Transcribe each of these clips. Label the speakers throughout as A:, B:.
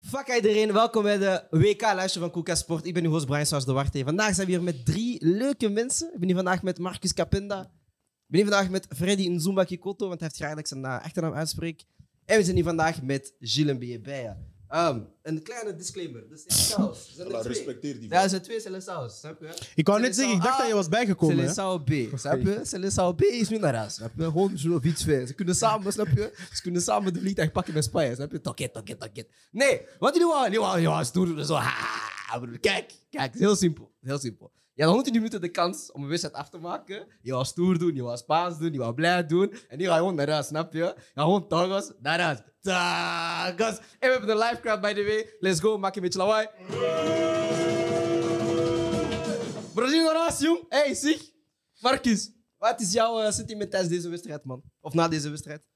A: Fuck iedereen, welkom bij de WK-luister van Koeka Sport. Ik ben uw host Brian Saus de Warte. Vandaag zijn we hier met drie leuke mensen. Ik ben hier vandaag met Marcus Capenda. Ik ben hier vandaag met Freddy Nzumba Kikoto, want hij heeft graag dat ik zijn eh, achternaam uitspreek. En we zijn hier vandaag met Gilles Mbiebea. Ehm een kleine disclaimer, dat is saus. Zijn er
B: Voilà,
A: twee?
B: respecteer die
A: Ja, er
B: vrouw.
A: zijn twee Celestials, snap je?
C: Ik wou net zeggen, ik dacht
A: Ah,
C: dat je was bijgekomen. hè?
A: Seleção B, snap je? Seleção B is nu naar huis, snap je? Gewoon zo of iets ver. Ze kunnen samen, snap je? Ze kunnen samen de vliegtuig pakken met Spanje, snap je? Toket, toket, toket. Nee, want jullie wou, jullie wou, jullie wou stoer doen en zo. Ha, broer. Kijk, kijk, het is heel simpel. Heel simpel. Je had 110 minuten de kans om een wedstrijd af te maken. Je wou stoer doen, je wou Spaans doen, je wou blij doen. En die ga je gewoon naar huis, snap je? Je gaat gewoon tangos naar huis. Tangos. En we hebben de live crowd, by the way. Let's go, maak een beetje lawaai. Brazil naar huis, jong. Hey, zie. Marcus, wat is jouw eh, sentiment tijdens deze wedstrijd, man? Of na deze wedstrijd?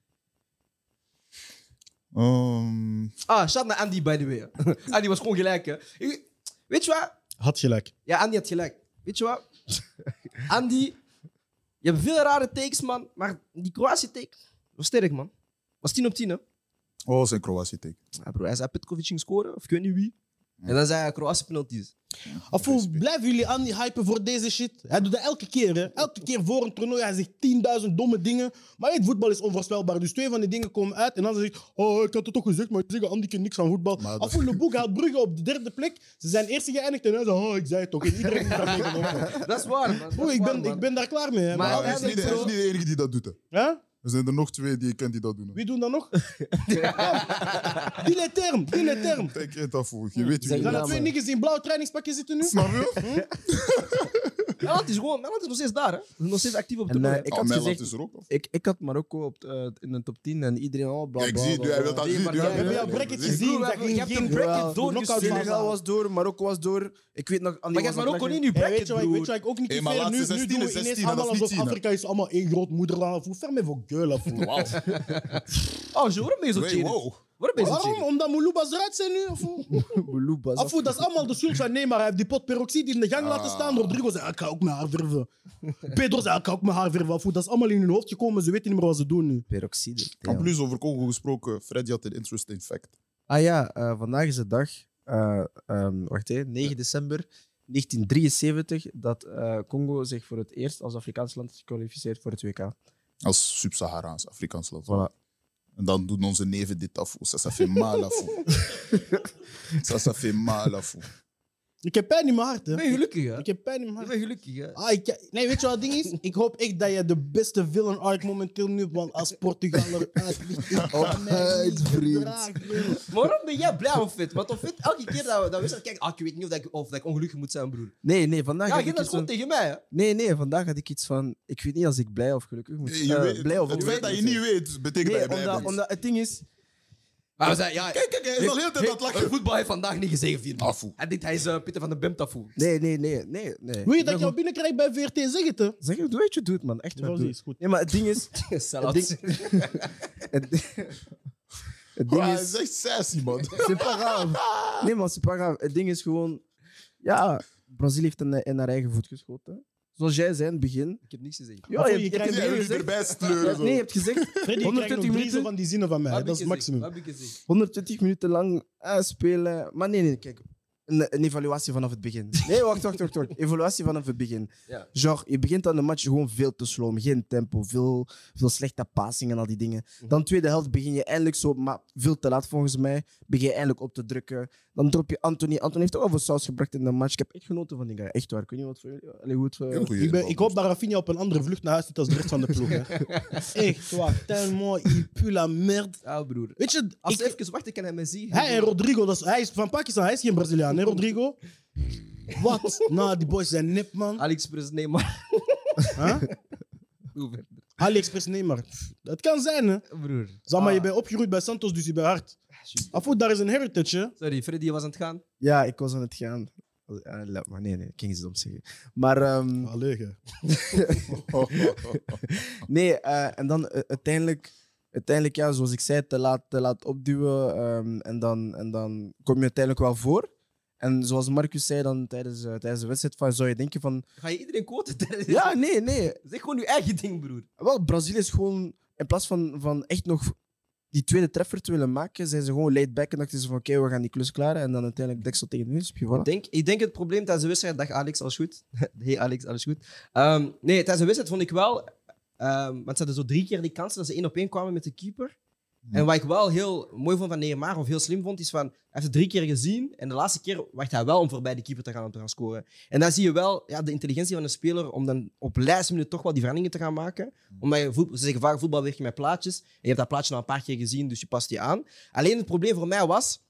B: Ehm,
A: Ah, shout naar Andy, by the way. hè. Andy was gewoon gelijk, hè. Ik- Weet je wat?
C: Had gelijk.
A: Ja, Andy had gelijk. Weet je wat? Andy, je hebt veel rare takes, man. Maar die Kroatië-take was sterk, man. Was 10 op 10, hè?
B: oh, zijn Kroatië take.
A: Ja, bro, hij zei Petkovic ging scoren, of ik weet niet wie. En dan zei hij Kroatië penalties.
C: Afvoer, blijven jullie aan die hypen voor deze shit? Hij doet dat elke keer, hè? Elke keer voor een toernooi. Hij zegt 10.000 domme dingen. Maar weet, voetbal is onvoorspelbaar. Dus twee van die dingen komen uit. En dan zegt hij, oh, ik had het toch gezegd, maar ik zeg Andy kent niks aan voetbal.
B: Maar dat-
C: Afvoer, Le Boek haalt Brugge op de derde plek. Ze zijn eerste geëindigd en hij zegt, oh, ik zei het toch. En iedereen is daarmee genomen.
A: Dat is waar, man. Dat is
C: Broer, ik
A: waar,
C: ben,
A: man.
C: ik ben daar klaar mee,
A: Maar-
C: hè. Maar,
B: Maar hij is, niet de, hij is niet de enige die dat doet. Hè.
C: hè?
B: Er zijn er nog twee die ik ken die dat doen. hè.
C: Wie doen dat nog? ja. Die le term, die le term.
B: Ik eet dat voor. Je weet wie
A: Zeg
C: Zijn
A: Ja,
C: er twee
A: man.
C: niggas die in blauw trainingspakjes zitten nu?
B: Snap je?
A: Nederland is gewoon... Nederland is nog steeds daar, hè. Ze is nog steeds actief op de
D: En,
A: toernooi.
D: eh, ik
B: Ah,
D: had
B: Mijnland
D: gezegd-
B: is er ook. of?
D: Ik, ik had Marokko op, eh, in de top 10 en iedereen al bla
B: Ja,
D: bla.
B: ik zie het nu,
D: bla,
B: hij
D: bla.
B: wil dat
A: Die
B: zien.
A: maar
B: nu, hij
A: jij
B: wil
A: hebt
B: dat
C: een bracket
B: zien.
C: gezien.
A: Broer, we
C: dat
A: hebben-
C: ging
A: je hebt
C: geen-
A: een bracket
D: Jawel,
A: doorgestuurd.
C: knock-out
D: Senegal was door, Marokko was door. Ik weet nog...
A: Maar je hebt Marokko niet in je
C: Hey, weet,
A: bracket,
C: je wat, weet je
A: broer.
C: wat ik ook niet
B: Hey, maar
C: hey, nu,
B: laatste
C: nu
B: 16
C: doen
B: is
C: we ineens
B: 16, dat
C: allemaal
B: is niet
C: alsof
B: 10, hè.
C: Afrika is allemaal één groot moederland. Hoe ver me voor gueulen? voor? Wauw.
A: Oh, zo, waarom ben je zo
B: Wait,
A: cheated?
B: wow.
A: Waarom ben je zo
C: Waarom?
A: cheated?
C: Omdat Mouloubas eruit zijn nu? Of hoe?
D: Beloeba.
C: Afvoer, dat is allemaal de schuld van Neymar. Hij heeft die pot peroxide in de gang
B: Ah.
C: laten staan. Rodrigo zei, ik ga ook mijn haar verven. Pedro zei, "Ah, ik ga ook mijn haar verven. Afvoer, dat is allemaal in hun hoofd gekomen. Ze weten niet meer wat ze doen nu.
D: Peroxide.
B: En
D: damn.
B: plus over Congo gesproken, Freddy had een interesting fact.
D: Ah ja, eh, vandaag is de dag, eh, ehm, wacht hè, 9 december 1973, dat eh, Congo zich voor het eerst als Afrikaans land kwalificeert voor het WK.
B: Als Sub-Saharaans, Afrikaans land.
D: Voilà.
B: En dan doen onze neven dit af. Ça, ça fait mal af. ça, ça fait mal af.
C: Ik heb pijn in mijn hart, hè.
A: Ik ben gelukkig, hè.
C: Ik heb pijn in mijn
A: Ik
C: hart.
A: ben gelukkig, hè.
C: Ah, ik, nee, weet je wat het ding is? Ik hoop echt dat je de beste villain arc momenteel nu want als Portugal eruit ligt. is dat mij niet
D: vriend.
C: gedraagd, joh.
A: Maar waarom ben jij blij of fit? Want of fit, elke keer dat we dat we zeggen, kijk, ah, ik weet niet of, dat ik, of dat ik ongelukkig moet zijn, broer.
D: Nee, nee, vandaag
A: Ja,
D: had
A: je
D: ik
A: dat
D: iets
A: gewoon
D: van-
A: tegen mij, hè.
D: Nee, nee, vandaag had ik iets van... Ik weet niet als ik blij of gelukkig moet
B: Je
D: eh,
B: weet-
D: blij of
B: het feit dat je
D: ongelukkig
B: niet
D: moet
B: weet, betekent
D: zijn.
B: dat je
D: Nee,
B: blij
D: omdat,
B: bent.
D: omdat het ding is...
A: Maar we zeiden, ja...
B: Kijk, kijk, hij is al heel de tijd aan het lachen.
A: Voetbal heeft vandaag niet gezegevierd. man.
B: Afoe.
A: Hij denkt, hij is eh, Pieter van de Bem tafoe.
D: Nee, nee, nee, nee. nee.
C: Wil je
D: Ik ben
C: dat ik jou binnenkrijg bij VRT? Zeg het, hè.
D: Zeg het, doe wat je doet, man. Echt
C: Ja,
D: waar.
C: die
D: doe.
C: is goed.
D: Nee, maar het ding is...
A: Salat.
D: Het ding- Het, het ding
B: Hij
D: is...
B: is echt sassy, man.
D: C'est pas grave. Nee, maar c'est pas grave. Het ding is gewoon... Ja, Brazilië heeft in, in haar eigen voet geschoten. Zoals jij zei in het begin.
A: Ik heb niks te zeggen.
D: Ja,
C: je
D: je, je,
C: krijgt-
D: hebt
B: Ja,
D: het
B: jullie
D: gezegd.
B: erbij sleuren. zo.
D: Nee, je hebt gezegd
C: Freddy, ik krijg
D: 120
C: nog drie
D: minuten?
C: zo van die zinnen van mij.
A: Wat
C: Dat
A: heb ik
C: is het
A: gezegd?
C: maximum.
A: Wat heb ik gezegd?
D: 120 minuten lang eh, spelen. Maar nee, nee, kijk. Een, een evaluatie vanaf het begin. Nee, wacht, wacht, wacht. wacht. Evaluatie vanaf het begin.
A: Ja.
D: Genre, je begint aan de match gewoon veel te sloom. Geen tempo, veel, veel slechte passingen en al die dingen. Dan tweede helft begin je eindelijk zo, maar veel te laat volgens mij. Begin je eindelijk op te drukken. Dan drop je Anthony. Anthony heeft ook al veel saus gebracht in de match. Ik heb echt genoten van die guy. Echt waar. Ik weet niet wat voor jullie... Allee, hoe het eh, voor-
B: Heel goeie
C: Ik, ben,
B: inval,
C: ik hoop dat Rafinha op een andere vlucht naar huis zit als de rest van de ploeg. Hè. Echt waar. Tellement, il pue la merde.
A: Ja, broer.
C: Weet je,
A: Als
C: ik,
A: ze even wachten, kan hij me zien.
C: hij en Rodrigo, dat is, hij is van Pakistan, hij is geen Braziliaan, hè, Rodrigo? Wat? Nou, die boys zijn nep, man.
A: Alex Prins, nee, maar...
C: Huh?
A: Hoe verder?
C: AliExpress, nee, maar pff, dat kan zijn, hè?
A: Broer.
C: Zeg maar,
A: Ah.
C: je bent opgeroeid bij Santos, dus je bent hard.
B: Ah,
A: Alsjeblieft.
C: Afvoer, daar is een heritage, hè?
A: Sorry, Freddy, je was aan het gaan.
D: Ja, ik was aan het gaan. Eh, laat maar nee, nee, ik ging iets doms zeggen. Maar... ehm,
C: Allee, hè.
D: Nee, eh, en dan eh, uiteindelijk, uiteindelijk ja, zoals ik zei, te laat, te laat opduwen. ehm, en, dan, en dan kom je uiteindelijk wel voor. En zoals Marcus zei dan tijdens, eh, tijdens de wedstrijd, van, zou je denken van...
A: Ga je iedereen quoten?
D: Ja, nee, nee.
A: Zeg gewoon je eigen ding, broer.
D: Wel, Brazilië is gewoon... In plaats van, van echt nog die tweede treffer te willen maken, zijn ze gewoon laid back en dachten ze van oké, we gaan die klus klaren. En dan uiteindelijk deksel tegen de muur.
A: Ik denk, ik denk het probleem tijdens de wedstrijd... Dag Alex, alles goed? hey Alex, alles goed? Ehm, nee, tijdens de wedstrijd vond ik wel... ehm, want ze hadden zo drie keer die kansen dat ze één op één kwamen met de keeper. En wat ik wel heel mooi vond van Neymar, of heel slim vond, is van... Hij heeft het drie keer gezien en de laatste keer wacht hij wel om voorbij de keeper te gaan om te gaan scoren. En daar zie je wel ja, de intelligentie van een speler om dan op laatste minuut toch wel die veranderingen te gaan maken. Omdat je voet- ze zeggen vaak, voetbal werkt met plaatjes. En je hebt dat plaatje al een paar keer gezien, dus je past die aan. Alleen het probleem voor mij was...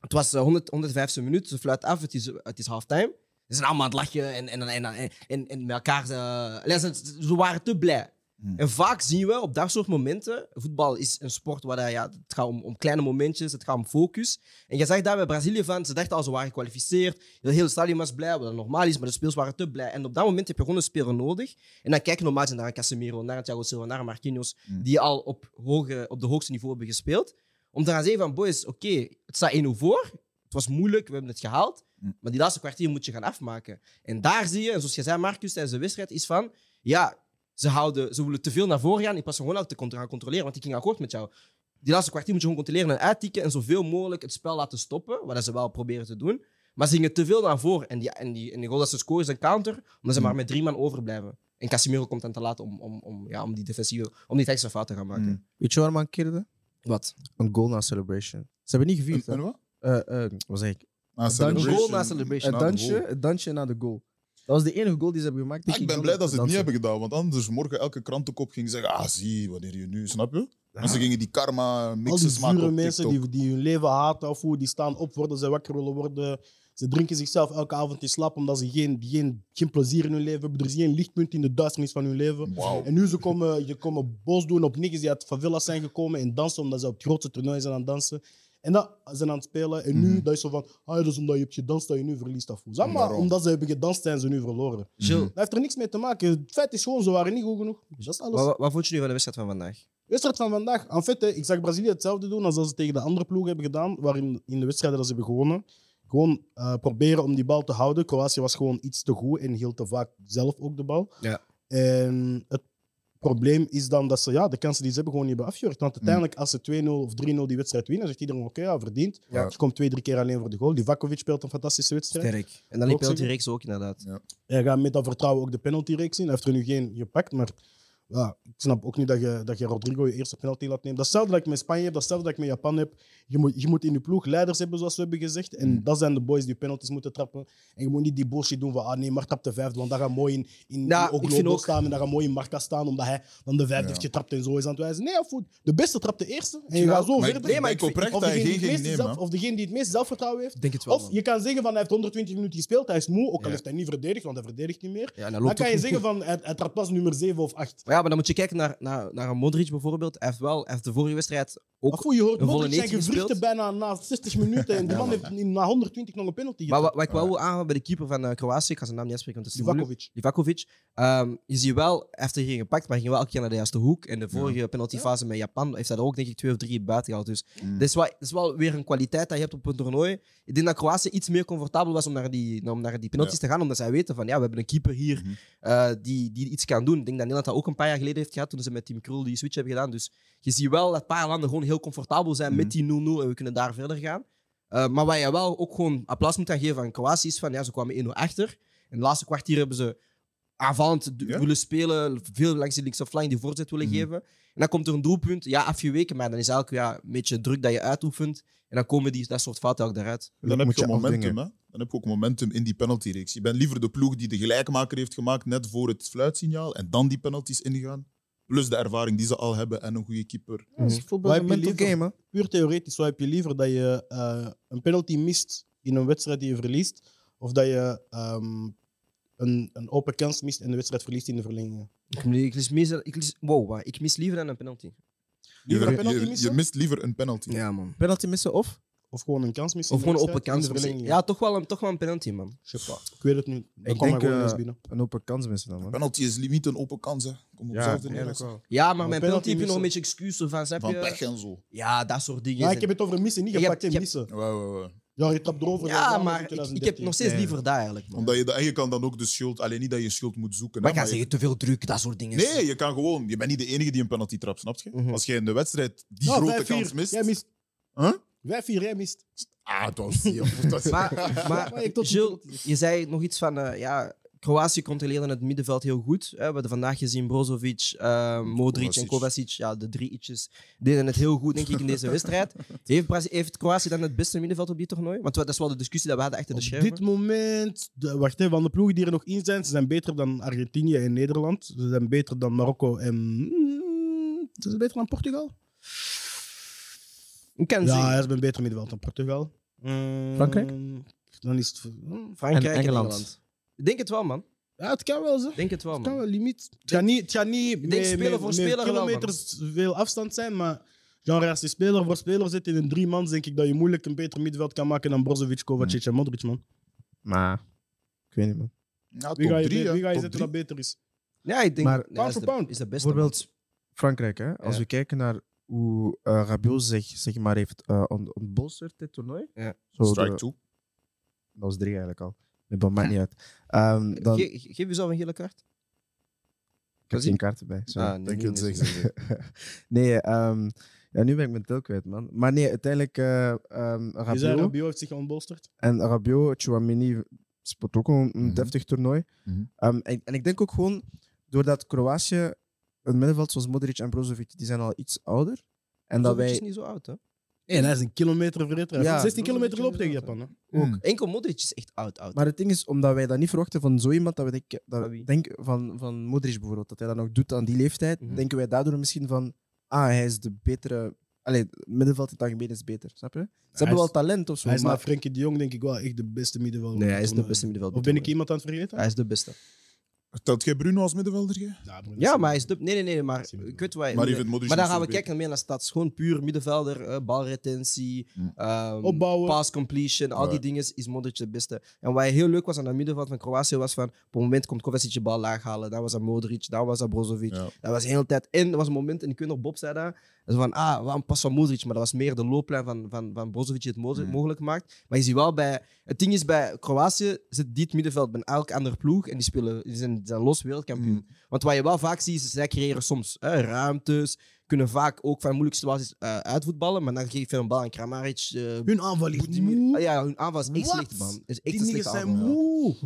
A: Het was eh, 100, 105e minuut, ze fluit af, het is, het is halftime. Ze zijn allemaal aan het lachen en, en, en, en, en, en met elkaar. eh, allee, ze, ze waren te blij.
B: Hmm.
A: En vaak zien we op dat soort momenten. Voetbal is een sport waar dat, ja, het gaat om, om kleine momentjes, het gaat om focus. En je zag daar bij Brazilië van, ze dachten al ze waren gekwalificeerd. Heel het stadion was blij, wat normaal is, maar de speels waren te blij. En op dat moment heb je gewoon een speler nodig. En dan kijk je normaal gezien naar een Casemiro, naar een Thiago Silva, naar een Marquinhos,
B: Hmm.
A: die al op, hoge, op de hoogste niveau hebben gespeeld. Om te gaan zeggen van, boys, oké, het staat 1-0 voor. Het was moeilijk, we hebben het gehaald.
B: Hmm.
A: Maar die laatste kwartier moet je gaan afmaken. En daar zie je, en zoals je zei, Marcus, tijdens de wedstrijd, is van... Ja, ze, houden, ze willen te veel naar voren gaan in plaats van gewoon al te cont- gaan controleren. Want ik ging akkoord met jou. Die laatste kwartier moet je gewoon controleren en uittikken en zoveel mogelijk het spel laten stoppen. Wat dat ze wel proberen te doen. Maar ze gingen te veel naar voren. En die, en die, en die goal dat ze scoren is een counter, omdat ze maar met drie man overblijven. En Casemiro komt dan te laat om, om, om, ja, om die defensieve, om die extra fout te gaan maken.
B: Mm.
D: Weet je waar mankeerde?
A: Wat?
D: Een goal na celebration. Ze hebben niet gevierd. hè?
B: En wat?
D: Eh, eh, wat zeg ik?
B: Na
A: Een goal
B: celebration.
A: na celebration.
D: Een
B: Na de
D: dansje,
B: goal.
D: een dansje na de goal. Dat was de enige goal die ze hebben gemaakt.
B: Ah, ik ben
D: wil
B: blij dat ze het niet
D: dansen.
B: hebben gedaan, want anders morgen elke krantenkop ging zeggen: Ah, zie, wanneer je nu, snap je? Mensen gingen die karma
C: Al die
B: mixes maken.
C: zure
B: Op
C: mensen
B: TikTok.
C: die, die hun leven haten of hoe, die staan op voordat ze wakker willen worden. Ze drinken zichzelf elke avond in slaap omdat ze geen, geen, geen plezier in hun leven hebben. Er is geen lichtpunt in de duisternis van hun leven.
B: Wauw.
C: En nu ze komen, ze komen boos doen op niks die uit favelas zijn gekomen en dansen omdat ze op het grootste toernooi zijn aan het dansen. En dat zijn aan het spelen. En nu
B: Mhm.
C: dat is zo van, ah, dat is omdat je hebt gedanst dat je nu verliest. Of hoe. Zeg maar,
B: Waarom?
C: omdat ze hebben gedanst zijn ze nu verloren.
A: Jill,
C: Dat heeft er niks mee te maken. Het feit is gewoon, ze waren niet goed genoeg. Dus Dat is alles.
A: wat, wat vond je nu van de wedstrijd van vandaag?
C: De wedstrijd van vandaag. En feite, ik zag Brazilië hetzelfde doen als dat ze tegen de andere ploeg hebben gedaan, waarin in de wedstrijden dat ze hebben gewonnen. Gewoon eh, proberen om die bal te houden. Kroatië was gewoon iets te goed en hield te vaak zelf ook de bal.
A: Ja.
C: En het probleem is dan dat ze ja, de kansen die ze hebben gewoon niet hebben afgewerkt.
A: Hmm.
C: Want uiteindelijk, als ze 2-0 of 3-0 die wedstrijd winnen, zegt iedereen oké, ja, verdiend.
A: Ja.
C: Ze komt twee, drie keer alleen voor de goal. Livakovic speelt een fantastische wedstrijd.
A: Sterk. En dan die
C: Ook
A: penalty
C: zeggen?
A: reeks ook inderdaad.
C: Hij gaat met dat vertrouwen ook de penaltyreeks in. Hij heeft er nu geen gepakt, maar ja, ik snap ook niet dat je, dat je Rodrigo je eerste penalty laat nemen. Datzelfde dat ik met Spanje heb, datzelfde dat ik met Japan heb. Je moet, je moet in je ploeg leiders hebben, zoals we hebben gezegd. En
A: Hmm.
B: Mm.
C: dat zijn de boys die penalties moeten trappen. En je moet niet die bullshit doen van, ah nee, maar trap de vijfde, want dat gaat mooi in, in
A: Ja,
C: in
A: ik
C: Oglobo
A: vind ook-
C: staan en dat gaat mooi in Marca staan, omdat hij dan de vijfde
B: Ja.
C: heeft getrapt en zo is aan het wijzen. Nee, ja, goed. de beste trapt de eerste en je
A: Nou,
C: gaat zo
B: Maar ik
C: verder.
B: denk
A: maar ik vind-
B: oprecht
C: of,
B: dat hij
C: degene die
B: geen
C: het
B: ging
C: meeste
B: nemen.
C: zelf-
B: hè.
C: of degene die het meest zelfvertrouwen heeft.
A: Ik denk het wel.
C: Of je kan zeggen van hij heeft 120 minuten gespeeld, hij is moe, ook al
A: Ja.
C: heeft hij niet verdedigd, want hij verdedigt niet meer.
A: Ja, en dan
C: Dan
A: loopt
C: kan
A: ook
C: je
A: niet
C: zeggen van hij, hij trapt pas nummer 7 of 8.
A: Maar ja, maar dan moet je kijken naar, naar, naar een Modric bijvoorbeeld. Hij heeft wel, hij heeft de vorige wedstrijd ook.
C: Of hoe je hoort
A: een volle
C: Modric zijn
A: 90
C: gewrichten
A: gespeeld.
C: bijna na 60 minuten en die
A: Ja,
C: man
A: maar-
C: heeft in- na 120 nog een penalty
A: Maar
C: getrapt.
A: wat, wat ik wel wil aanhouden bij de keeper van eh, Kroatië, ik ga zijn naam niet uitspreken, want het is te moeilijk.
C: Livakovic.
A: Livakovic. Ehm, je ziet wel, hij heeft er geen gepakt, maar hij ging wel elke keer naar de juiste hoek. En de vorige penaltyfase met Japan heeft hij er ook denk ik twee of drie buiten gehaald. Dus
B: Mm.
A: dat, is wel, dat is wel weer een kwaliteit dat je hebt op een toernooi. Ik denk dat Kroatië iets meer comfortabel was om naar die, om naar die penalties te gaan, omdat zij weten van ja, we hebben een keeper hier
B: Mhm.
A: eh, die, die iets kan doen. Ik denk dat Nederland dat ook een paar jaar geleden heeft gehad toen ze met Team Krul die switch hebben gedaan. Dus je ziet wel dat een paar landen gewoon heel comfortabel zijn
B: Mhm.
A: met die 0-0 en we kunnen daar verder gaan. Eh, maar waar je wel ook gewoon applaus moet aan geven aan Kroatië is van ja, ze kwamen 1-0 achter. En het laatste kwartier hebben ze aanvallend d-
B: Ja.
A: willen spelen, veel langs die linkse flank die voorzet willen
B: Mhm.
A: geven. En dan komt er een doelpunt, ja, afgeweken, maar dan is eigenlijk ja, een beetje druk dat je uitoefent. En dan komen die, dat soort fouten ook daaruit.
B: Dan heb
D: Moet
B: je
D: je
B: momentum,
D: afdwingen.
B: hè? Dan heb je ook momentum in die penaltyreeks. Je bent liever de ploeg die de gelijkmaker heeft gemaakt net voor het fluitsignaal en dan die penalties ingaan. Plus de ervaring die ze al hebben en een goede keeper.
D: Ja, dat is voetbal
C: Waar
D: een
C: heb je
D: mental
C: liever?
D: game, hè?
C: Puur theoretisch, zo heb je liever dat je eh, een penalty mist in een wedstrijd die je verliest, of dat je ehm, een, een open kans mist en de wedstrijd verliest in de verlenging.
A: Ik, ik, mis, meer- ik, mis- wow, waar- ik mis liever dan een penalty.
C: Liever een
B: Je-
C: penalty
B: je, je
C: missen?
B: mist liever een penalty.
A: man.
D: Penalty missen of?
C: Of gewoon een kans missen.
A: Of
C: in de
A: gewoon een open
C: wedstrijd
A: kans.
C: in de verlenging.
A: Ja, toch wel, een, toch wel een penalty, man.
C: Ik weet het nu. Dat
D: Ik
C: kwam mij
D: denk,
C: gewoon
D: eh,
C: eens binnen.
D: Een open kans missen dan, man.
B: Penalty is niet een open kans, hè? Kom op zelf in
D: eigenlijk
B: de
D: wel.
A: Ja, maar,
C: Maar
A: mijn
C: penalty
A: penalty heb je nog
C: missen-
A: een beetje excuus van. Snap
B: Van
A: je?
B: pech en zo.
A: Ja, dat soort dingen.
C: Ja, ik heb het over missen, niet
A: Je hebt-
C: gepakt en
A: je hebt-
C: missen.
B: Ja, ja, ja.
C: Ja, je trapt erover.
A: Ja,
C: dat was in
A: maar ik,
C: 2013.
A: ik heb nog steeds liever daar eigenlijk. man.
B: Omdat je, da- en je kan dan ook de schuld, alleen niet dat je schuld moet zoeken.
A: Maar
B: hè,
A: ik ga
B: maar je-
A: zeggen, te veel druk, dat soort dingen.
B: Nee, je kan gewoon. Je bent niet de enige die een penalty trapt, snap je?
A: Mhm.
B: Als jij in de wedstrijd die
C: Ja,
B: grote
C: 5-4,
B: kans mist.
C: Nou, Jij mist.
B: Huh?
C: Wij vier, jij mist.
B: Ah, dat was dat was-
A: Maar,
C: Maar
A: maar
C: ik tot-
A: Gilles, je zei nog iets van... eh, ja, Kroatië controleerde het middenveld heel goed. Hè. We hebben vandaag gezien Brozovic,
C: Mm,
A: eh, Modric en
B: Kovacic.
A: Kovacic. Ja, de drie ietsjes deden het heel goed, denk ik, in deze wedstrijd. Heeft, Braz- heeft Kroatië dan het beste middenveld op dit toernooi? Want dat is wel de discussie dat we hadden achter de
C: Op
A: schermen.
C: dit moment, de, wacht even, van de ploegen die er nog in zijn, ze zijn beter dan Argentinië en Nederland. Ze zijn beter dan Marokko en. mm, Ze zijn beter dan Portugal?
A: Ik kan
C: Ja,
A: zeggen,
C: ze zijn beter middenveld dan Portugal. Mm,
D: Frankrijk?
C: Dan is het. mm,
A: Frankrijk
D: en
A: en
D: Engeland.
A: Engeland. Ik denk het wel, man.
C: Ja, het kan wel zo.
A: Ik Denk het wel,
C: Het kan
A: man.
C: wel limiet. Het gaat niet, het gaat niet
A: denk speler voor speler wel, man.
C: kilometers veel afstand zijn, maar genre als je speler voor speler zit in een drie man, denk ik dat je moeilijk een beter middenveld kan maken dan Brozovic, Kovacic
A: Hmm.
C: en Modric, man.
D: Maar, ik weet niet, man.
B: Ja,
C: Wie ga
B: top
C: je,
B: drie, hè,
C: wie ga je
B: top
C: zetten
B: drie.
C: dat beter is?
A: Ja, ik denk...
D: Maar
A: ja,
C: pound
A: is
C: for
A: de-
C: pound.
A: Is de beste,
D: Bijvoorbeeld Frankrijk, hè? als
A: Ja.
D: we kijken naar hoe eh Rabiot zich zeg maar, heeft eh ont- ontbolsterd dit toernooi.
A: Ja.
D: Zo de-
B: Strike two.
D: dat was drie eigenlijk al. Nee, maar maakt niet uit. Ehm,
A: man.
D: dan,
A: Ge- ge- geef jezelf een gele kaart.
D: ik heb
A: zie-
D: geen kaarten bij. sorry.
A: Ah, nee,
B: denk
A: niet
B: je het
A: meer.
D: nee, ehm, ja, nu ben ik mijn tel kwijt, man. Maar nee, uiteindelijk eh ehm,
C: Je zei
D: Rabiot.
C: Rabiot heeft zich ontbolsterd.
D: En Rabiot, Chouamini speelt ook een, een
B: Mhm.
D: deftig toernooi.
B: Mhm.
D: Ehm, en, en ik denk ook gewoon, doordat Kroatië, een middenveld zoals Modric en Brozovic, die zijn al iets ouder. En dat
A: Brozovic
D: wij
A: is niet zo oud, hè?
C: Nee, dat is een kilometer verritten.
D: Ja.
C: 16 kilometer gelopen tegen Japan. Hè.
D: Hmm.
B: Mm.
A: Enkel Modric is echt oud, oud.
D: Maar het ding is, omdat wij dat niet verwachten van zo iemand, dat we denken, dat
A: Van
D: we
A: wie?
D: denken van, van Modric bijvoorbeeld, dat hij dat nog doet aan die leeftijd,
A: Mhm.
D: denken wij daardoor misschien van, ah, hij is de betere... Allee, het middenveld in het algemeen is beter, snap je? Ze hebben
C: is-
D: wel talent of zo,
C: Hij is na
D: maar...
C: Frenkie de Jong, denk ik wel, echt de beste middenvelder.
A: Nee,
C: van
A: hij is de
C: toernooi.
A: beste middenvelder.
C: Of ben ik iemand aan het vergeten?
A: Hij is de beste.
B: Telt jij Bruno als middenvelder? jij?
C: Ja, maar dat
A: Ja,
C: is-
A: maar hij is de... Nee, nee, nee, maar
C: Zie je
A: ik weet wat...
B: Maar je vindt Modric
A: maar dan
B: niet
A: gaan we
B: zo beter.
A: kijken meer naar stats. Gewoon puur middenvelder, eh, balretentie,
B: Mm.
A: ehm,
C: Opbouwen.
A: pass completion, al die
B: Ja.
A: dingen is Modric de beste. En wat heel leuk was aan dat middenveld van Kroatië was van, op het moment komt Kovacic je bal laag halen, dan was dat Modric, dan was dat Brozovic.
B: Ja.
A: Dat was de hele tijd. En er was een moment, en ik weet nog, Bob zei dat, dat ze van, ah, waarom pas van Modric? Maar dat was meer de looplijn van, van, van Brozovic die het mo-
B: Mm.
A: mogelijk maakt. Maar je ziet wel bij, het ding is bij Kroatië zit dit middenveld bij elk ander ploeg en die, spelen, die zijn, zijn los wereldkampioen.
B: Mm.
A: Want wat je wel vaak ziet, is zij creëren soms hè, ruimtes, kunnen vaak ook van moeilijke situaties eh, uitvoetballen, maar dan geef je een bal aan Kramaric. eh,
C: Hun aanval ligt
A: Budimir.
C: moe.
A: Ah ja, hun aanval is echt
C: Wat?
A: slecht, man. Is echt
C: Die
A: een
C: niggas
A: slechte
C: zijn
A: aanval.
C: moe.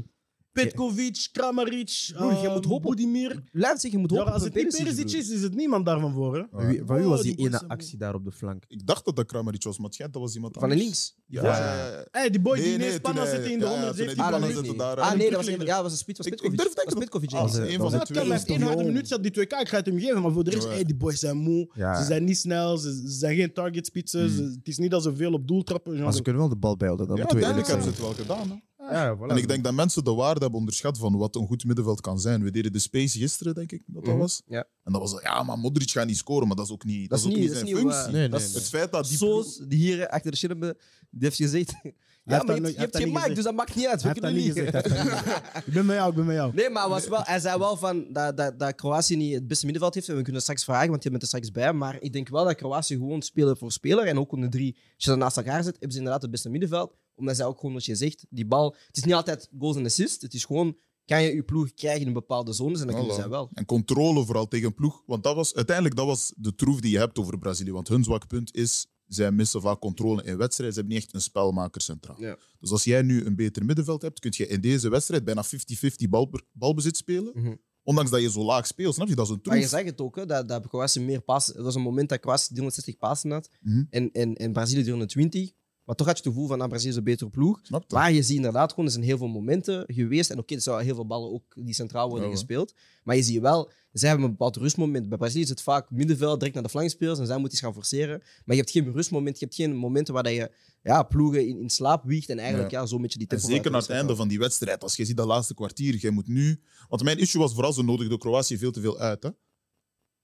C: Petkovic, Kramaric,
A: Broer, jij
C: eh,
A: moet hopen.
C: Budimir.
A: Blijf zeggen, je moet
C: Ja,
A: hopen
C: als
A: op
C: het
A: een
C: niet
A: Perisic,
C: Perisic
A: broer.
C: is, is het niemand daarvan voor. Hè?
D: Wie- van wie
C: Oh,
D: was
C: die
D: die
C: boys
D: ene
C: zijn
D: actie daar op de flank?
B: Ik dacht dat dat Kramaric was, maar het schijnt dat was iemand
A: Van de
B: anders.
A: links.
B: Ja,
C: Ja.
B: ja, ja, ja.
C: Hey, die boy
B: Nee,
C: die
B: nee,
C: ineens
B: toen
C: pannen
B: hij-
C: zitten in de
B: ja, ja, toen hij
C: 117
B: die
A: Ah,
B: ballen
A: dat
C: minuten.
A: weet ik
B: zitten
A: niet.
B: daar,
A: ah
B: hè.
A: nee, dat was,
C: Terugleggen.
A: een- ja, dat was een spits van
B: Ik- ik
A: Petkovic.
B: durf
A: Dat
B: denken
A: was Petkovic.
B: dat-
A: ja.
B: Ah,
D: Een
B: een van
D: dat
B: de
C: Dat
B: twee.
C: kan,
B: was
C: hij
B: het.
C: heeft inhouden minuut op die twee kaart. Ik ga het hem geven, maar voor de rest,
B: Ja.
C: hey, die boys zijn moe.
D: Ja,
C: Ze zijn niet snel, ze, ze zijn geen targetspitsen. ze- Het is niet dat ze veel op doel trappen.
D: maar
C: genre.
D: ze kunnen wel de bal bijhouden, dat
B: Ja,
D: moeten we
B: uiteindelijk
D: eerlijk
B: hebben ze
D: zijn.
B: het wel gedaan. Hè.
D: Ja, voilà.
B: En ik denk dat mensen de waarde hebben onderschat van wat een goed middenveld kan zijn. We deden de Space gisteren, denk ik, dat dat
A: Mhm,
B: was.
A: ja.
B: En dat was, zo, ja, maar Modric gaat niet scoren, maar dat is ook niet, dat is ook niet
A: dat
B: zijn
A: is niet
B: functie.
A: waar.
D: Nee, nee,
A: Dat is-
D: nee.
B: Het feit dat die
A: Soos, die hier achter de schermen, die heeft gezegd... Ja,
C: dat
A: maar je
C: nooit-
A: hebt-
C: hij
A: je hebt geen
C: heeft dat niet
A: mic,
C: gezegd.
A: dus dat maakt niet uit. We
C: Hij heeft dat
A: kunnen
C: niet gezegd. hij heeft dat niet gezegd. Ik ben bij jou, ik ben bij jou.
A: Nee, maar was wel, hij zei wel van dat, dat, dat Kroatië niet het beste middenveld heeft. En we kunnen straks vragen, want je bent er straks bij. Maar ik denk wel dat Kroatië gewoon speler voor speler. En ook om de drie, als je dat naast elkaar zet, hebben ze inderdaad het beste middenveld. Omdat zij ook gewoon, wat je zegt, die bal. Het is niet altijd goals en assists. Het is gewoon, kan je je ploeg krijgen in bepaalde zones? En dan kunnen
B: Hallo.
A: zij wel.
B: En controle vooral tegen een ploeg. Want dat was, uiteindelijk dat was de troef die je hebt over Brazilië. Want hun zwak punt is, zij missen vaak controle in wedstrijden. Ze hebben niet echt een spelmaker centraal.
A: Ja.
B: Dus als jij nu een beter middenveld hebt, kun je in deze wedstrijd bijna 50-50 bal, balbezit spelen.
A: Mhm.
B: Ondanks dat je zo laag speelt, snap je? Dat is een
A: Maar je
B: troef.
A: zag het ook, hè, dat, dat Kroatië meer passen. Er was een moment dat Kroatië 360 passen had.
B: Mhm.
A: En, en, en Brazilië 320. Maar toch had je het gevoel van, nou, Brazilië is een betere ploeg.
B: Snap je?
A: Maar je ziet inderdaad gewoon, er zijn heel veel momenten geweest. En oké, er zouden heel veel ballen ook die centraal worden
B: Ja, hoor.
A: gespeeld. Maar je ziet wel, zij hebben een bepaald rustmoment. Bij Brazilië is het vaak middenveld, direct naar de flankspelers. En zij moeten iets gaan forceren. Maar je hebt geen rustmoment. Je hebt geen momenten waar dat je ja, ploegen in, in slaap wiegt. En eigenlijk ja. zo'n beetje die
B: En
A: tempo
B: zeker naar
A: uit
B: het
A: de
B: einde
A: wedstrijd
B: van die wedstrijd. Als je ziet dat laatste kwartier, jij moet nu. Want mijn issue was vooral ze nodigden Kroatië veel te veel uit. Hè?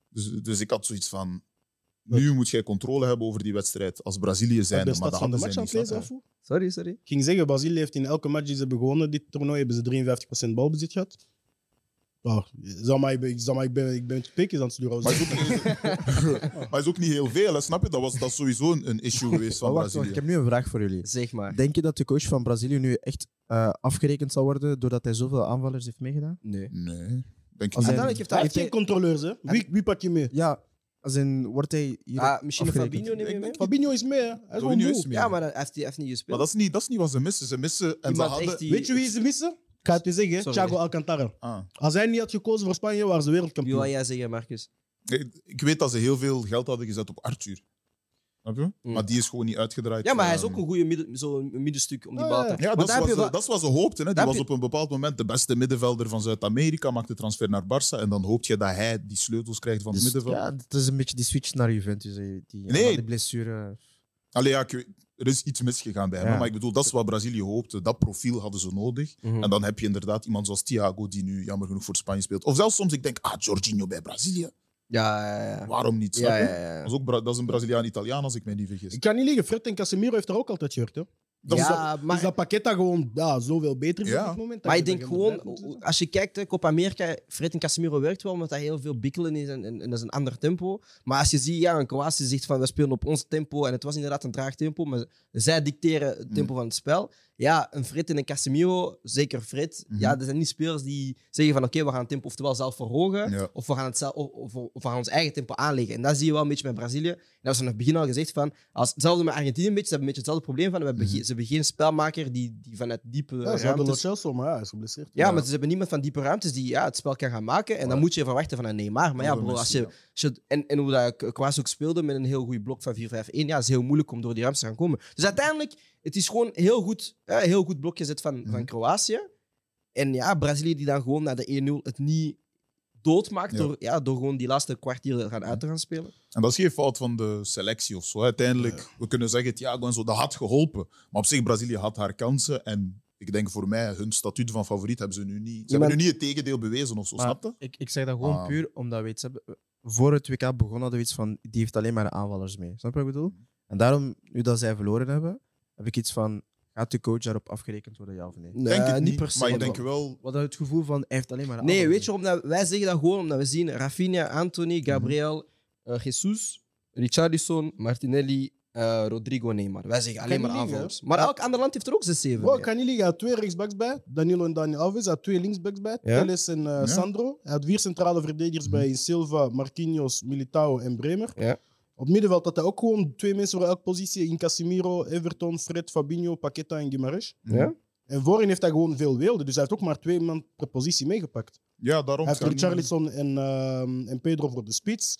B: Dus, dus ik had zoiets van. Nu moet jij controle hebben over die wedstrijd als Brazilië
C: Ik
B: zijn.
C: ben
B: Maar dat
C: stad van de
B: hadden
C: match
B: zij
C: aan
B: niet.
C: het lezen,
B: snap je?
C: Afu.
A: haalt. Sorry, sorry.
C: Ik ging zeggen, Brazilië heeft in elke match die ze hebben gewonnen, dit toernooi, hebben ze 53% balbezit gehad. Oh, zal maar, ik ben, zal maar, ik ben, ik ben pikjes aan het sturen.
B: Maar eh, is, ook niet, maar is ook niet heel veel, hè, snap je? Dat was dat is sowieso een, een issue geweest van
D: Maar Oh, wacht, wacht,
B: Brazilië.
D: ik heb nu een vraag voor jullie.
A: Zeg maar.
D: Denk je dat de coach van Brazilië nu echt eh, afgerekend zal worden doordat hij zoveel aanvallers heeft meegedaan?
A: Nee.
B: Nee, denk ik
D: Als
B: niet.
D: hij-
A: Uiteindelijk heeft
C: Hij
A: hij...
C: heeft geen controleurs, hè? Wie, wie pak je mee?
D: Ja, als in wordt hij hier
A: Ah, misschien een
D: afgerekend?
A: Fabinho neem je mee?
C: Fabinho is mee, hè? Hij is gewoon
B: Fabinho
C: moe.
B: is mee.
A: Ja, maar hij heeft, hij heeft niet gespeeld.
B: Maar dat is niet, dat is niet wat ze missen. Ze missen... En ze
A: Iemand
B: hadden...
A: echt die-
C: Weet je wie ze missen? Ik ga het je zeggen,
A: Sorry.
C: Thiago Alcantara.
B: Ah.
C: Als hij niet had gekozen voor Spanje, waren ze
A: Wie
C: wereldkampioen.
A: wil jij zeggen, Marcus?
B: Ik- Ik weet dat ze heel veel geld hadden gezet op Arthur. Snap je?
A: Mm.
B: Maar die is gewoon niet uitgedraaid.
A: Ja, maar hij is
B: Ehm,
A: ook een goede midden, zo'n middenstuk om die
C: Ah,
A: bal
C: ja.
A: te...
B: Ja,
A: Want
B: dat is,
A: daar heb
B: wat
A: je
B: ze,
A: wel-
B: dat is wat ze hoopten. Hè. Die
A: daar
B: was
A: heb
B: op een bepaald moment de beste middenvelder van Zuid-Amerika. Maakt de transfer naar Barça. En dan hoop je dat hij die sleutels krijgt van het
D: Dus,
B: middenveld.
D: ja, het is een beetje die switch naar Juventus. hè, Die,
B: Nee.
D: die blessure.
B: Allee, ja, ik weet- er is iets misgegaan bij hem.
D: Ja.
B: hè, Maar ik bedoel, dat is wat Brazilië hoopte. Dat profiel hadden ze nodig.
A: Mhm.
B: En dan heb je inderdaad iemand zoals Thiago, die nu jammer genoeg voor Spanje speelt. Of zelfs soms, ik denk, ah, Jorginho bij Brazilië.
A: Ja, ja, ja.
B: Waarom niet?
A: Ja,
B: Snap je?
A: ja, ja.
B: Dat, is ook Bra- dat is een Braziliaan-Italiaan, als ik mij niet vergis.
C: Ik kan niet liegen, Fred en Casemiro heeft daar ook altijd gehoord, hè?
B: Dat is
A: Ja, maar,
C: Is dat pakket dat gewoon ja, zoveel beter is
B: Ja.
C: op dit moment?
A: maar
C: dat
A: ik
C: je
A: denk
C: daar geen bedrijf
A: gewoon,
C: moet
A: als je kijkt, hè, Copa America, Fred en Casemiro werkt wel, omdat hij heel veel bikkelen is en, en, en dat is een ander tempo. Maar als je ziet, ja, een Kroatië zegt van, we spelen op ons tempo en het was inderdaad een traag tempo, maar zij dicteren
B: Mm.
A: het tempo van het spel. Ja, een Fred en een Casemiro, zeker Fred,
B: Mhm.
A: ja, dat zijn niet spelers die zeggen van, oké, we gaan het tempo oftewel zelf verhogen,
B: Ja.
A: of, we gaan het zelf, of, of, of we gaan ons eigen tempo aanleggen. En dat zie je wel een beetje met Brazilië. En dat is vanaf het begin al gezegd van, als, hetzelfde met Argentinië een beetje, ze hebben een beetje hetzelfde probleem van, we hebben,
B: Mhm.
A: ge- ze hebben geen spelmaker die, die vanuit diepe
C: hebben. Ja, ze hadden Lo
A: ruimtes...
C: Celso, maar ja, hij is geblesseerd.
A: Ja, maar ze hebben niemand van diepe ruimtes die ja, het spel kan gaan maken. En dan moet je verwachten van een Neymar. Maar ja,
B: Andere
A: bro, als je,
B: mensen,
A: als je- en, en hoe dat K- Kwaas ook speelde met een heel goed blok van 4-5-1, ja, is heel moeilijk om door die ruimtes te gaan komen. Dus uiteindelijk, het is gewoon heel goed, hè, heel goed blok gezet van, van
B: Mhm.
A: Kroatië. En ja, Brazilië die dan gewoon na de 1-0 het niet doodmaakt
B: Ja.
A: Door, ja, door gewoon die laatste kwartier gaan uit te gaan spelen.
B: En dat is geen fout van de selectie of zo. hè. Uiteindelijk, we kunnen zeggen, Thiago en zo, dat had geholpen. Maar op zich, Brazilië had haar kansen. En ik denk voor mij, hun statuut van favoriet hebben ze nu niet... Ze
A: Ja, maar-
B: hebben nu niet het tegendeel bewezen of zo,
D: Maar-
B: snap je?
D: Ik, ik zeg dat gewoon
B: Ah.
D: puur omdat we iets hebben. Voor het WK begon hadden we iets van. Die heeft alleen maar aanvallers mee. Snap je wat ik bedoel? En daarom, nu dat zij verloren hebben, heb ik iets van. Gaat de coach daarop afgerekend worden, ja of nee?
A: Nee,
B: denk ik
A: niet
B: niet,
A: per se.
B: maar ik denk wel...
D: Wat het gevoel van. Hij heeft alleen maar aanvallers
A: Nee, weet je, omdat wij zeggen dat gewoon omdat we zien Rafinha, Anthony,
C: Mhm.
A: Gabriel, eh, Jesus, Richarlison, Martinelli, eh, Rodrigo, Neymar. Wij zeggen alleen
C: Kan
A: maar
C: niet liegen,
A: aanvallers. Maar elk ander land heeft er ook 6-7.
C: Bro, ik kan niet liegen. Hij had twee rechtsbacks bij. Danilo en Dani Alves. Hij had twee linksbacks bij.
A: Ja? Mhm.
C: Telles en eh,
B: Ja.
C: Sandro. Hij had vier centrale verdedigers bij. In Silva, Marquinhos, Militao en Bremer.
A: Ja.
C: Op middenveld had hij ook gewoon twee mensen voor elke positie. In Casimiro, Everton, Fred, Fabinho, Paqueta en Guimarães.
A: Ja?
C: En voorin heeft hij gewoon veel weelde. Dus hij heeft ook maar twee man per positie meegepakt.
B: Ja, daarom...
C: Hij heeft
B: Kan-
C: Richarlison en, ehm, en Pedro voor de spits.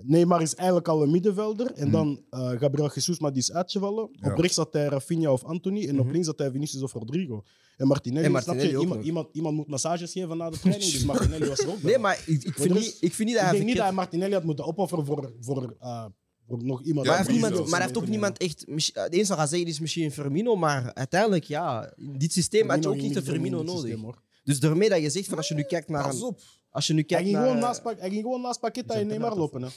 C: Neymar is eigenlijk al een middenvelder.
A: Hmm.
C: En
B: Mhm.
C: dan eh, Gabriel Jesus, maar die is uitgevallen.
B: Ja.
C: Op rechts zat hij Rafinha of Anthony. En
A: Mhm.
C: op links zat hij Vinicius of Rodrigo. En Martinelli,
A: En
C: snap
A: Martinelli
C: je?
A: ook
C: Iemand,
A: nog.
C: iemand, iemand moet massages geven na de training. Dus Martinelli was er ook bij.
A: Nee, maar ik, ik, vind
C: er is-
A: niet, ik vind niet dat hij
C: Ik denk niet dat hij
A: verkeerd...
C: Martinelli had moeten opofferen voor, voor, eh, voor nog iemand.
A: Maar
B: Ja,
A: hij heeft,
B: maar
A: niemand,
B: zelfs
A: maar hij heeft ook niemand echt... misschien- Het enige wat hij zeggen is misschien Firmino, maar uiteindelijk, ja, in dit systeem had je ook niet een Firmino nodig. Dus daarmee dat je zegt, van als je nu kijkt naar...
B: Pas
A: een-
B: op.
A: Als je nu
C: Hij
A: kijkt
C: ging, gewoon
A: naar...
C: naast, Pak- hij ging gewoon naast Paqueta
D: Is
C: en
D: dat
C: Neymar
D: penalty?
C: lopen. Hè.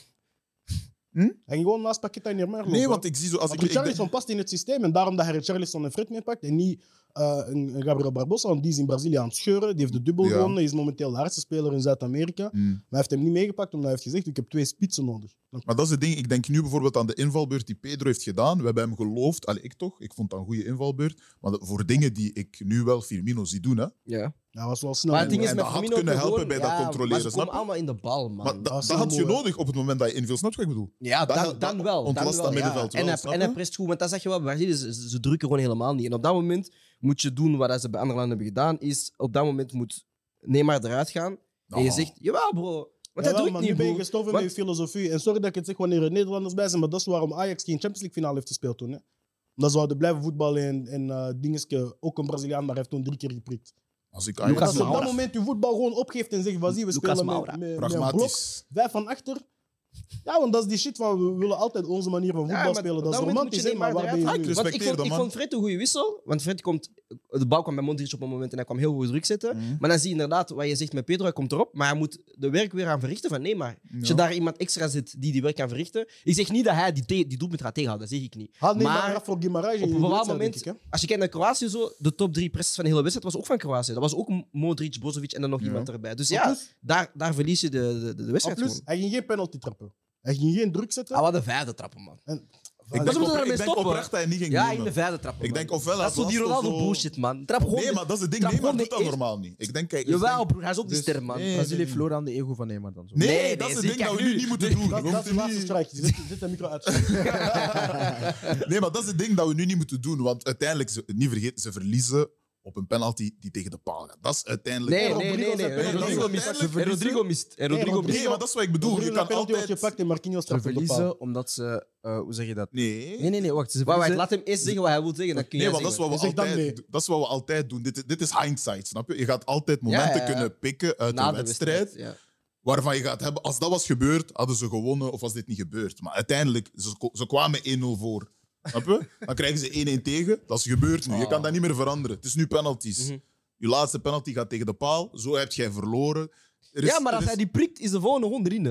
B: Hm?
C: Hij ging gewoon naast Paqueta en Neymar lopen.
B: Nee,
C: hè.
B: want ik zie zo... Als ik,
C: Want
B: ik denk-
C: Richarlison past in het systeem en daarom dat hij Richarlison en Fred meepakt en niet eh, een, een Gabriel Barbosa, want die is in Brazilië aan het scheuren. Die heeft de dubbel
B: Ja.
C: gewonnen, is momenteel de hardste speler in Zuid-Amerika. Maar
B: Hmm.
C: hij heeft hem niet meegepakt omdat hij heeft gezegd, ik heb twee spitsen nodig.
B: Maar dat is het ding. Ik denk nu bijvoorbeeld aan de invalbeurt die Pedro heeft gedaan. We hebben hem geloofd. Allee, ik toch. Ik vond dat een goede invalbeurt. Maar dat- voor dingen die ik nu wel Firmino zie doen, hè.
A: Ja.
C: Hij was wel snel.
A: Maar het ding is
B: En
A: met
B: dat had
A: Firmino
B: kunnen
A: gewoon-
B: helpen bij dat
A: ja,
B: controleren,
A: Maar ze
B: snap
A: komen
B: je?
A: allemaal in de bal, man.
B: Maar da-
C: dat
B: dat,
C: is heel
B: had je
C: mooi.
B: nodig op het moment dat je inviel. Snap je wat ik bedoel?
A: Ja,
B: Dat-
A: dan,
B: dat-
A: dan
B: dat
A: wel. dan
B: ontlast dat
A: wel,
B: middenveld
A: ja. en,
B: wel,
A: hij,
B: snap
A: en hij
B: je?
A: prest goed, want dat zag je wel bij Brazilië. Ze, ze- ze drukken gewoon helemaal niet. En op dat moment moet je doen wat ze bij andere landen hebben gedaan. Is op dat moment moet Neymar eruit gaan. En je
B: Ah.
A: zegt, jawel bro. Want
C: Oh. Jawel,
A: dat doe
C: maar
A: ik niet,
C: nu ben je
A: bro.
C: gestoven
A: Want-
C: met je filosofie. En sorry dat ik het zeg wanneer er Nederlanders bij zijn, maar dat is waarom Ajax geen Champions League finale heeft gespeeld toen. Hè. Omdat ze hadden blijven voetballen en, en eh, Dingeske, ook een Braziliaan, maar hij heeft toen drie keer geprikt.
B: Als ik
A: Lucas
C: Als je op dat
A: Moura.
C: moment je voetbal gewoon opgeeft en zegt, "Vas-y, we
A: Lucas
C: spelen
A: Moura.
C: met, met, met een blok,
B: Pragmatisch.
C: wij van achter, Ja, want dat is die shit van we willen altijd onze manier van voetbal
A: maar
C: spelen. Dat is
A: dan moet- moet
C: romantisch,
A: je
C: hè,
A: niet
C: maar
A: maar
C: waar ben je
B: eruit
C: nu?
B: halen.
A: Want ik
B: Respecteer
A: vond,
B: de
A: ik
B: man.
A: vond Fred een goede wissel. Want Fred komt... De bal kwam bij Modric op een moment en hij kwam heel goed druk zetten.
B: Mhm.
A: Maar dan zie je inderdaad wat je zegt met Pedro. Hij komt erop, maar hij moet de werk weer aan verrichten. Van nee, maar als je
B: Ja.
A: daar iemand extra zit die die werk kan verrichten... Ik zeg niet dat hij die, the- die doelpunt gaat tegenhouden. Dat zeg ik niet.
C: Had neem
A: Maar
C: maar voor Guimarães
A: op
C: in
A: een
C: die
A: bepaald
C: wedstrijd,
A: moment...
C: denk ik, hè.
A: Als je kijkt naar Kroatië zo... De top drie pressers van de hele wedstrijd was ook van Kroatië. Dat was ook Modric, Brozovic en dan nog
B: Ja.
A: iemand erbij. Dus
C: En
A: ja,
C: plus-
A: daar, daar verlies je de, de, de, de
C: en
A: wedstrijd
C: plus,
A: gewoon.
C: hij ging geen penalty trappen. Hij ging geen druk zetten.
A: Ah, wat een vijfde trappen, man.
B: Ik
A: ze
B: denk,
A: moeten
B: opre-
A: daarmee
B: ik denk
A: stoppen.
B: oprecht dat hij niet ging
A: Ja, in
B: nemen.
A: de vijfde trappen,
B: Ik
A: man.
B: denk ofwel
A: Dat is
B: als
A: zo die
B: laatste
A: Ronaldo
B: zo-
A: bullshit, man. Trap gewoon
B: Nee, maar dat is het ding.
A: Trap
B: Neymar
A: gewoon
B: doet
A: de
B: dat
A: eerste-
B: normaal niet. Ik denk, kijk, ik
A: Jawel,
B: denk-
A: broer, hij is ook die
B: Dus-
A: ster, man.
B: Nee,
D: Brazilië
B: nee,
D: verloren aan de ego van Neymar dan zo.
B: Nee,
A: Nee,
B: dat
A: nee,
B: is het
A: zie,
B: ding dat we
A: kijk
B: nu
A: nu.
B: niet moeten doen.
C: dat,
B: We
C: dat is
B: moeten
C: het laatste
B: niet...
C: strikje. Zet, zet dat micro uit.
B: Nee, maar dat is het ding dat we nu niet moeten doen. Want uiteindelijk, ze, niet vergeten, ze verliezen op een penalty die tegen de paal gaat. Dat is uiteindelijk...
A: Nee,
C: En
A: nee,
C: Rodrigo
A: nee.
C: zijn
A: nee.
B: penalty.
A: Rodrigo mist.
B: Dat is uiteindelijk
A: En Rodrigo mist. En
C: Nee,
A: Rodrigo mist.
B: Nee, maar dat is wat ik bedoel. Je
C: Rodrigo,
B: kan
C: de penalty
B: altijd...
C: wordt gepakt en Marquinhos
D: Ze
C: trapt op de paal.
D: verliezen omdat ze, eh, hoe zeg je dat?
B: Nee.
D: Nee, nee, nee, wacht. Ze
A: Wacht, wacht,
D: verliezen-
A: laat hem eerst zeggen wat hij wil zeggen. Dan kun
B: Nee,
A: jij
B: want dat is,
A: zeggen.
B: wat we
C: Zeg dan nee.
B: altijd, dat is wat we altijd doen. Dit, dit is hindsight, snap je? Je gaat altijd momenten
A: Ja, ja, ja.
B: kunnen pikken uit
A: Na
B: een wedstrijd.
A: ja.
B: waarvan je gaat hebben, als dat was gebeurd, hadden ze gewonnen of was dit niet gebeurd. Maar uiteindelijk, ze, ko- ze kwamen 1-0 voor. Snap je? Dan krijgen ze 1-1 tegen. Dat is gebeurd nu. Je kan dat niet meer veranderen. Het is nu penalties.
A: Mhm.
B: Je laatste penalty gaat tegen de paal. Zo heb jij verloren. Er is-
A: Ja, maar
B: er
A: als
B: is-
A: hij die prikt, is de volgende ronde erin. hè.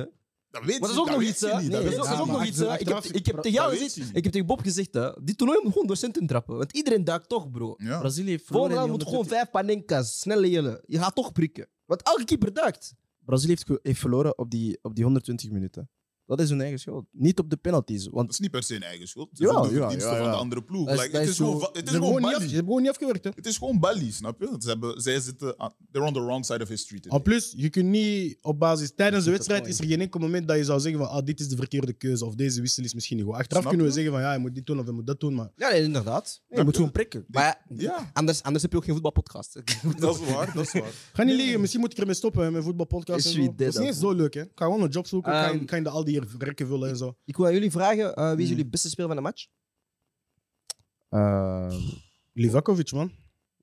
B: Dat
A: Maar
B: weet
A: dat
B: je-
A: is ook nog
B: weet
A: iets,
B: je
A: hè?
B: niet,
A: Nee, Dat
B: weet
A: is
B: je
A: ook- dat
B: niet.
A: is ook
D: maar
A: nog iets, hè? Ik
D: achteraf-
A: heb- Ik heb tegen
B: dat
A: jou
B: weet
A: gezegd,
B: je niet.
A: ik heb tegen Bob gezegd, hè, dit toernooi moet gewoon door centen trappen. Want iedereen duikt toch, bro.
B: Ja.
D: Brazilië heeft verloren.
A: Volgende
D: in
A: dag
D: die
A: moet gewoon
D: 120
A: vijf panenka's, snelle jellen. Je gaat toch prikken. Want elke keeper duikt.
D: Brazilië heeft, ge- heeft verloren op die, op die 120 minuten. Dat is hun eigen schuld. Niet op de penalties.
B: Dat
D: Want
B: is niet per se een eigen schuld. Het is
D: Ja,
B: ook de
D: ja,
B: verdienste
D: ja, ja.
B: van de andere ploeg.
D: Dat is-
B: Like,
D: dat
B: het is
D: is
B: gewoon
D: zo-
B: va- het
C: Ze
B: is
C: hebben
B: gewoon
C: gewoon niet af- ze
B: Bali.
C: hebben gewoon niet afgewerkt. hè.
B: Het is gewoon Bali, snap je? Ze hebben, zij zitten... aan- They're on the wrong side of history today.
C: En plus, je kunt niet op basis. Tijdens de
D: Dat
C: wedstrijd
D: is
C: is er geen enkel moment dat je zou zeggen: van ah, dit is de verkeerde keuze of deze wissel is misschien niet goed. Achteraf
B: Snap
C: kunnen
B: je?
C: we zeggen: van ja, hij moet dit doen of hij moet dat doen. Maar
A: Ja, nee, inderdaad.
D: nee, je moet gewoon prikken.
A: Maar
B: Ja,
A: anders, anders heb je ook geen voetbalpodcast.
B: dat is waar, dat is waar.
C: ga niet liggen, misschien moet ik ermee stoppen hè, met voetbalpodcast.
A: Is
C: en zo.
A: wie
C: Dat is
A: dit
C: niet eens zo leuk, hè? Ik ga gewoon een job zoeken, ik ga in-
A: Ehm,
C: ik ga in de Aldi hier rekken vullen en zo.
A: Ik wil aan jullie vragen, eh, wie is
B: Hmm.
A: jullie beste speler van de match?
D: Eh,
C: Livakovic, man.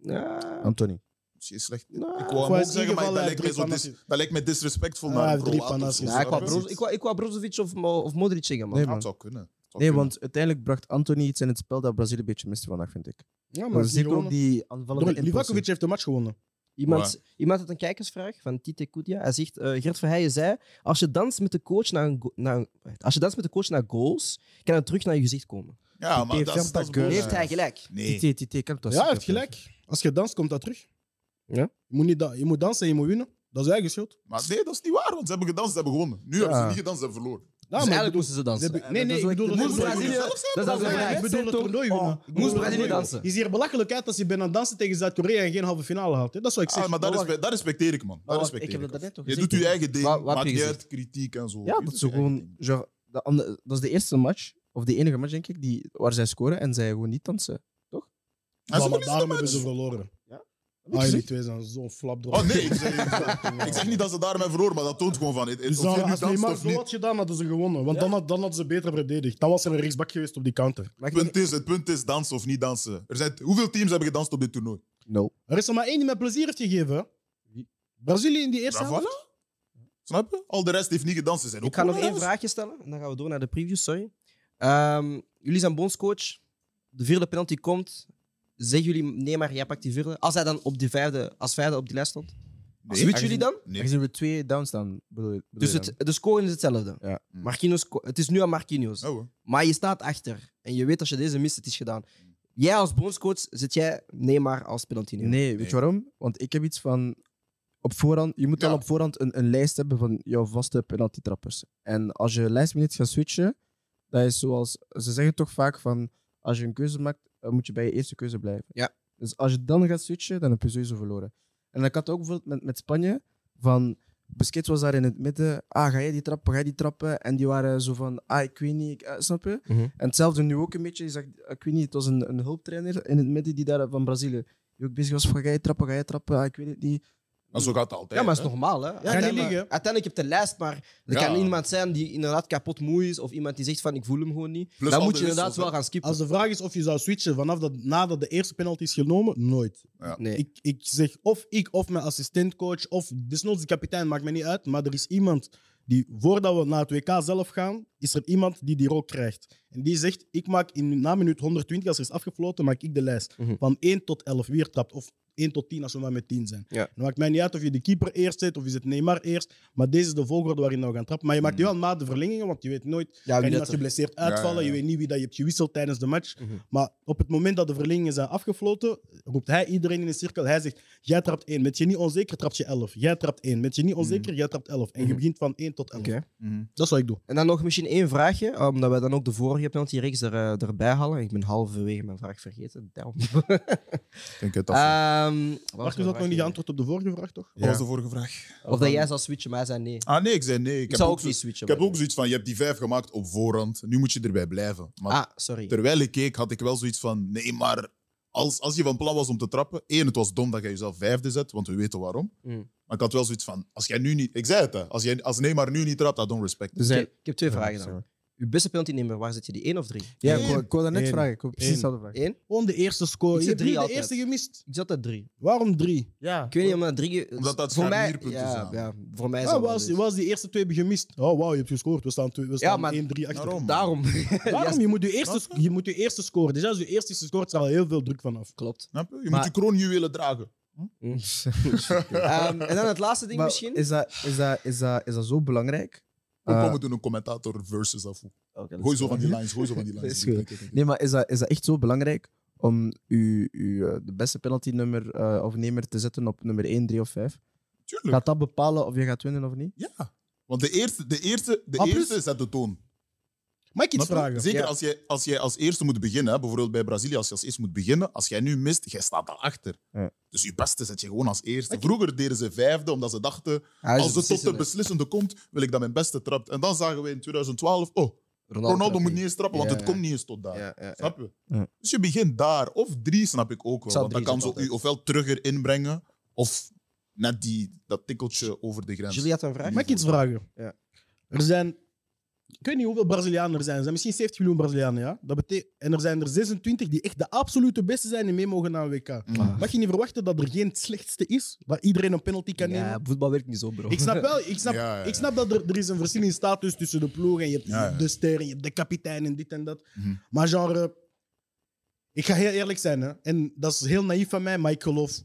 A: Ja.
D: Anthony.
B: Misschien slecht.
A: Nou,
B: Ik wou hem
C: Voor het
B: ook zeggen, maar
C: geval,
B: dat
C: eh,
B: lijkt, mij
C: drie
B: zo dis-
C: panasjes.
B: dat lijkt mij disrespectvol
C: Ah,
B: naar
C: hij
B: een
C: heeft drie
B: Kroaat of zo,
C: panasjes.
A: Ja, ik, wou
B: snap je?
A: Brozo- ik, wou, ik wou Brozovic of, Mo- of Modric zeggen, man.
D: Nee,
B: Ja,
D: man.
B: het zou kunnen. Het zou
D: Nee,
B: kunnen.
D: want uiteindelijk bracht Anthony iets in het spel dat Brazilië een beetje miste vandaag, vind ik.
C: Ja,
D: Maar
C: maar
D: zeker ook
C: die
D: die aanvallende
C: Livakovic heeft de match gewonnen.
A: Iemand, iemand had een kijkersvraag van Tite Kudia. Hij zegt, eh, Gert Verheijen zei, als je, danst met de coach naar een go- naar een- als je danst met de coach naar goals, kan het terug naar je gezicht komen. Dus
B: Ja, maar
D: heeft
B: dat is- dat is
D: Janta Keurne.
B: bullshit.
A: Heeft hij gelijk?
B: Nee.
D: Tite, Tite, kan toch
C: ja, hij heeft gelijk. Als je danst, komt dat terug.
A: Ja.
C: Je, moet niet da- je moet dansen en je moet winnen. Dat is eigen schuld.
B: Maar nee, dat is niet waar, want ze hebben gedanst, ze hebben gewonnen. Nu hebben ze niet gedanst, ze hebben verloren.
C: Ja,
A: dus
C: maar
A: eigenlijk
C: ik bedoel-
A: moesten ze dansen.
C: ze hebben- nee, nee,
D: dat
C: ik
D: is
C: bedoel...
D: ook-
C: dat
A: Moest
C: ze-
A: Brazilië- Dat is als
C: Ja,
A: een
C: ik bedoel het toernooi winnen.
A: Oh, Moest Brazilië dansen.
C: Je ziet er belachelijk uit als je bijna aan het dansen tegen Zuid-Korea en geen halve finale haalt. hè. Dat is wat ik zeg.
B: Ah, maar dat, respe- dat respecteer ik, man. Dat
D: Oh,
B: respecteer ik.
D: net toch
B: Je doet je eigen ding,
A: Wat- wat heb
B: maakt
A: je
B: niet
A: gezegd?
B: uit kritiek en zo.
D: Ja,
B: Je
D: dat
B: doet
D: ze
B: je eigen
D: gewoon...
B: ding.
D: genre, de andere- dat is de eerste match, of de enige match, denk ik, die, waar zij scoren en zij gewoon niet dansen.
B: En
C: Ja,
B: ze
C: maar
B: verliezen de
C: daarom hebben
B: match.
C: ze verloren.
D: Ja.
C: Ah, jullie twee zijn zo'n flap
B: Oh nee, ik zeg, ik zeg niet dat ze daarmee verloren, maar dat toont gewoon van... Het, het,
C: Dus
B: of je
C: dan,
B: nu
C: als
B: danst
C: Neymar
B: of
C: zo
B: niet.
C: had gedaan, hadden ze gewonnen. Want dan, had, dan hadden ze beter verdedigd. Dan was er een rechtsbak geweest op die counter.
D: Maar
B: Het punt, is, het punt is dansen of niet dansen. Er zijn, hoeveel teams hebben gedanst op dit toernooi?
D: No.
C: Er is er maar één die mij plezier heeft gegeven. hè. Brazilië in die eerste
B: Ja,
C: helft.
B: voilà. Snap je? Al de rest heeft niet gedanst. Ze zijn ook
A: Ik ga nog
B: gewoon
A: één
B: naar huis.
A: vraagje stellen en dan gaan we door naar de preview. Sorry. Ehm, jullie zijn bondscoach. De vierde penalty komt. Zeggen jullie, nee maar, jij pakt die vierde. Als hij dan op die vijfde, als vijfde op die lijst stond.
B: Nee.
A: Switchen jullie dan?
B: Nee.
D: Aangezien we twee downs staan, bedoel je- bedoel
A: Dus
D: je
A: het,
D: dan?
A: de score is hetzelfde.
D: Ja.
A: Marquinhos, sco- het is nu aan Marquinhos.
B: Ja, hoor.
A: Maar je staat achter. En je weet als je deze mist, het is gedaan. Jij als bondscoach zit jij nee maar als penalty nemen.
D: Nee, weet je waarom? Want ik heb iets van. Op voorhand, je moet
B: Ja.
D: al op voorhand een, een lijst hebben van jouw vaste penaltytrappers. En als je lijstminuut gaat switchen, dat is zoals. Ze zeggen toch vaak van. Als je een keuze maakt, eh, moet je bij je eerste keuze blijven.
A: Ja.
D: Dus als je dan gaat switchen, dan heb je sowieso verloren. En ik had ook bijvoorbeeld met, met Spanje van. Busquets was daar in het midden. Ah, ga jij die trappen? Ga jij die trappen? En die waren zo van. Ah, ik weet niet. ik- eh, snap je?
A: Mhm.
D: En hetzelfde nu ook een beetje. Je zag, ik weet niet, het was een, een hulptrainer in het midden die daar van Brazilië die ook bezig was van ga je trappen, ga je trappen, ah, ik weet het niet.
B: Maar zo gaat het altijd.
A: Ja, maar het
B: hè.
A: is normaal. Hè?
C: niet liegen, hè?
A: uiteindelijk heb je de lijst, maar er
B: Ja.
A: kan iemand zijn die inderdaad kapot moe is. Of iemand die zegt van ik voel hem gewoon niet.
B: Plus
A: dan
B: al
A: moet
B: de
A: je inderdaad
B: wissels,
A: wel gaan skippen.
C: Als de vraag is of je zou switchen vanaf dat, nadat de eerste penalty is genomen, nooit.
A: Nee.
C: Ik, ik zeg of ik of mijn assistentcoach of desnoods de kapitein, maakt mij niet uit. Maar er is iemand die, voordat we naar het WK zelf gaan, is er iemand die die rol krijgt. En die zegt, ik maak in, na minuut 120, als er is afgefloten, maak ik de lijst.
A: Mhm.
C: Van 1 tot 11, wie er trapt. Of 1 tot 10, als we maar met 10 zijn.
A: Ja.
C: Dan maakt mij niet uit of je de keeper eerst zet of is het Neymar eerst. Maar deze is de volgorde waarin we gaan trappen. Maar je maakt
A: Mhm.
C: die wel na de verlengingen, want je weet nooit
A: Ja, wie
C: kan iemand
A: dat er-
C: geblesseerd
B: ja,
C: uitvallen.
B: ja.
C: Je weet niet wie dat je hebt gewisseld tijdens de match.
A: Mhm.
C: Maar op het moment dat de verlengingen zijn afgefloten, roept hij iedereen in een cirkel. Hij zegt: Jij trapt één. Met je niet onzeker, trapt je elf. Jij trapt één. Met je niet onzeker, jij trapt elf. En je
A: Mhm.
C: begint van één tot elf.
A: Oké.
B: Mhm.
C: Dat is wat ik doe.
A: En dan nog misschien één vraagje, omdat wij dan ook de vorige penalty reeks er, eh, erbij halen. Ik ben halverwege mijn vraag vergeten. Damn.
B: Ik denk het dat.
A: Ehm, wat was
C: Marcus
A: mijn
C: had nog
A: vraag
C: niet
A: hier?
C: geantwoord op de vorige vraag, toch?
B: Wat was de vorige vraag?
A: Of dat jij zou switchen, maar hij zei nee.
B: Ah nee, ik zei nee. Ik,
A: Ik
B: heb
A: zou
B: ook,
A: ook
B: zo-
A: niet switchen.
B: ik heb
A: maar-
B: ook zoiets van, je hebt die vijf gemaakt op voorhand. Nu moet je erbij blijven. Maar
A: Ah, sorry.
B: terwijl ik keek, had ik wel zoiets van, nee, maar als, als je van plan was om te trappen, één, het was dom dat jij jezelf vijfde zet, want we weten waarom.
A: Mm.
B: Maar ik had wel zoiets van, als jij nu niet... Ik zei het, hè. Als, jij, als Neymar nu niet trapt, I don't respect.
D: Dus
A: Oké,
D: hij-
A: ik heb twee
D: Ja,
A: vragen dan.
D: sorry.
A: Uw beste penaltynemer, waar zit je die? één of drie?
D: Ja,
B: Eén.
D: ik wou- ik wou dat net
C: Eén.
D: vragen. Ik wou precies
C: Eén.
D: dezelfde vraag.
A: Eén?
C: Gewoon de eerste score.
A: Ik
C: Je
A: zet
C: hebt
A: drie
C: niet de
A: altijd.
C: eerste gemist.
A: Ik zat dat drie.
C: Waarom drie?
D: Ja.
A: Ik weet niet, omdat drie...
B: Omdat dat
A: voor mij,
B: scharnierpunten
A: ja,
B: zijn.
A: ja, voor mij is
C: Ah,
A: dat
C: was,
A: wel dus.
C: was die eerste twee hebben gemist? Oh, wauw, je hebt gescoord. We staan, twee, we staan
A: maar
C: 1-3
B: Daarom.
C: achter.
A: dus. Daarom.
C: Waarom?
A: Ja,
C: Je moet je eerste, sc- je moet je eerste scoren. Dus als je eerste is gescoord, is er al heel veel druk vanaf.
A: Klopt.
B: Snap je? Je
D: Maar-
B: moet je kroonjuwelen dragen.
A: Ehm, en dan het laatste ding
D: Maar
A: misschien.
D: Is dat, is, dat, is, dat, is dat zo belangrijk?
B: Dan
D: Eh,
B: komen we doen een commentator versus af.
A: Oké,
B: Gooi zo van die lines, gooi zo van die
D: Dat
B: lines.
D: is goed.
B: Ik denk het.
D: Nee, maar is dat, is dat echt zo belangrijk om u, u, eh, de beste penalty-nummer eh, of nemer te zetten op nummer 1, 3 of 5?
B: Tuurlijk.
D: Gaat dat bepalen of je gaat winnen of niet?
B: Ja. Want de eerste, de eerste, de
C: Ah, plus-
B: eerste zet de toon.
C: Mag ik iets
B: Snap je?
C: vragen?
B: Zeker
A: Ja.
B: als, jij, als jij als eerste moet beginnen, hè, bijvoorbeeld bij Brazilië, als je als eerste moet beginnen, als jij nu mist, jij staat daarachter.
D: Ja.
B: Dus je beste zet je gewoon als eerste. Vroeger deden ze vijfde, omdat ze dachten,
A: Hij is
B: als het tot de
A: beslissende.
B: beslissende komt, wil ik dat mijn beste trapt. En dan zagen we in 2012, oh,
A: Ronaldo
B: Ronaldo
A: trapt
B: moet niet eens trappen, want
A: Ja,
B: het
A: ja.
B: komt niet eens tot daar.
A: Ja, ja, ja.
B: Snap je?
D: Ja.
B: Dus je begint daar. Of drie snap ik ook wel.
A: zou
B: Want dan
A: drie
B: kan ze
A: zetten
B: u ofwel terug erin brengen, of net die, dat tikkeltje over de grens.
A: Jullie had een vraag?
C: Mag ik iets vragen?
A: Ja.
C: Er zijn, ik weet niet hoeveel Brazilianen er zijn. Er zijn misschien 70 miljoen Brazilianen, ja? Dat bete- en er zijn er 26 die echt de absolute beste zijn en mee mogen naar een WK.
B: Mm.
C: Mag je niet verwachten dat er geen slechtste is, waar iedereen een penalty kan
A: Ja,
C: nemen?
A: voetbal werkt niet zo, bro.
C: Ik snap wel, ik snap,
B: Ja, ja, ja.
C: Ik snap dat er, er is een verschil in status tussen de ploeg en je hebt
B: Eh. Ja, ja.
C: de ster en je hebt de kapitein en dit en dat.
B: Mhm.
C: Maar genre, ik ga heel eerlijk zijn, hè? en dat is heel naïef van mij, maar ik geloof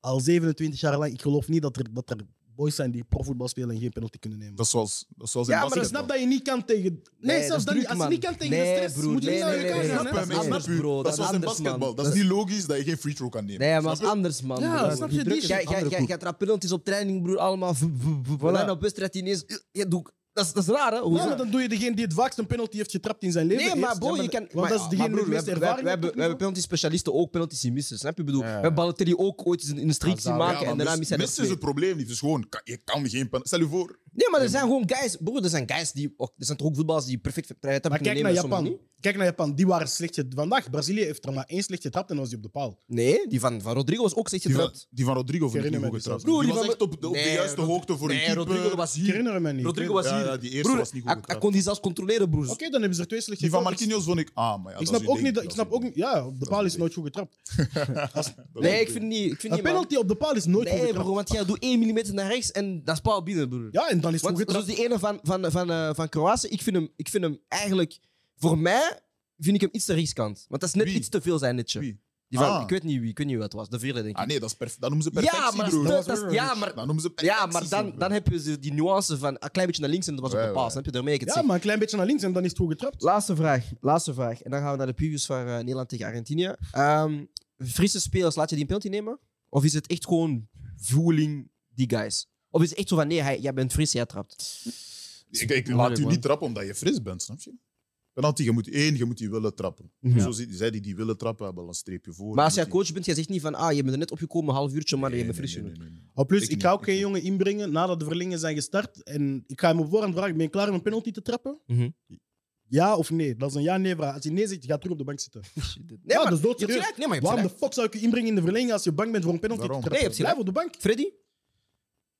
C: al 27 jaar lang, ik geloof niet dat er, dat er boys zijn die profvoetbal spelen en geen penalty kunnen nemen.
B: Dat is zoals, dat is zoals in
C: Ja, maar ik
B: basketbal.
C: snap dat je niet kan tegen. Nee,
A: dat is
C: zelfs dan
A: druk,
C: niet. Als je
A: man.
C: niet kan tegen
A: Nee,
C: de stress,
A: broer,
C: moet je
A: nee,
C: niet naar
A: nee,
C: elkaar
A: nee,
C: gaan.
A: nee,
C: hè?
A: dat is anders, bro, dat
B: Dat is
A: is
B: zoals in
A: anders, man.
B: basketbal. Dat
A: Dat
B: is
A: is-
B: niet logisch dat je geen free throw kan nemen.
A: Nee, maar dat
B: Snap
A: is anders, man.
C: Ja,
A: broer.
C: snap
A: Die
C: je? Die
A: druk-
C: shit.
A: Jij- Jij
C: Andere
A: jij-
C: koek.
A: jij trapt penalties op training, broer. Allemaal. v- v- v- voilà, En op wedstrijd ineens... eh, Je doet... Dat is- dat is raar, hè? Hoe is
C: Ja, maar
A: dat?
C: dan doe je degene die het vaakst een penalty heeft getrapt in zijn leven.
A: Nee,
C: eerst.
A: maar bro,
C: Ja,
A: je kan...
C: Want
A: maar-
C: dat is
A: maar
C: degene
A: broer,
C: met de
A: we
C: meeste
A: hebben- we-
C: ervaring.
A: We hebben-
C: op
A: we hebben penalty-specialisten ook, penalty-missers. Snap je? Ik bedoel, we
D: Ja, ja.
A: hebben Balotelli ook ooit eens een- een streak zien
D: Hazard.
B: je?
A: maken
B: Ja,
A: en
B: maar
A: daarna
B: mis-
A: missen hij er
B: missen is
A: twee.
B: het probleem niet. Dus gewoon, kan- je kan geen pen- Stel je voor.
A: Nee, maar er zijn gewoon guys... Broer, er zijn guys die... och, Er zijn toch ook voetballers die perfect vrijheid
C: Maar
A: hebben
C: kijk
A: kunnen
C: naar
A: nemen. en
C: Japan.
A: sommigen
C: Kijk naar Japan. Die waren slecht getrapt. Vandaag, Brazilië heeft er maar één slecht getrapt en dan was die op de paal.
A: niet. Nee, die van van Rodrigo was ook slecht
B: Die van,
A: getrapt.
B: die van Rodrigo vind ik
C: Herinner
B: niet
C: me
B: goed getrapt.
C: die zelfs.
A: Broer,
B: Die
A: die
B: was
A: van-
B: echt op de, op de
A: Nee,
B: juiste
A: Rodri-
B: hoogte voor een
A: Nee,
B: keeper.
A: Rodrigo was
C: Ik
A: hier.
C: herinner me niet.
A: Rodrigo
C: Oké,
A: was
B: Ja,
A: hier.
B: ja, die eerste
A: Broer,
B: was niet goed
A: hij- Hij
B: getrapt.
A: kon die zelfs controleren, broer.
C: dan hebben ze er twee slecht
B: Die van
C: getrapt.
B: Marquinhos vond ik... Ah, maar ja,
C: Ik
B: dat is
C: snap
B: een
C: ook
B: ding,
C: niet dat... Ik
B: is
C: snap
B: een
C: ook niet... Ja, op de
B: is
C: paal
B: een
C: is
B: ding.
C: nooit goed getrapt.
B: ding. Dat is
A: Nee,
B: een
A: ik
B: ding.
A: vind niet... Ik vind niet,
C: Een
A: man.
C: penalty op de paal is nooit goed
A: Nee,
C: getrapt.
A: bro, want jij doet 1 mm naar rechts en dat is paal binnen, broer.
C: Ja, en dan is het goed
A: Want zoals
C: getrapt.
A: die ene van, van, van, eh, van Kroatië, ik vind, hem, ik vind hem eigenlijk... Voor mij vind ik hem iets te riskant. Want dat is net
B: Wie?
A: iets te veel zijn netje.
B: Wie?
A: Die van,
B: Ah.
A: Ik weet niet wie, ik weet niet wie het was. De vierde, denk ik.
B: Ah nee, dat, is perf- dat noemen ze perfectie,
A: Ja, maar
B: broer.
A: dat- dat is- ja, maar-
B: Dat noemen ze
A: ja,
B: perfectie.
A: maar dan,
B: broer.
A: dan heb je ze- die nuance van een klein beetje naar links en dat was op
B: Ja,
A: een paal.
B: ja.
A: Snap je? Daarmee ik het
C: Ja,
A: zeg.
C: maar een klein beetje naar links en dan is het goed getrapt.
A: Laatste vraag, laatste vraag. En dan gaan we naar de previews van eh, Nederland tegen Argentinië. Ehm Frisse spelers, laat je die een penalty nemen? Of is het echt gewoon voeling die guys? Of is het echt zo van, nee, hij, jij bent fris, jij trapt?
B: Ik, ik Dus laat
D: Moeilijk,
B: u
D: man.
B: niet trappen omdat je fris bent, snap je? Penalty, je moet één, je moet die willen trappen.
A: Ja.
B: Zo zie- zij die die willen trappen hebben al een streepje voor.
A: Maar als
B: Je
A: jij
B: moet
A: coach bent, jij zegt niet van, ah, je bent er net opgekomen, een half uurtje, maar
B: die-
A: je
B: Nee,
A: bent
B: nee,
A: fris
B: nee,
A: genoeg.
B: nee, nee.
C: Op plus,
B: Ik
C: ik, ga
B: niet,
C: ook
B: ik
C: geen
B: niet.
C: jongen inbrengen nadat de verlengingen zijn gestart. En ik ga hem op voorhand vragen, ben je klaar om een penalty te trappen?
A: Mhm.
C: Ja of nee? Dat is een ja-nee vraag. Als je nee zegt, ga terug op de bank zitten.
A: Nee,
C: Ja,
A: maar,
C: dat is
A: je hebt
C: doodserieus.
A: gelijk. Nee, maar je hebt
C: Waarom de
A: gelijk.
C: fuck zou ik je inbrengen in de verlenging als je bang bent voor een penalty
B: Daarom.
C: te
A: Nee,
C: trappen?
A: je hebt
C: Blijf op de bank.
A: Freddy?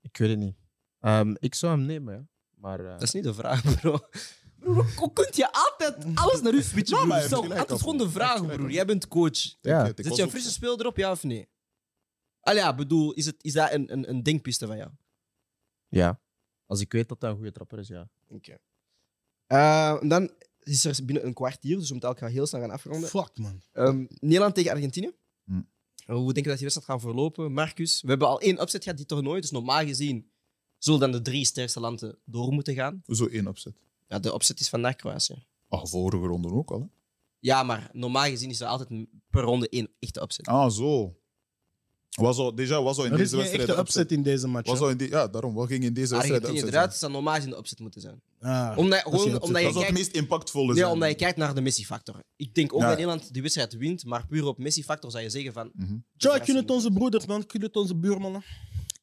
D: Ik weet het niet. Ehm, ik zou hem nemen, ja. Maar eh,
A: Dat is niet de vraag, bro. Broer, hoe kun je altijd alles naar u switchen,
B: maar
A: broer?
B: hij heeft
A: Zo,
B: gelijk,
A: Het is gewoon de
B: Alfred. Hij
A: vraag,
B: heeft gelijk,
A: broer. Jij bent coach.
D: ja.
B: Ik- ik
A: Zit
B: was
A: je een
B: ook-
A: frisse speel erop, ja of nee? Al ja, bedoel, is, het, is dat een, een, een denkpiste van jou?
D: ja. Als ik weet dat hij een goede trapper is, ja.
A: Oké. Eh, en dan is er binnen een kwartier, dus we moeten elkaar heel snel gaan afronden.
C: Fuck, man.
A: Ehm, Nederland tegen Argentinië. Eh,
B: Hm.
A: Hoe denk je dat die wedstrijd gaat verlopen? Marcus, we hebben al één opzet gehad dit toernooi, dus normaal gezien zullen dan de drie sterkste landen door moeten gaan.
B: Zo één opzet.
A: Ja, de opzet is vandaag Kroatië.
B: Ah, vorige ronde ook al. Hè?
A: Ja, maar normaal gezien is er altijd per ronde één echte opzet.
B: Ah, zo. Was al, déjà, was al in
C: Er
B: deze
C: is geen
B: wedstrijd.
C: echte
B: de
C: upset in deze match.
B: Was
C: hè.
B: al in die, ja, daarom. Wat ging in deze wedstrijd de
A: Argentinië
B: upset
A: eruit zou normaal gezien de opzet moeten zijn.
C: Ah.
A: Omdat,
C: is
A: gewoon,
C: geen opzet.
A: omdat, je
B: zijn? Dat zou het
A: kijkt,
B: meest impactvolle
A: nee,
B: zijn.
A: omdat je kijkt naar de Messi-factor. Ik denk ook
B: Ja.
A: dat Nederland die wedstrijd wint, maar puur op Messi-factor zou je zeggen van...
B: Mhm.
C: Tja, kun het onze broeders, man. Kun het onze buurmannen.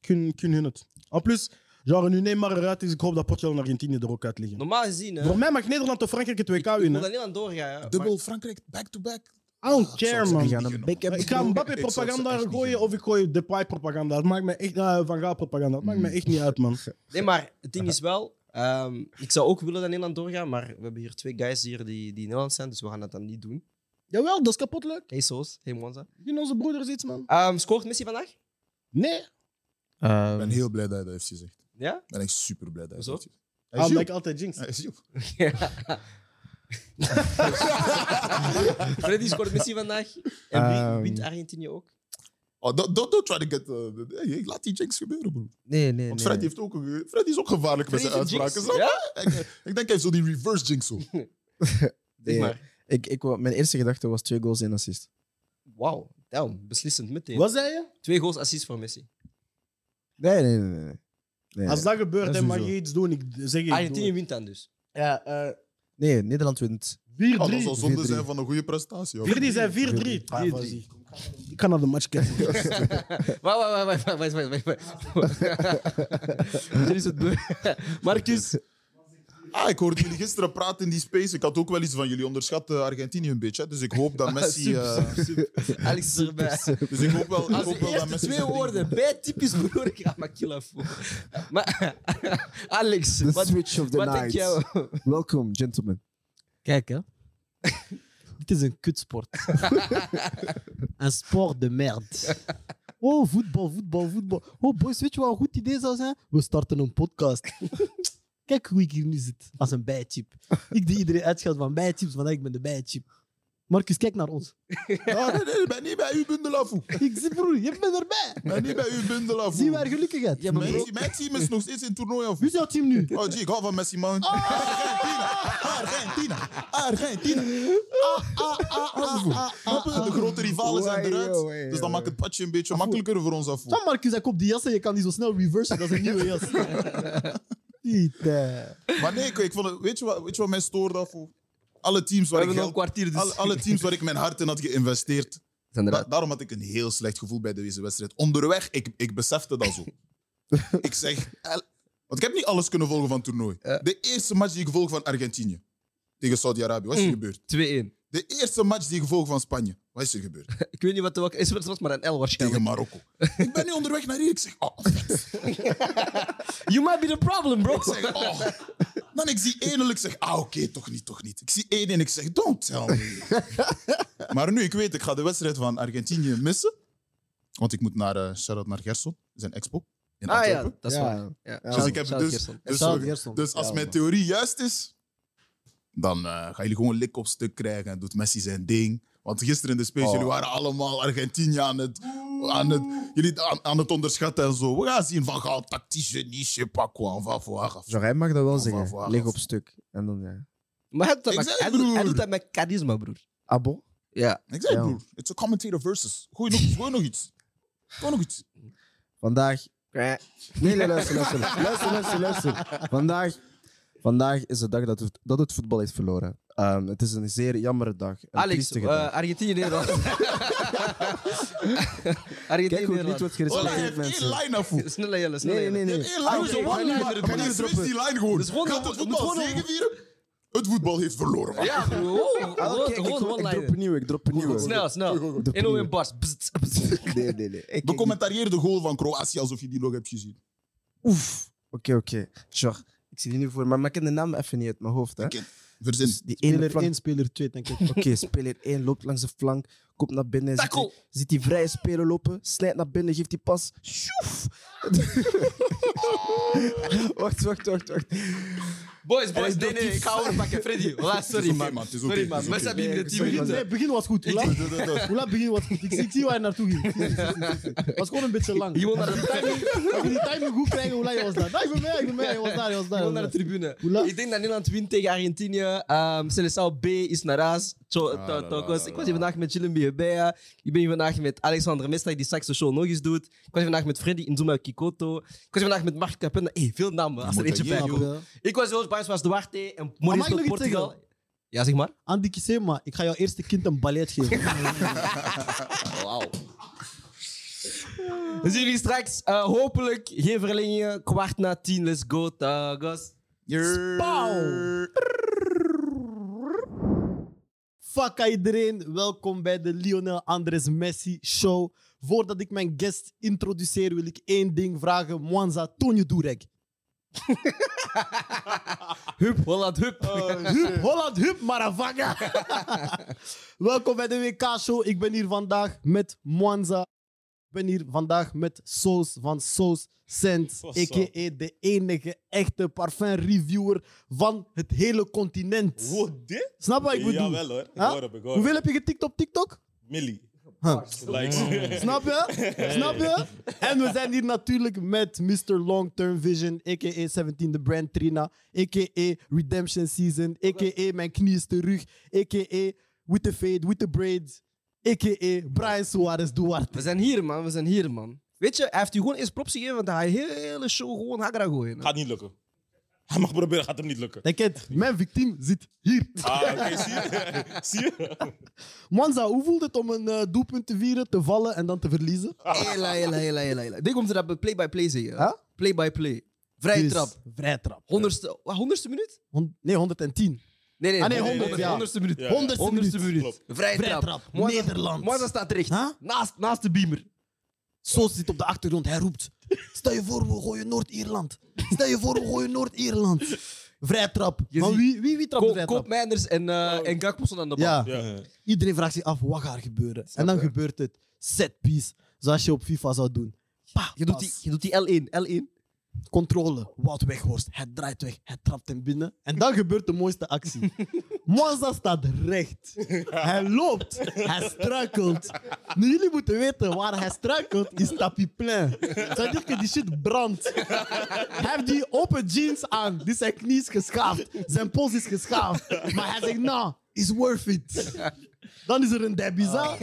C: Kun, kun hun het. En plus, genre, nu Neymar eruit is, ik hoop dat Portugal en Argentinië er ook uit liggen.
A: Normaal gezien... hè,
C: Voor mij mag Nederland of Frankrijk het
A: ik-
C: WK
A: Ik wil dat
C: winnen.
A: Nederland doorgaan. hè,
B: Dubbel Frankrijk, back-to-back.
C: I
B: Ah,
C: don't care,
D: Die
C: man.
D: gaan een bek
C: Ik
D: hebben.
C: ga
B: Ik zou ze
C: Mbappé-propaganda
B: echt niet
C: gooien
B: gunnen.
C: of ik gooi Depay-propaganda. Het maakt me echt... eh, Van Gaal-propaganda. Het maakt me
B: Mm.
C: echt niet uit, man.
A: Nee, maar het ding is wel... ehm, ik zou ook willen dat Nederland doorgaat, maar we hebben hier twee guys hier die, die Nederland zijn, dus we gaan dat dan niet doen.
C: Jawel, dat is kapot leuk.
A: Hey Soos, hey Monza.
C: Gun onze broeders iets, man.
A: Ehm, scoort Messi vandaag?
C: Nee.
B: Ik ben
D: Ehm,
B: heel blij dat hij dat heeft gezegd.
A: Ja?
B: Ik ben echt super blij dat hij
A: Hoezo?
B: dat heeft gezegd. Hij is
C: Ah,
B: joep.
C: ik altijd jinx.
B: Hij is joep.
A: Freddy scoort Messi vandaag. En wie
D: Ehm.
A: wint Argentinië ook?
B: Oh, don't, don't, don't try to get... eh, hey, laat die jinx gebeuren, broer.
D: nee, nee,
B: Want
D: nee.
B: Freddy, heeft ook een, ge- Freddy is ook gevaarlijk met zijn
A: Freddy is een
B: uitspraken.
A: jinx,
B: snap je? Ik, ik denk hij heeft zo die reverse jinx zo.
A: Zeg
D: Nee.
A: maar.
D: Ik, ik, wou- mijn eerste gedachte was twee goals en assist.
A: Wauw, damn, beslissend meteen.
C: Wat zei je?
A: Twee goals assist voor Messi.
D: Nee, nee, nee. nee. Nee,
C: Als dat gebeurt,
D: Dat is
C: dan mag
D: sowieso.
C: je iets doen. Ik zeg je iets
A: Argentinië
C: doen.
A: wint dan dus.
C: Ja, eh,
D: nee Nederland wint.
C: 4-3.
B: Oh, dat zou zonde
D: 4-3.
B: zijn van een goede prestatie. hoor.
C: 4-3 zijn 4-3.
D: 4-3.
C: 4-3. Ik kan naar de match kijken.
A: Wacht, wacht, wacht, wacht, wacht, wacht, wacht, wacht. Dit is het be- Marcus,
B: Ah, ik hoorde jullie gisteren praten in die space. Ik had ook wel iets van jullie onderschatten Argentinië een beetje. hè. Dus ik hoop dat Messi...
A: super,
B: eh,
A: Alex is erbij.
B: dus ik hoop wel, ik
A: Als
B: hoop
A: de
B: wel dat
A: eerste
B: Messi...
A: twee
B: zijn ding
A: woorden
B: doet.
A: bij typisch broer, ik ga Makila voor. Maar Alex,
D: The
A: wat,
D: switch of the
A: wat denk
D: night.
A: jij?
D: Welkom, gentlemen.
E: Kijk, hè. Dit is een kutsport. een sport de merde. Oh, voetbal, voetbal, voetbal. Oh, boys, weet je wat een goed idee zou zijn? We starten een podcast. Kijk hoe ik hier nu zit, als een bijchip. Ik die iedereen uitscheld van bijchips, want ik ben de bijchip. Marcus, kijk naar ons.
B: Ah, nee, nee, ik ben niet bij u bundelafoe.
E: Ik zie, broer, je bent erbij.
B: Ik ben niet bij u bundelafoe.
E: Zie waar gelukkig uit.
B: Mijn, mijn team is nog steeds in het toernooi af.
E: Wie is jouw team nu?
B: Oh, gee, ik hou van Messi, man.
A: Ah!
B: Argentina, Argentina, Argentina. Ah, ah, ah, ah, ah, ah. De grote rivalen zijn eruit. Dus dan maakt het padje een beetje makkelijker voor ons af.
E: Van Marcus, hij koopt die jas en je kan die zo snel reversen. Dat is een nieuwe jas. Niet, eh.
B: Maar nee, ik, ik vond het, weet, je wat, weet je wat mij stoorde daarvoor? Alle teams
A: We
B: waar ik
A: hebben nog een
B: geld-
A: kwartier dus.
B: alle, alle teams waar ik mijn hart in had geïnvesteerd.
A: Zijn
B: Da-
A: eruit.
B: daarom had ik een heel slecht gevoel bij deze wedstrijd. Onderweg, ik, ik besefte dat zo. ik zeg... el- Want ik heb niet alles kunnen volgen van het toernooi.
A: Ja.
B: De eerste match die ik volg van Argentinië tegen Saudi-Arabië, wat is er
A: Mm.
B: gebeurd?
A: 2-1.
B: De eerste match die ik volg van Spanje, wat is er gebeurd?
A: Ik weet niet wat de welke is, maar het was maar een L waarschijnlijk.
B: tegen Marokko. ik ben nu onderweg naar hier. Ik zeg, oh, ik
A: You might be the problem, bro.
B: zeg, oh. Dan ik zie één en ik zeg, ah, oké, toch niet, toch niet. Ik zie één en ik zeg, don't tell me. maar nu, ik weet, ik ga de wedstrijd van Argentinië missen. Want ik moet naar, eh shout-out naar Gerson, zijn expo. In
A: Ah ja,
B: Antwerpen.
A: dat is
D: Ja.
A: waar. Ja.
B: Dus ik heb
A: Shout-out
B: dus,
A: Gerson.
B: dus,
E: Shout-out
B: dus,
E: Gerson.
B: als
D: Ja,
B: mijn
D: man.
B: theorie juist is, dan eh, gaan jullie gewoon lik op stuk krijgen en doet Messi zijn ding. Want gisteren in de space,
D: Oh.
B: jullie waren allemaal Argentinië aan het, aan het, jullie aan, aan het onderschatten en zo. We gaan zien van Gaal, tactische niche, pas quoi, on va voir.
D: Genre, hij mag dat wel
B: Van
D: zeggen.
B: Waaraf.
D: Lig op stuk. En dan, ja.
A: Maar hij doet, dat
B: Ik
A: met,
B: zeg,
A: hij, doet, hij
B: broer.
A: doet dat met charisma, broer.
D: Ah bon?
A: Ja.
B: Ik zei,
D: Ja.
B: broer, it's a commentator versus. Gooi nog, gooi nog iets. Gooi nog iets.
D: Vandaag. Nee, nee, luister, luister. Luister, luister, luister. Vandaag, vandaag is de dag dat het, dat het voetbal heeft verloren. Ehm, het is een zeer jammere dag. Een
A: Alex,
D: triestige
A: eh,
D: dag.
A: Argentinië, Nederland. Argentinië,
D: Kijk hoe het
A: Nederland.
D: niet wordt
B: Voilà, hij
D: gerespecteerd,
B: heeft één
D: mensen.
B: line afvoer.
A: Sneller, Jelle, sneller.
D: Nee, nee,
B: Hij
D: nee.
B: heeft één line.
A: Ah, oké, one liner
B: Maar
A: erbij.
B: die switch die line gewoon.
A: Dus gewoon
B: Gaat
A: een-
B: het voetbal
A: moet gewoon een-
B: zegevieren? Het voetbal heeft verloren. man.
A: Jelle. Ja, broer. Oh,
D: Ah,
A: gewoon-
D: kijk, ik,
A: Gewoon
D: ik drop
A: one-liner.
D: een nieuwe, ik drop een nieuwe.
A: Snel,
D: Goed,
A: snel.
D: goed, goed.
A: En hoe in bars. Bzzt, bzzt.
D: Nee, nee, nee. Ik- ik-
B: Becommentarieer de goal van Kroatië alsof je die nog hebt gezien.
D: Oef. Oké, oké. Sure. Ik zie die nu voor, me, maar ik ken de naam even niet uit mijn hoofd. Hè?
B: Oké. Verzin.
D: Dus die ene
E: Speler
D: flank.
E: 1, speler 2, denk ik.
D: Oké, speler 1 loopt langs de flank, komt naar binnen, ziet die, ziet die vrije speler lopen, snijdt naar binnen, geeft die pas. Sjoef! wacht, wacht, wacht, wacht.
A: Boys, boys,
D: Hij
A: nee,
D: doet
A: nee,
D: die
A: ik ga overpakken, Freddy. Voilà, sorry,
B: oké,
A: man.
B: man, het is oké,
A: Sorry, man.
B: het is
A: We
B: oké.
A: hebben hier de team.
D: sorry,
A: in
D: man.
A: de-
E: Nee, begin was goed. Hoe laat- hoe laat begin was goed? Ik, ik zie waar je naartoe ging. Het was gewoon een beetje lang.
A: Je wil naar
E: Als
A: de-
E: je timing- als je die timing goed krijgen, hoe laat je was daar? Nee, ik ben mee, ik ben mee. Je was daar, je was daar.
A: Gewoon
E: je
A: naar
E: was
A: de
E: daar.
A: tribune.
E: Hoe laat?
A: Ik denk dat Nederland wint tegen Argentinië. Um, Seleção B is naar huis. Tjo-
B: Ah,
A: to-
B: la,
A: tokos.
B: la, la,
A: Ik was
B: la.
A: hier vandaag met Chillen Bijebeya. Ik ben hier vandaag met Alexander Mestak, die straks de show nog eens doet. Ik was hier vandaag met Freddy Inzuma Kikoto. Ik was hier vandaag met Mark Capena. Hey, veel namen. Als er
B: moet
A: eentje
B: dat
A: bij
B: hier
A: komt. Ik was Joost Barnes, was Duarte en Maurice
E: mag ik
A: uit
E: nog iets
A: Portugal. Ja, zeg maar.
E: Andy Kisema, ik ga jouw eerste kind een ballet geven.
A: Wauw. We zien jullie straks. Eh, hopelijk geen verlengingen. Kwart na tien. Let's go, Tagos.
B: Pauw.
E: Fuck aan iedereen, welkom bij de Lionel Andres Messi Show. Voordat ik mijn guest introduceer, wil ik één ding vragen. Mwanza, Tonje Durek.
A: Hup, Holland, hup.
E: Oh. Hup, Holland, hup, Maravanga. Welkom bij de WK-show. Ik ben hier vandaag met Mwanza. Ik ben hier vandaag met Soos van Soos Sense.
C: Soos, zo.
E: A.k.a. de enige echte parfum-reviewer van het hele continent.
F: Wat dit?
E: Snap wat ik bedoel?
F: Jawel hoor. Ik
E: Huh?
F: hoor hem, ik hoor
E: Hoeveel
F: hem.
E: heb je getikt op TikTok?
F: Millie.
E: Huh.
F: Likes.
E: Snap je? Snap je? En we zijn hier natuurlijk met Mr. Long Term Vision, a.k.a. 17 de Brand Trina, a.k.a. Redemption Season, a.k.a. Mijn knie is terug, a.k.a. With the Fade, With the Braids, a.k.a. Brian Suarez Duarte.
A: We zijn hier, man. We zijn hier, man. Weet je, hij heeft u gewoon eerst props gegeven, want hij heeft de hele show gewoon hagra gooien. hè.
F: Gaat niet lukken. Hij mag proberen, gaat hem niet lukken.
E: Denk het, mijn victiem zit hier.
F: Ah, oké, zie je? zie je?
E: Manza, hoe voelt het om een eh, doelpunt te vieren, te vallen en dan te verliezen?
A: Hela, hela, hela, hela, hela. Ik denk om ze dat bij play-by-play zeggen.
E: Huh?
A: Play-by-play. Vrije
E: Dus,
A: trap.
E: Vrij trap.
A: Honderdste, wat, honderdste minuut?
E: Hon- nee, 110.
A: Nee, nee,
E: Ah, nee,
A: honderd-
E: honderd, ja.
A: honderdste minuut.
F: Ja.
E: Honderdste
A: Honderdste
E: minuut.
A: minuut.
F: Klopt.
A: Vrije
E: Vrije
A: trap.
E: trap.
A: Mwanza-
E: Nederland.
A: Mwanza staat terecht.
E: Huh?
A: Naast, naast de beamer.
E: Soos zit op de achtergrond, hij roept. Stel je voor, we gooien Noord-Ierland. Stel je voor, we gooien Noord-Ierland. Vrij trap.
A: Je
E: Maar
A: ziet-
E: wie, wie, wie trapt de vrij
A: Koop,
E: trap?
A: Koopmijnders en, eh en Gakpo stonden aan de bal.
E: Ja,
F: Ja.
E: iedereen vraagt zich af, wat gaat er gebeuren?
A: Snap
E: En dan
A: je?
E: gebeurt het. Set piece, zoals je op FIFA zou doen. Pa,
A: Je doet, die, je doet die L1, L1.
E: controle. Wout Weghorst, hij draait weg, hij trapt hem binnen. En dan gebeurt de mooiste actie. Mwanza staat recht. Hij loopt, hij struikelt. Nu jullie moeten weten, waar hij struikelt is tapis plein. Zou je die shit brandt. Hij heeft die open jeans aan, dus zijn knie is geschaafd. Zijn pols is geschaafd. Maar hij zegt, nou, it's worth it. Dan is er een debiza.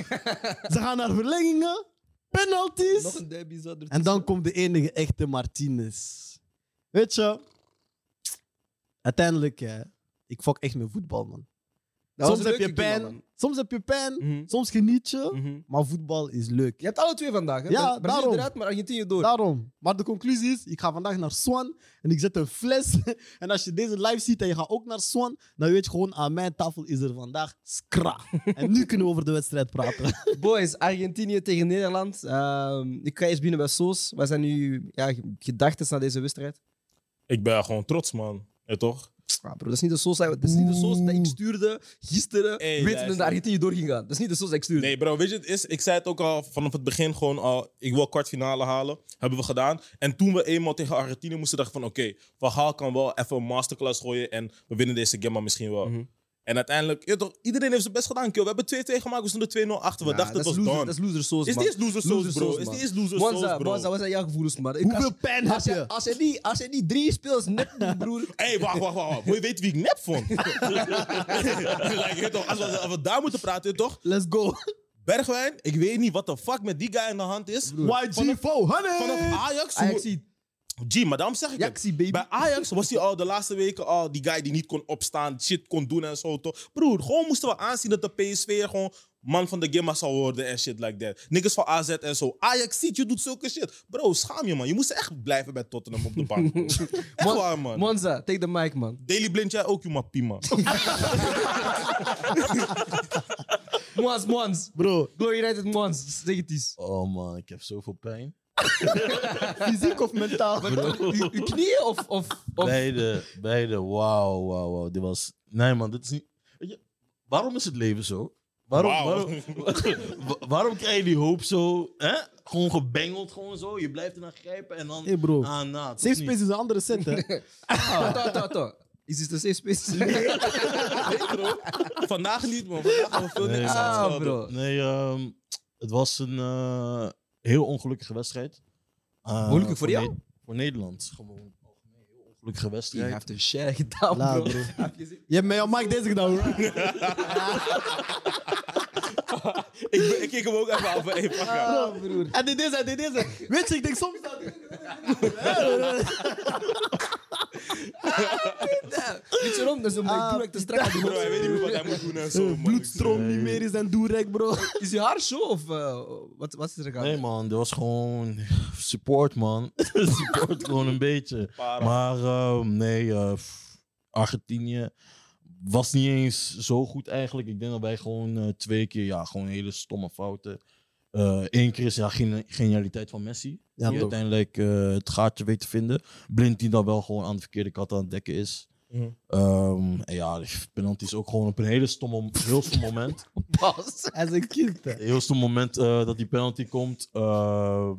E: Ze gaan naar verlengingen, penalties.
A: Nog een derby zat er
E: En dan komt de enige echte Martinez. Weet je, uiteindelijk, hè, ik fok echt met voetbal, man.
A: Dat was
E: soms,
A: een
E: heb je
A: leuke
E: pijn,
A: goal, man.
E: soms heb je pijn,
A: Mhm.
E: soms geniet je,
A: Mhm.
E: maar voetbal is leuk.
A: Je hebt alle twee vandaag. Hè?
E: Ja,
A: Brazilië
E: daarom.
A: eruit, maar Argentinië door.
E: Daarom. Maar de conclusie is, ik ga vandaag naar Swan en ik zet een fles. En als je deze live ziet en je gaat ook naar Swan, dan weet je gewoon, aan mijn tafel is er vandaag skra. En nu kunnen we over de wedstrijd praten.
A: Boys, Argentinië tegen Nederland. Ehm, ik ga eerst binnen bij Soos. Wat zijn nu ja, gedachten na deze wedstrijd?
F: Ik ben gewoon trots, man. Ja, toch?
A: Ah, bro, dat is niet de Soos, dat is niet de Soos dat ik stuurde gisteren,
F: Hey,
A: weten dat
F: luister.
A: de Argentinië door ging gaan. Dat is niet de Soos dat ik stuurde.
F: Nee, bro, weet je, het is, ik zei het ook al vanaf het begin gewoon al. Ik wil kwartfinale halen. Hebben we gedaan. En toen we eenmaal tegen Argentinië moesten, dacht ik van: oké, Van Gaal kan wel even een masterclass gooien. En we winnen deze gamma misschien wel. En uiteindelijk, ja, toch, iedereen heeft zijn best gedaan. Kill. We hebben 2-2 gemaakt, we stonden 2-0 achter. We
A: Ja,
F: dachten
A: dat
F: het
A: is
F: was
A: loser,
F: done.
A: Dat is loser Soos,
F: Is
A: man.
F: die eens loser sauce, bro? Is
A: man.
F: die eens loser
A: Mwanza,
F: sauce,
A: Mwanza,
F: bro?
A: wat zijn jouw gevoelens, man? Ik-
E: Hoeveel
A: als-
E: pijn heb
A: als je-
E: je?
A: Als je niet- als je niet drie speels net doet, broer.
F: Hé, hey, wacht, wacht, wacht. wacht. Wil je weten wie ik nep vond? like, je toch, als, we, als we daar moeten praten, je toch?
E: Let's go.
F: Bergwijn, ik weet niet wat de fuck met die guy aan de hand is.
E: YG400!
F: Vanaf Ajax... hoe-
A: Ajax, zie-
F: G, maar daarom zeg ik het.
A: Ajaxie, baby.
F: Bij Ajax was hij al de laatste weken al die guy die niet kon opstaan, shit kon doen en zo. Toch? Broer, gewoon moesten we aanzien dat de PSV gewoon man van de Gimma zou worden en shit like that. Niggers van AZ en zo. Ajax ziet, je doet zulke shit. Bro, schaam je man. Je moest echt blijven bij Tottenham op de bank. echt waar man.
A: Mwanza, take the mic, man.
F: Daily Blind, jij ook, je mappie man.
A: Mwans, Mwans.
E: Bro,
A: Go United Mwans, zeg het eens.
G: Oh man, ik heb zoveel pijn.
E: Fysiek of mentaal?
A: Uw uw knieën of... of, of
G: Beide, beide. Wauw, wauw, wauw. Dit was... Nee, man, dit is niet... Weet je, waarom is het leven zo? Waarom,
F: Wauw.
G: waarom, wa- waarom krijg je die hoop zo... Hè? Gewoon gebengeld, gewoon zo. Je blijft ernaar grijpen en dan...
E: Hé bro,
G: Ah, na.
E: Safe Space is een andere set, hè?
A: Ah, to, to, to. Is dit de safe space?
F: Nee, bro. Vandaag niet, man. Vandaag hebben we veel
G: Nee,
F: niks
G: man.
A: Ah, bro.
G: Nee, ehm, het was een eh, heel ongelukkige wedstrijd. Eh,
A: Moeilijk voor jou?
G: Ne- voor Nederland. Gewoon algemeen heel ongelukkige
A: Je
G: wedstrijd.
A: hebt een share gedaan,
E: La,
A: bro.
E: bro.
A: Heb je gezien?
E: Je hebt mij al Mike deze gedaan, hoor.
F: Ik, ben- ik keek hem ook even af. Hey, fuck ja.
A: Ah, broer.
E: En dit is, en dit is. en- Weet je, ik denk soms dat...
A: Ja, Weet je waarom? Dat is omdat ik
E: Ah,
A: broer dat ik te strak aan
F: Bro, hij weet niet meer wat hij moet doen en zo. man.
E: Bloedstroom niet meer is en doerek, bro.
A: Is je haar zo of eh, wat, wat is er gegaan?
G: Nee, man, dit was gewoon support, man. support gewoon een beetje.
F: Para.
G: Maar ehm, nee, eh, pff, Argentinië was niet eens zo goed eigenlijk. Ik denk dat wij gewoon eh, twee keer, ja, gewoon hele stomme fouten. Eh Eén keer is ja, geni- genialiteit van Messi.
E: Ja,
G: die
E: toch.
G: uiteindelijk eh, het gaatje weet te vinden. Blind die dan wel gewoon aan de verkeerde kant aan het dekken is.
F: Mhm.
G: Ehm, en ja, de penalty is ook gewoon op een hele stomme, heel stom moment.
A: Pas.
E: Hij is een kind, hè.
G: Een heel stom moment eh, dat die penalty komt. Ehm,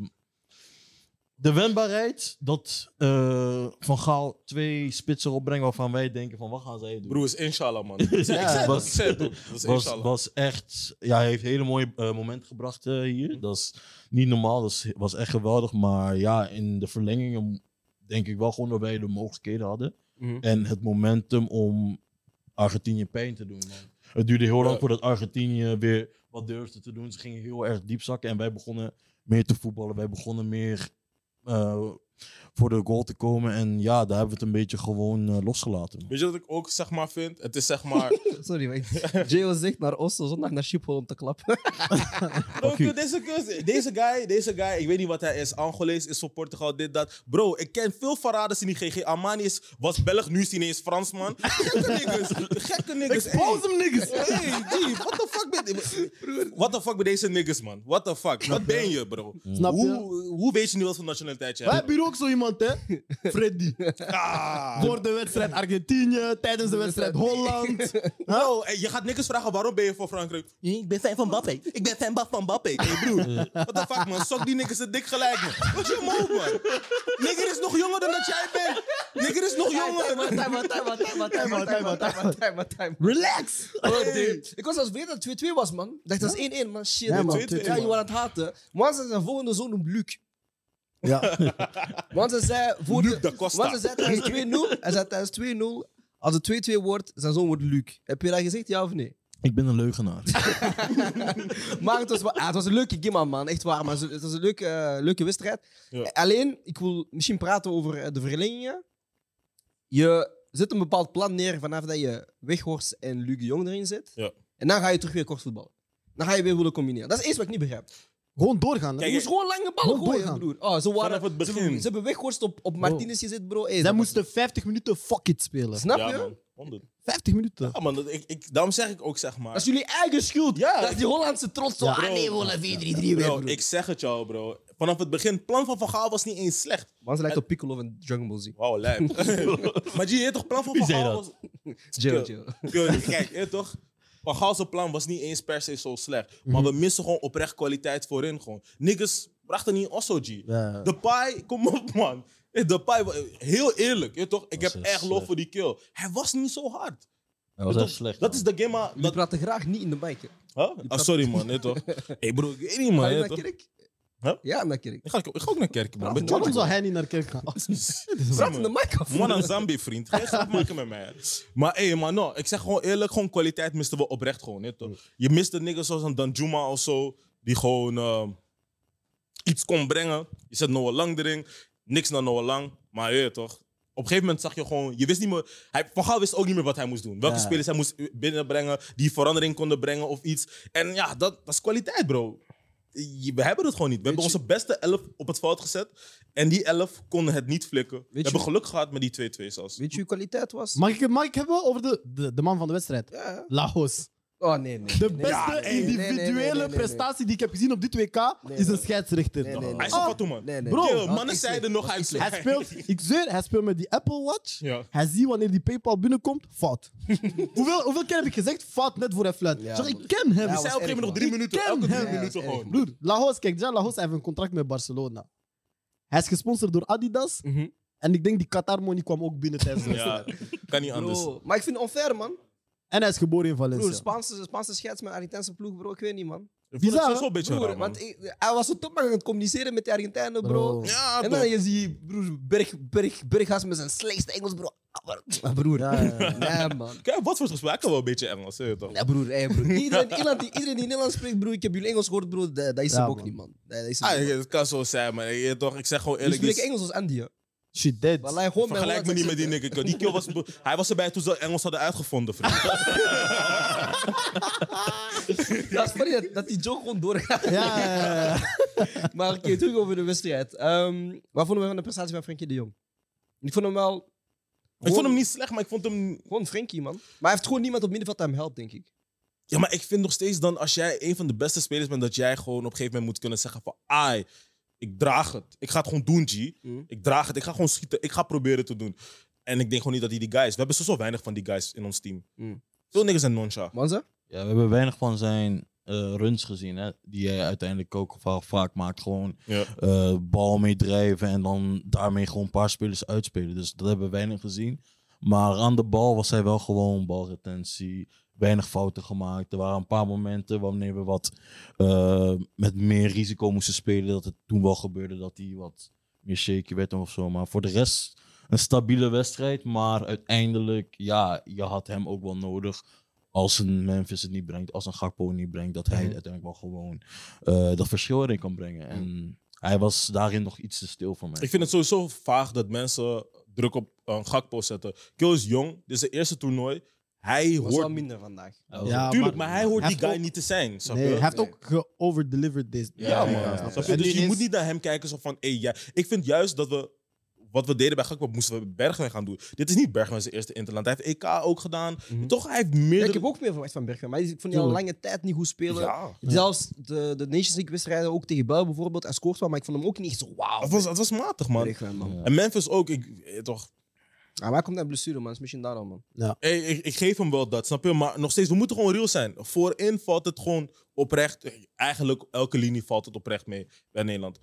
G: de wendbaarheid dat eh, Van Gaal twee spitsen opbrengt waarvan wij denken van wat gaan zij doen.
F: Broer, is inshallah, man. Ik zei- ik zei het,
G: was-
F: ik zei het, broer. Dat is
G: was,
F: inshallah.
G: was echt, ja, hij heeft hele mooie eh, momenten gebracht eh, hier. Dat is niet normaal, dat is- was echt geweldig. Maar ja, in de verlengingen denk ik wel gewoon dat wij de mogelijkheden hadden.
F: Mhm.
G: En het momentum om Argentinië pijn te doen. man. Het duurde heel lang
F: Ja.
G: voordat Argentinië weer wat durfde te doen. Ze gingen heel erg diep zakken en wij begonnen meer te voetballen. Wij begonnen meer eh, voor de goal te komen. En ja, daar hebben we het een beetje gewoon eh, losgelaten. man.
F: Weet je wat ik ook zeg maar vind? Het is zeg maar.
A: Sorry, maar J.O. zegt naar Oslo, zondag naar Schiphol om te klappen.
F: Bro,
G: Oké.
F: deze, kus- deze guy, deze guy, ik weet niet wat hij is. Angolees is voor Portugal, dit, dat. Bro, ik ken veel verraders in die GG. Armani is, was Belg, nu is hij ineens Fransman. Gekke niggas, gekke niggas. Expose hem, niggas. Hey, G, what the fuck ben What the fuck ben deze niggas, man? What the fuck? Wat ben je, bro?
E: Snap je?
F: Hoe, hoe weet je nu wat voor nationaliteit je
E: Wij
F: hebt?
E: hebben hier ook zo iemand, hè? Freddy.
F: Ah,
E: Voor de wedstrijd Argentinië, tijdens de wedstrijd Holland.
F: bro, hey, je gaat niggas vragen, waarom ben je voor Frankrijk? Ik ben fan van Mbappé. Ik ben fan van Mbappé. Hey, broer, what the fuck, man? Sok die niggas het dik gelijk, man. Wat je moe, man? Nigger is nog jonger dan dat jij bent. Nigger is nog jonger.
E: Relax!
A: Ik was Oh, als weer dat het 2-2 was, man. Ik dacht, dat is 1-1, man. Shit.
E: Ja, man.
F: 2-2,
A: Ja, je was aan het haten. Want ze zijn volgende zoon noemt Luc.
E: Ja.
A: Want ze zei... Voor
F: Luc
A: de-
F: da Costa.
A: Want ze zei tijdens 2-0... Hij zei tijdens 2-0... Als het 2-2 wordt, zijn zoon wordt Luc. Heb je dat gezegd, ja of nee?
G: Ik ben een leugenaar.
A: Maar het was, wel- ah, het was een leuke game, man. Echt waar. Maar het was een leuke, eh, leuke wedstrijd.
F: Ja.
A: Eh, Alleen, ik wil misschien praten over eh, de verlengingen. Je zet een bepaald plan neer vanaf dat je Weghorst en Luc de Jong erin zet.
F: Ja.
A: En dan ga je terug weer kort voetballen. Dan ga je weer willen combineren. Dat is iets wat ik niet begrijp.
E: Gewoon doorgaan.
A: Je
E: hè?
F: Kijk,
A: moest gewoon lange ballen
E: Gewoon
A: gooien,
E: doorgaan.
A: broer. Oh, ze, waren,
F: Vanaf het
A: ze-
F: begin.
A: Ze, hebben Weghorst op, op Martinez gezet, bro. Hey,
E: Zij
A: dat
E: moesten 50 minuten fuck it spelen.
A: was- Snap
F: Ja,
A: je?
F: man. 100.
E: 50 minuten.
F: Ja, man, dat, ik, ik, daarom zeg ik ook, zeg maar.
A: Dat is jullie eigen schuld.
F: Ja.
A: Dat is die Hollandse trots. Zo, ah nee, we willen 4-3-3 weer,
F: Bro,
A: broer.
F: ik zeg het jou, bro. Vanaf het begin, het plan van Van Gaal was niet eens slecht.
A: Man, ze lijkt op Piccolo en Dragon Ball Z.
F: Wauw, lijp. maar je weet toch, plan van
G: Wie
F: Van
G: zei
F: Gaal
G: dat?
F: was...
A: Chill, chill.
F: Kijk, kijk, je weet toch? Van Gaal zijn plan was niet eens per se zo slecht. Maar we missen gewoon oprecht kwaliteit voorin. Gewoon. Niggas brachten niet Osso G.
E: Ja.
F: De Pai, kom op man. Eh, De Pai, heel eerlijk, je weet toch? Ik
G: Was
F: heb
G: echt
F: echt lof
G: slecht.
F: voor die kill. Hij was niet zo hard.
G: Dat
F: Je
G: was
F: weet
G: echt
F: toch?
G: slecht.
F: Dat is de Gemma.
A: Jullie
F: Dat,
A: praten graag niet in de bike. hè.
F: Huh? Ah, sorry man, je weet toch? hey bro, ik weet niet
A: Ga
F: man.
A: je
F: je
A: naar
F: weet toch?
A: kerk?
F: Huh?
A: Ja, naar kerk.
F: Ik ga, ik ga ook naar kerk man. Met
E: Waarom
F: George,
E: zou hij niet naar kerk gaan?
F: man.
A: Praat in de mic af.
F: Man een Zambie, vriend. Geen grap maken met mij. hè. Maar hé, man, no, ik zeg gewoon eerlijk, gewoon kwaliteit misten we oprecht gewoon. hè, toch? Je mist een nigger zoals een Danjuma of zo, die gewoon eh, iets kon brengen. Je zet Noah Lang erin, niks naar Noah Lang, maar je weet toch. Op een gegeven moment zag je gewoon, je wist niet meer, hij, Van Gaal wist ook niet meer wat hij moest doen. Welke spelers hij moest binnenbrengen, die verandering konden brengen of iets. En ja, dat, dat is kwaliteit, bro. Je- We hebben het gewoon niet. We hebben onze beste elf op het veld gezet. En die elf konden het niet flikken. We
A: je-
F: hebben geluk gehad met die 2-2 zelfs.
A: Weet je hoe kwaliteit was?
E: Mag ik, mag ik hebben over de, de, de man van de wedstrijd?
A: Ja.
E: Laos.
A: Oh nee, nee.
E: De
A: nee,
E: beste
A: nee, nee, nee, nee, nee,
E: individuele
A: nee, nee, nee.
E: prestatie die ik heb gezien op dit WK
D: Nee,
E: is een
D: nee.
E: scheidsrechter.
D: Nee, nee,
F: Hij
D: nee.
F: is
E: Oh,
F: een fatsoen.
D: Nee, nee.
E: Bro,
F: Yo,
A: dat
F: mannen
A: is
F: zeiden
A: slecht,
F: nog
A: dat
F: hij
A: is
F: is
A: slecht.
E: Hij speelt, ik zweer, hij speelt met die Apple Watch.
F: Ja.
E: Hij ziet wanneer die PayPal binnenkomt, fout. hoeveel, hoeveel keer heb ik gezegd, fout net voor hij fluit?
D: Ja,
E: Zeg,
D: man.
E: ik ken hem.
D: Ja,
F: Zij
D: was
F: op een gegeven moment nog
D: erg,
F: drie
E: man.
F: minuten.
E: Ik
F: Elke
E: ken
F: drie
E: hem.
F: minuten
A: Ja, dat is
F: gewoon.
E: Broer, Lajos, kijk, ja, Lajos heeft een contract met Barcelona. Hij is gesponsord door Adidas.
F: Mhm.
E: En ik denk die Qatar money kwam ook binnen tijdens de
F: Ja,
E: wedstrijd.
F: kan niet anders.
A: Bro, maar ik vind het onfair, man.
E: En hij is geboren in
A: Broer,
E: Valencia.
A: Spaanse, Spaanse scheids met Argentijnse ploeg, bro. Ik weet niet, man.
F: Ik vond het
E: Bizar,
F: sowieso een beetje
A: Broer,
F: raar, man.
A: want ik- hij was zo topman aan het communiceren met de Argentijnen, bro.
E: Bro.
F: Ja,
A: En
F: toch.
A: dan je ziet broer, berg, berg, Berghuis met zijn slechtste Engels, bro. Ah, maar- Maar broer, nee, man.
F: Kijk, wat voor gesprek? Ik kan wel een beetje Engels, hè, toch?
A: Nee, broer, hey, broer. Iedereen, iedereen, die, iedereen die Nederlands spreekt, broer, ik heb jullie Engels gehoord, broer. Dat, dat is
E: Ja,
A: hem ook
E: man.
A: niet, man. Nee, Dat is hem
F: Ah,
A: niet, man.
F: ja, het kan zo zijn, maar je, toch, ik zeg gewoon
A: Jullie
F: eerlijk. die-
A: spreken Engels als Andy, hè.
E: Shit, dead.
A: Wallah, gewoon met
F: Vergelijk me
A: Hollands
F: niet met die
A: accent,
F: nigger. Die kill was, hij was erbij toen ze Engels hadden uitgevonden, vriend.
A: hè. Dat is funny dat, dat die joke gewoon doorgaat.
E: Ja, ja, ja, ja.
A: Maar oké, terug over de wedstrijd. Ehm wat vonden we van de prestatie van Frenkie de Jong? Ik vond hem wel...
F: Ik
A: gewoon-
F: vond hem niet slecht, maar ik vond hem
A: Gewoon Frenkie, man. Maar hij heeft gewoon niemand op middenveld dat hem helpt, denk ik.
F: Ja, maar ik vind nog steeds dan, als jij een van de beste spelers bent, dat jij gewoon op een gegeven moment moet kunnen zeggen van, ai, ik draag het. Ik ga het gewoon doen, G.
A: Mm.
F: Ik draag het. Ik ga gewoon schieten. Ik ga proberen te doen. En ik denk gewoon niet dat hij die guys... We hebben zo, zo weinig van die guys in ons team.
A: Mm.
F: Veel niggers zijn noncha.
A: Manza?
G: Ja, we hebben weinig van zijn eh, runs gezien, hè, die hij uiteindelijk ook va- vaak maakt. Gewoon
F: Ja.
G: eh, bal mee drijven en dan daarmee gewoon een paar spelers uitspelen. Dus dat hebben we weinig gezien. Maar aan de bal was hij wel gewoon balretentie. Weinig fouten gemaakt. Er waren een paar momenten wanneer we wat eh, met meer risico moesten spelen. Dat het toen wel gebeurde dat hij wat meer shaky werd of zo. Maar voor de rest een stabiele wedstrijd. Maar uiteindelijk, ja, je had hem ook wel nodig. Als een Memphis het niet brengt, als een Gakpo het niet brengt. Dat hij uiteindelijk wel gewoon eh, dat verschil erin kan brengen. En hij was daarin nog iets te stil voor mij.
F: Ik vind het sowieso vaag dat mensen druk op een Gakpo zetten. Kill is jong. Dit is zijn eerste toernooi. Hij
A: Was wel
F: hoort...
A: minder vandaag.
G: Hij was-
E: Ja,
F: Tuurlijk, maar hij hoort
E: Hij
F: die
E: heeft
F: guy
E: ook-
F: niet te zijn. snap
E: Nee,
F: je?
E: hij heeft ook geoverdelivered deze.
F: Ja,
E: Ja,
F: man.
E: ja,
F: Snap
E: ja.
F: je?
E: En die
F: Dus je
E: ineens-
F: moet niet naar hem kijken zo van, hey, ja. Ik vind juist dat we, wat we deden bij Gakpo, moesten we Bergwijn gaan doen. Dit is niet Bergwijn zijn eerste interland. Hij heeft EK ook gedaan.
A: Mhm.
F: Toch, hij heeft
A: Ja,
F: meerdere...
A: ik heb ook meer verwacht van Bergwijn, maar ik vond die al lange tijd niet goed spelen.
F: Ja.
A: Zelfs de, de Nations League wedstrijden, ook tegen Bel bijvoorbeeld, hij scoort wel, maar ik vond hem ook niet echt zo wauw.
F: Het was, het was matig, man.
A: Bergwijn, man.
G: Ja.
F: En Memphis ook. Ik, eh, toch,
A: Ah, maar hij komt uit blessure, man. is misschien daarom, man.
F: hey, ik, ik geef hem wel dat, snap je? Maar nog steeds, we moeten gewoon real zijn. Voorin valt het gewoon oprecht. eh, Eigenlijk elke linie valt het oprecht mee bij Nederland.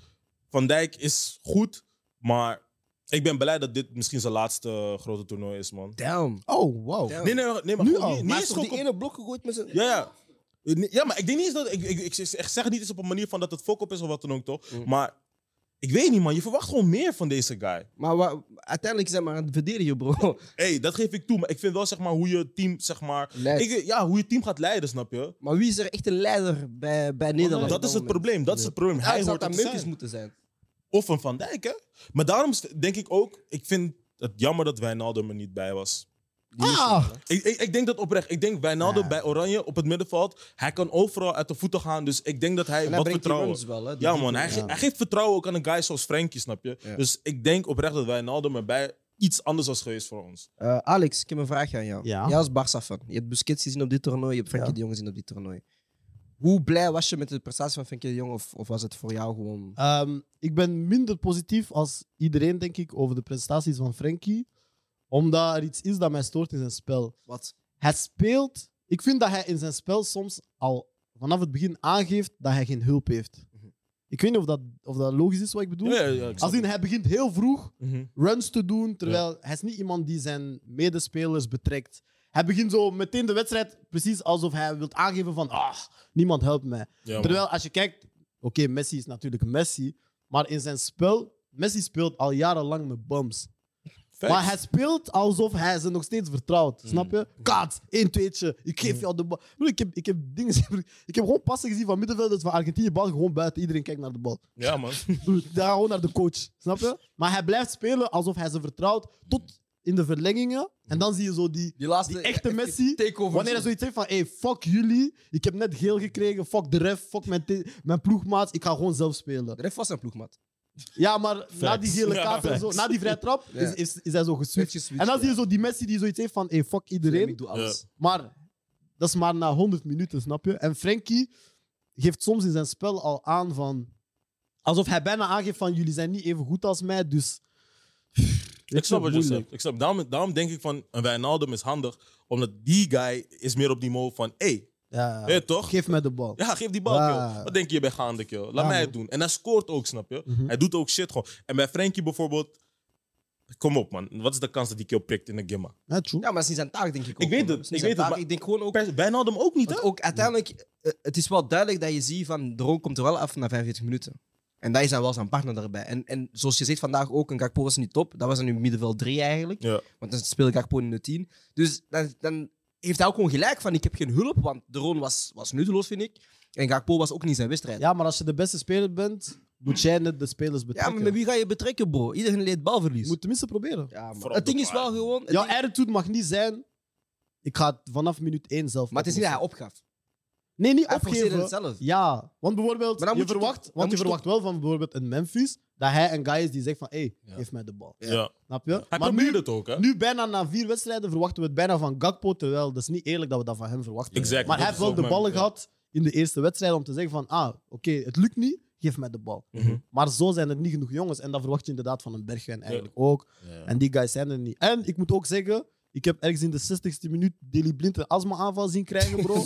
F: Van Dijk is goed, maar ik ben blij dat dit misschien zijn laatste eh, grote toernooi is, man.
A: Damn.
E: Oh, wow.
A: Damn.
F: Nee, nee, nee, maar
E: Nu
F: gewoon
E: al?
A: maar Ah,
F: niet- niet
A: hij
F: eens
A: is toch
F: gewoon
A: die ene blok gegooid met zijn...
F: Ja, ja. Nee, Ja, maar ik denk niet eens dat. Ik, ik, ik zeg zeg het niet eens op een manier van dat het fok op is of wat dan ook, toch?
A: Mm.
F: Maar ik weet niet, man. Je verwacht gewoon meer van deze guy.
A: Maar wa- uiteindelijk zijn we aan het verdedigen, bro.
F: hey, dat geef ik toe. Maar ik vind wel, zeg maar, hoe je team, zeg maar.
A: Leid.
F: Ik, ja, hoe je team gaat leiden, snap je?
A: Maar wie is er echt een leider bij, bij Nederland?
F: Dat is het probleem. Dat is het probleem.
A: Hij
F: Hij
A: zou
F: hoort
A: aan
F: het te
A: Memphis
F: zijn.
A: moeten zijn.
F: Of een Van Dijk, hè? Maar daarom is- denk ik ook. Ik vind het jammer dat Wijnaldum er niet bij was.
E: Ah,
F: Ik, ik, ik denk dat oprecht. Ik denk Wijnaldum bij Oranje op het middenveld. Hij kan overal uit de voeten gaan. Dus ik denk dat hij
A: En hij
F: wat
A: brengt die
F: vertrouwen.
A: runs wel, hè. die
F: Ja,
A: drie
F: man. Hij,
A: punten.
F: ge- hij geeft vertrouwen ook aan een guy zoals Frenkie, snap je?
A: Ja.
F: Dus ik denk oprecht dat Wijnaldum erbij iets anders was geweest voor ons.
A: Eh, Alex, ik heb een vraag aan jou.
E: Ja.
A: Jij als Barça-fan. Je hebt Busquets gezien op dit toernooi, je hebt Frenkie de Jong gezien op dit toernooi. Hoe blij was je met de prestatie van Frenkie de Jong? Of, of was het voor jou gewoon...
E: Ehm, ik ben minder positief als iedereen, denk ik, over de prestaties van Frenkie. Omdat er iets is dat mij stoort in zijn spel.
A: Wat?
E: Hij speelt... Ik vind dat hij in zijn spel soms al vanaf het begin aangeeft dat hij geen hulp heeft. Ik weet niet of dat, of dat logisch is wat ik bedoel.
F: Mhm. Ja, ja, ik snap
E: Als in,
F: het.
E: hij begint heel vroeg
F: Mhm.
E: runs te doen, terwijl hij is niet iemand die zijn medespelers betrekt. Hij begint zo meteen de wedstrijd precies alsof hij wil aangeven van ah, niemand helpt mij.
F: Ja, man.
E: Terwijl als je kijkt, oké, Messi is natuurlijk Messi, maar in zijn spel, Messi speelt al jarenlang met bums.
F: Facts. Mm.
E: Maar hij speelt alsof hij ze nog steeds vertrouwt. Snap je? Kaats, één tweetje. Ik geef jou de bal. Broer, Ik heb, ik, heb dingen, ik heb gewoon passen gezien van middenvelders van Argentinië. Bal gewoon buiten. Iedereen kijkt naar de bal.
F: Ja, man.
E: Broer, Daar gewoon naar de coach. Snap je? Maar hij blijft spelen alsof hij ze vertrouwt. Tot in de verlengingen. En dan zie je zo die,
A: Die laatste...
E: die echte Messi.
A: Takeover.
E: Wanneer hij zoiets heeft van: hey, fuck jullie. Ik heb net geel gekregen. Fuck de ref. Fuck mijn, te- mijn ploegmaat. Ik ga gewoon zelf spelen.
A: De ref was zijn ploegmaat.
E: Ja, maar na die gele
F: Ja,
E: kaart en zo.
F: facts.
E: Na die vrije trap
A: Ja.
E: is,
F: eh,
E: is, is hij zo geswitcht. En dan zie je zo die Messi die zoiets heeft van: hey, fuck
A: iedereen.
E: iedereen.
A: Ik doe alles.
E: Maar Dat is maar na 100 minuten, snap je? En Frenkie geeft soms in zijn spel al aan van... Alsof hij bijna aangeeft van jullie zijn niet even goed als mij, dus...
F: Ik snap wat je zegt. Ik snap. Daarom, daarom denk ik van een Wijnaldum is handig, omdat die guy is meer op die mode van, hé, hey,
E: Ja,
F: weet je toch?
E: geef mij de bal.
F: Ja, geef die bal,
E: Ja.
F: joh. Wat denk je, je bent gaande, joh. Laat
E: Ja,
F: mij
E: man.
F: het doen. En hij scoort ook, snap je?
E: Mhm.
F: Hij doet ook shit gewoon. En bij Frenkie bijvoorbeeld... Kom op, man. Wat is de kans dat die kill prikt in de Gimma?
E: Ja, true.
A: Ja, maar het is zijn taak, denk ik ook.
F: Ik weet
A: man.
F: het,
A: Het is niet
F: ik
A: zijn
F: weet het,
A: taak.
F: maar-
A: Ik denk gewoon ook...
F: Pers- Wijnaldum ook niet,
A: Want
F: hè?
A: ook uiteindelijk, eh, het is wel duidelijk dat je ziet van de rook komt er wel af na 45 minuten. En dat is dan wel zijn partner daarbij. En, en zoals je zegt vandaag ook, een Gakpo was niet top. Dat was dan nu middenveld 3 eigenlijk.
F: Ja.
A: Want dan speelde Gakpo in de 10. Dus dan, dan heeft hij ook gewoon gelijk van ik heb geen hulp, want de Roon was, was nutteloos, vind ik. En Gakpo was ook niet zijn wedstrijd. Ja,
E: Ja, maar als je de beste speler bent, moet jij net de spelers betrekken.
A: maar met wie ga je betrekken, bro? Iedereen leed
E: Je
A: balverlies.
E: moet tenminste proberen.
A: Ja, man.
F: Vooral
A: Het ding
F: de
A: is wel
F: paard.
A: gewoon... het
E: Jouw
A: ding-
E: attitude mag niet zijn... Ik ga het vanaf minuut één zelf
A: maar het is niet dat hij opgaf.
E: Nee, niet
A: Hij forceerde
E: opgeven.
A: het zelf.
E: Ja, want bijvoorbeeld,
A: Maar dan
E: je
A: moet je
E: verwacht,
A: toch- dan
E: want je
A: moet je
E: verwacht wel van bijvoorbeeld een Memphis dat hij een guy is die zegt van, hé, hey,
G: Ja.
E: geef mij de bal.
F: Ja.
E: Snap je? maar
F: Hij probeert
E: nu,
F: het ook, hè?
E: nu bijna na vier wedstrijden verwachten we het bijna van Gakpo, terwijl dat is niet eerlijk dat we dat van hem verwachten.
F: Exact.
E: Maar hij
F: Dat
E: heeft
F: is
E: wel
F: ook
E: de
F: mijn-
E: ballen
F: ja.
E: gehad in de eerste wedstrijd om te zeggen van, ah, oké, het lukt niet, geef mij de bal.
F: Mhm.
E: Maar zo zijn er niet genoeg jongens en dat verwacht je inderdaad van een Bergwijn eigenlijk ook.
G: Ja.
E: En die guys zijn er niet. En ik moet ook zeggen, ik heb ergens in de 60ste minuut Deli Blind een astma-aanval zien krijgen, bro.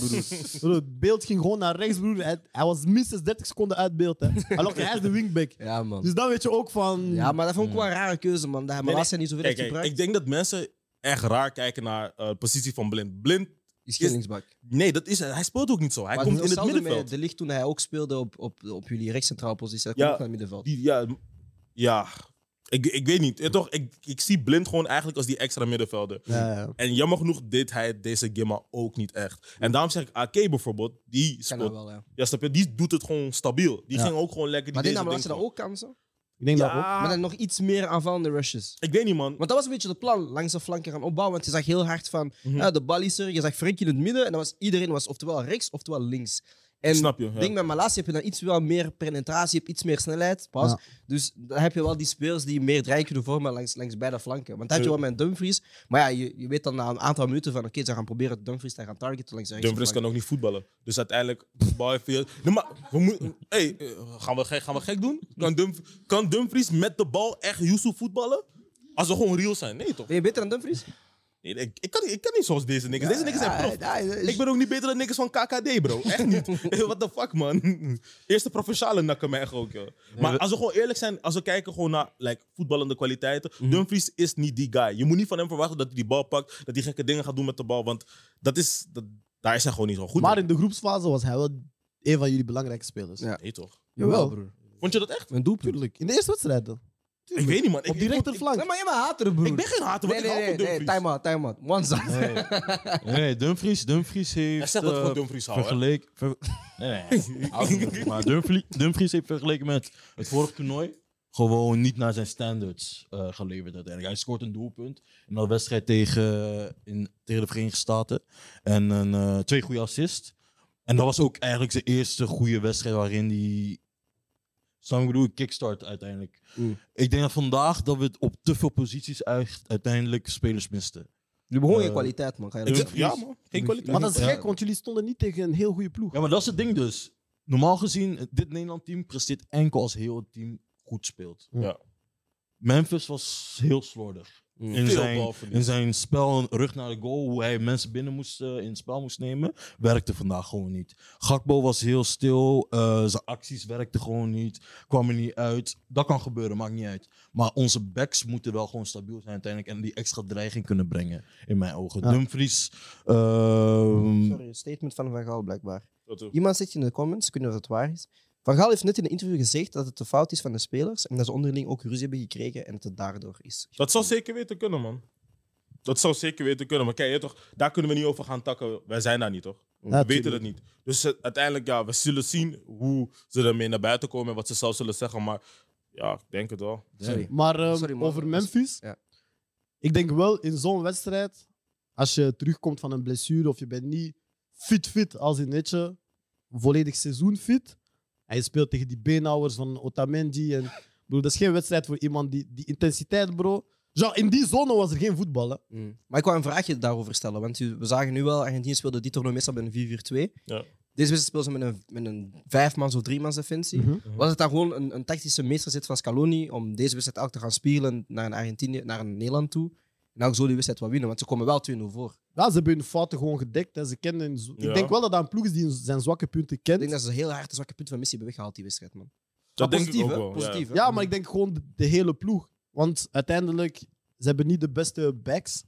E: Bro, het beeld ging gewoon naar rechts, broer. Hij, hij was minstens 30 seconden uit beeld. Hè. Hij lokte- hij is de wingback.
A: Ja, man.
E: Dus dan weet je ook van...
A: Ja, maar dat vond ik wel een rare keuze, man. Dat hij
F: Hmm. Nee,
A: Malasia niet zoveel
F: Kijk,
A: heeft
F: kijk,
A: gebruikt.
F: ik denk dat mensen echt raar kijken naar eh, de positie van Blind. Blind,
A: Is geen linksbak.
F: nee, dat is hij. Hij speelt ook niet zo. Hij
A: Maar
F: komt
A: heel
F: in het
A: zelden
F: middenveld.
A: Met de licht toen hij ook speelde op, op, op jullie rechtscentraal positie. Dat
F: Ja.
A: komt ook naar het middenveld.
F: Die, ja, m- ja. Ik, ik weet niet. Ja, toch, ik, ik zie Blind gewoon eigenlijk als die extra middenvelder.
E: Ja, ja.
F: En jammer genoeg deed hij deze Gimma ook niet echt. En daarom zeg ik, AK bijvoorbeeld, die,
A: kan dat
F: speelt,
A: wel, ja.
F: ja, snap je, die doet het gewoon stabiel. Die ging ook gewoon lekker. Die
A: Maar dit
F: deed
A: namelijk
F: zijn
A: had je dan
F: ding
A: ook kansen.
E: Ik denk dat ook.
F: gewoon.
A: Maar
F: Ja,
A: dan nog iets meer aanvallende rushes.
F: ik weet niet, man.
A: Want dat was een beetje het plan, langs de flanken gaan opbouwen. Want je zag heel hard van,
F: Mhm.
A: ja, de bal is er. Je zag Frenkie in het midden. En dan was, iedereen was oftewel rechts, oftewel links. En
F: Snap je?
A: ik
F: ja.
A: denk met Malasia heb je dan iets wel meer penetratie, heb iets meer snelheid. Pas.
E: Ja.
A: Dus dan heb je wel die spelers die meer dreiging kunnen vormen langs, langs beide flanken. Want dat had je
F: Ja.
A: wel met Dumfries. Maar ja, je, je weet dan na een aantal minuten van oké, ze gaan proberen Dumfries te gaan targeten langs de
F: Dumfries
A: rechterflank.
F: kan ook niet voetballen. Dus uiteindelijk, bal via... Nee, maar we moeten... Hey, eh, gaan, we gek, gaan we gek doen? Kan, Dumf, kan Dumfries met de bal echt Yusuf voetballen? Als ze gewoon real zijn. Nee, toch?
A: Ben je beter dan Dumfries? Ah,
F: Nee, ik, ik, kan, niet- ik kan niet zoals deze niggers. Deze niggers zijn prof.
A: Ja, ja, ja.
F: Ik ben ook niet beter dan niggers van KKD, bro. Echt niet. Hey, What the fuck, man? Eerste provinciale nakken mij echt ook, joh. Maar als we gewoon eerlijk zijn, als we kijken gewoon naar like, voetballende kwaliteiten. Dumfries is niet die guy. Je moet niet van hem verwachten dat hij die bal pakt. Dat hij gekke dingen gaat doen met de bal. Want dat is, dat, daar is hij gewoon niet zo goed
E: maar
F: in.
E: in de groepsfase was hij wel een van jullie belangrijke spelers.
A: Ja.
F: Nee, toch?
E: Jawel, broer.
F: Vond je dat echt?
A: Een doelpunt.
E: Tuurlijk. In de eerste wedstrijd dan.
F: Ik weet niet, man. Ik,
E: Op die
F: ik-
E: rechterflank.
A: Nee, maar jij bent hater,
F: Ik,
A: broer.
F: ik ben geen hater,
A: nee,
F: want
A: nee,
F: ik hou
A: nee,
F: van
A: nee,
F: Dumfries.
A: time out, time out. One side.
G: Nee. nee, Dumfries, Dumfries heeft...
F: Hij zegt dat
G: eh,
F: voor Dumfries houden. hè.
G: Vergeleek. ver- nee, nee, ouder. maar Dumfries, Dumfries heeft vergeleken met het vorige toernooi gewoon niet naar zijn standards eh, geleverd uiteindelijk. Hij scoort een doelpunt in dat wedstrijd tegen, in, tegen de Verenigde Staten en een, eh, twee goede assists. En dat was ook eigenlijk zijn eerste goede wedstrijd waarin hij... Snap je wat ik bedoel? Kickstart uiteindelijk.
A: Mm.
G: Ik denk dat vandaag dat we het op te veel posities uit- uiteindelijk spelers misten.
A: Je begon
G: Eh,
A: geen kwaliteit, man. Ga je
F: Ik
A: dat
F: zeg,
A: zeggen?
F: ja, man. Geen
A: Mhm.
F: kwaliteit.
E: Maar dat is
G: Ja.
E: gek, want jullie stonden niet tegen een heel goede ploeg.
G: Ja, maar dat is het ding dus. Normaal gezien, dit Nederland team presteert enkel als heel het team goed speelt.
F: Ja.
G: Memphis was heel slordig.
A: Mm.
G: In,
F: Veel
G: zijn,
F: balverlies.
G: in zijn spel, een rug naar de goal, hoe hij mensen binnen moest, eh, in het spel moest nemen, werkte vandaag gewoon niet. Gakbo was heel stil, eh, zijn acties werkten gewoon niet, kwam er niet uit. Dat kan gebeuren, maakt niet uit. Maar onze backs moeten wel gewoon stabiel zijn uiteindelijk en die extra dreiging kunnen brengen, in mijn ogen.
E: Ja.
G: Dumfries, ehm,
A: Sorry, een statement van Van Gaal blijkbaar.
F: Dat ook.
A: Iemand zegt in de comments, ik weet niet of het waar is. Van Gaal heeft net in een interview gezegd dat het de fout is van de spelers en dat ze onderling ook ruzie hebben gekregen en dat het daardoor is.
F: Dat zou zeker weten kunnen, man. Dat zou zeker weten kunnen. Maar kijk, je toch, daar kunnen we niet over gaan takken. Wij zijn daar niet, toch?
E: Ja,
F: we weten dat niet. Dus eh, uiteindelijk, ja, we zullen zien hoe ze ermee naar buiten komen en wat ze zelf zullen zeggen. Maar ja, ik denk het wel.
A: Sorry.
E: Maar ehm,
A: Sorry, man.
E: over Memphis.
A: Ja.
E: Ik denk wel in zo'n wedstrijd, als je terugkomt van een blessure of je bent niet fit-fit als in netje, volledig seizoen fit. En je speelt tegen die beenhouwers van Otamendi. En, bro, dat is geen wedstrijd voor iemand die, die intensiteit, bro. Genre, in die zone was er geen voetbal. Hè.
A: Mm. Maar ik wou een vraagje daarover stellen. Want u- we zagen nu wel, Argentinië speelde die toernooi meestal met een 4-4-2.
F: Ja.
A: Deze wedstrijd speelden ze met een, met een vijfmans of driemans defensie. Was het dan gewoon een, een tactische meesterzet van Scaloni om deze wedstrijd ook te gaan spelen naar een Argentinië, naar een Nederland toe? En ook zo die wedstrijd wel winnen, want ze komen wel 2-0 voor.
E: Ja, ze hebben hun fouten gewoon gedekt. Hè. Ze kenden hun zo-
F: Ja.
E: Ik denk wel dat dat een ploeg is die zijn zwakke punten
A: Ik
E: kent.
A: denk dat ze heel hard de zwakke punten van Messi hebben weggehaald die wedstrijd, man.
F: Dat
A: Maar
F: denk ik
A: positief,
F: ook
A: hè?
F: wel. Oh, ja.
A: Positief, hè?
E: Ja, maar ik denk gewoon de, de hele ploeg. Want uiteindelijk, ze hebben niet de beste backs.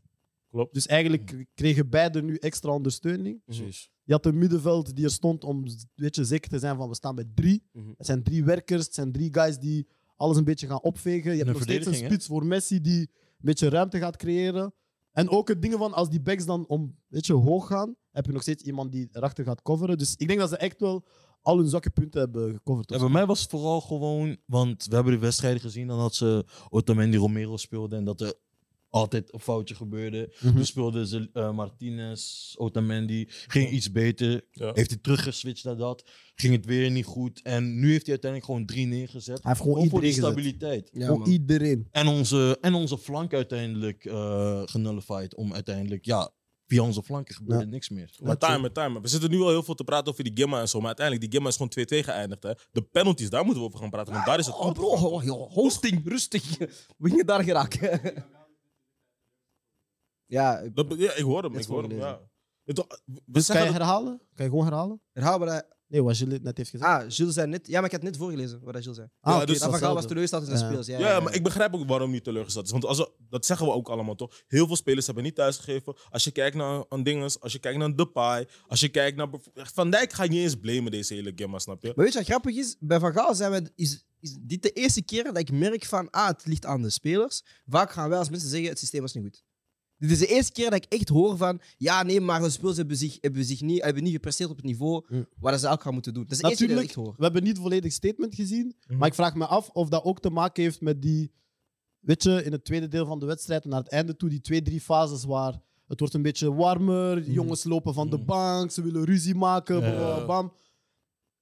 F: Klopt. Mhm.
E: Dus eigenlijk kregen beiden nu extra ondersteuning.
F: Precies.
E: Je had een middenveld die er stond om weet je, zeker te zijn van we staan bij drie.
A: Mhm.
E: Het zijn drie werkers, het zijn drie guys die alles een beetje gaan opvegen. Je hebt nog steeds een
G: verdediging, hè?
E: spits voor Messi die een beetje ruimte gaat creëren. En ook het ding van als die backs dan om, weet je, hoog gaan, heb je nog steeds iemand die erachter gaat coveren. Dus ik denk dat ze echt wel al hun zwakke punten hebben gecoverd.
G: Ja, bij mij was het vooral gewoon, want we hebben de wedstrijden gezien dan dat ze Otamendi Romero speelden en dat er altijd een foutje gebeurde.
E: Mhm.
G: Toen speelden ze eh, Martinez, Otamendi, ging iets beter.
F: Ja.
G: Heeft hij teruggeswitcht naar dat, ging het weer niet goed. En nu heeft hij uiteindelijk gewoon drie neergezet.
E: Hij heeft gewoon
G: Gewoon voor die
E: iedereen gezet.
G: stabiliteit.
A: Ja,
E: Gewoon
A: man.
E: iedereen.
G: En onze, en onze flank uiteindelijk eh genullified om uiteindelijk, ja, via onze flanken gebeurde niks meer.
F: Maar timer, timer. We zitten nu al heel veel te praten over die Gemma en zo. Maar uiteindelijk, die Gemma is gewoon 2-2 geëindigd. Hè. De penalties, daar moeten we over gaan praten. Want daar is het
A: Oh,
F: goed.
A: bro, oh, joh, hosting, rustig. We gingen daar geraken. ja,
F: Dat- ja, ik hoor hem,
A: Dit
F: ik hoor hem.
A: voorlezen.
F: Ja. Het- We
E: Kan je
F: zeggen dat-
E: herhalen? Kan je gewoon herhalen?
A: herhaal maar dat.
E: Nee, wat Gilles net heeft gezegd.
A: Ah, Jules zei net. Ja, maar ik had net voorgelezen wat dat Jules zei.
E: Ah,
F: ja,
E: oké,
F: dus-
E: dat
A: Dat
E: is
A: Van Gaal was
E: hetzelfde.
A: teleurgesteld in zijn speels.
E: Ja.
A: Ja,
F: ja, maar ik begrijp ook waarom hij teleurgesteld is. Want als we, dat zeggen we ook allemaal toch. Heel veel spelers hebben niet thuisgegeven. Als je kijkt naar aan dinges, als je kijkt naar Depay, als je kijkt naar... bijv- echt, Van Dijk ga je niet eens blamen deze hele Gemma, snap je?
A: Maar weet je wat grappig is? Bij Van Gaal zijn we, is, is dit de eerste keer dat ik merk van, ah, het ligt aan de spelers. Vaak gaan wij als mensen zeggen, het systeem was niet goed. Dit is de eerste keer dat ik echt hoor van, ja, nee, maar de spelers hebben zich, hebben zich niet, hebben niet gepresteerd op het niveau
E: Hm.
A: waar ze ook gaan moeten doen. Dat is de eerste keer dat ik
E: Natuurlijk,
A: echt hoor.
E: we hebben niet volledig statement gezien.
F: Mhm.
E: Maar ik vraag me af of dat ook te maken heeft met die... Weet je, in het tweede deel van de wedstrijd, naar het einde toe, die twee, drie fases waar het wordt een beetje warmer, die jongens lopen van de
F: Mhm.
E: bank, ze willen ruzie maken, bla, bla,
F: Ja.
E: bam.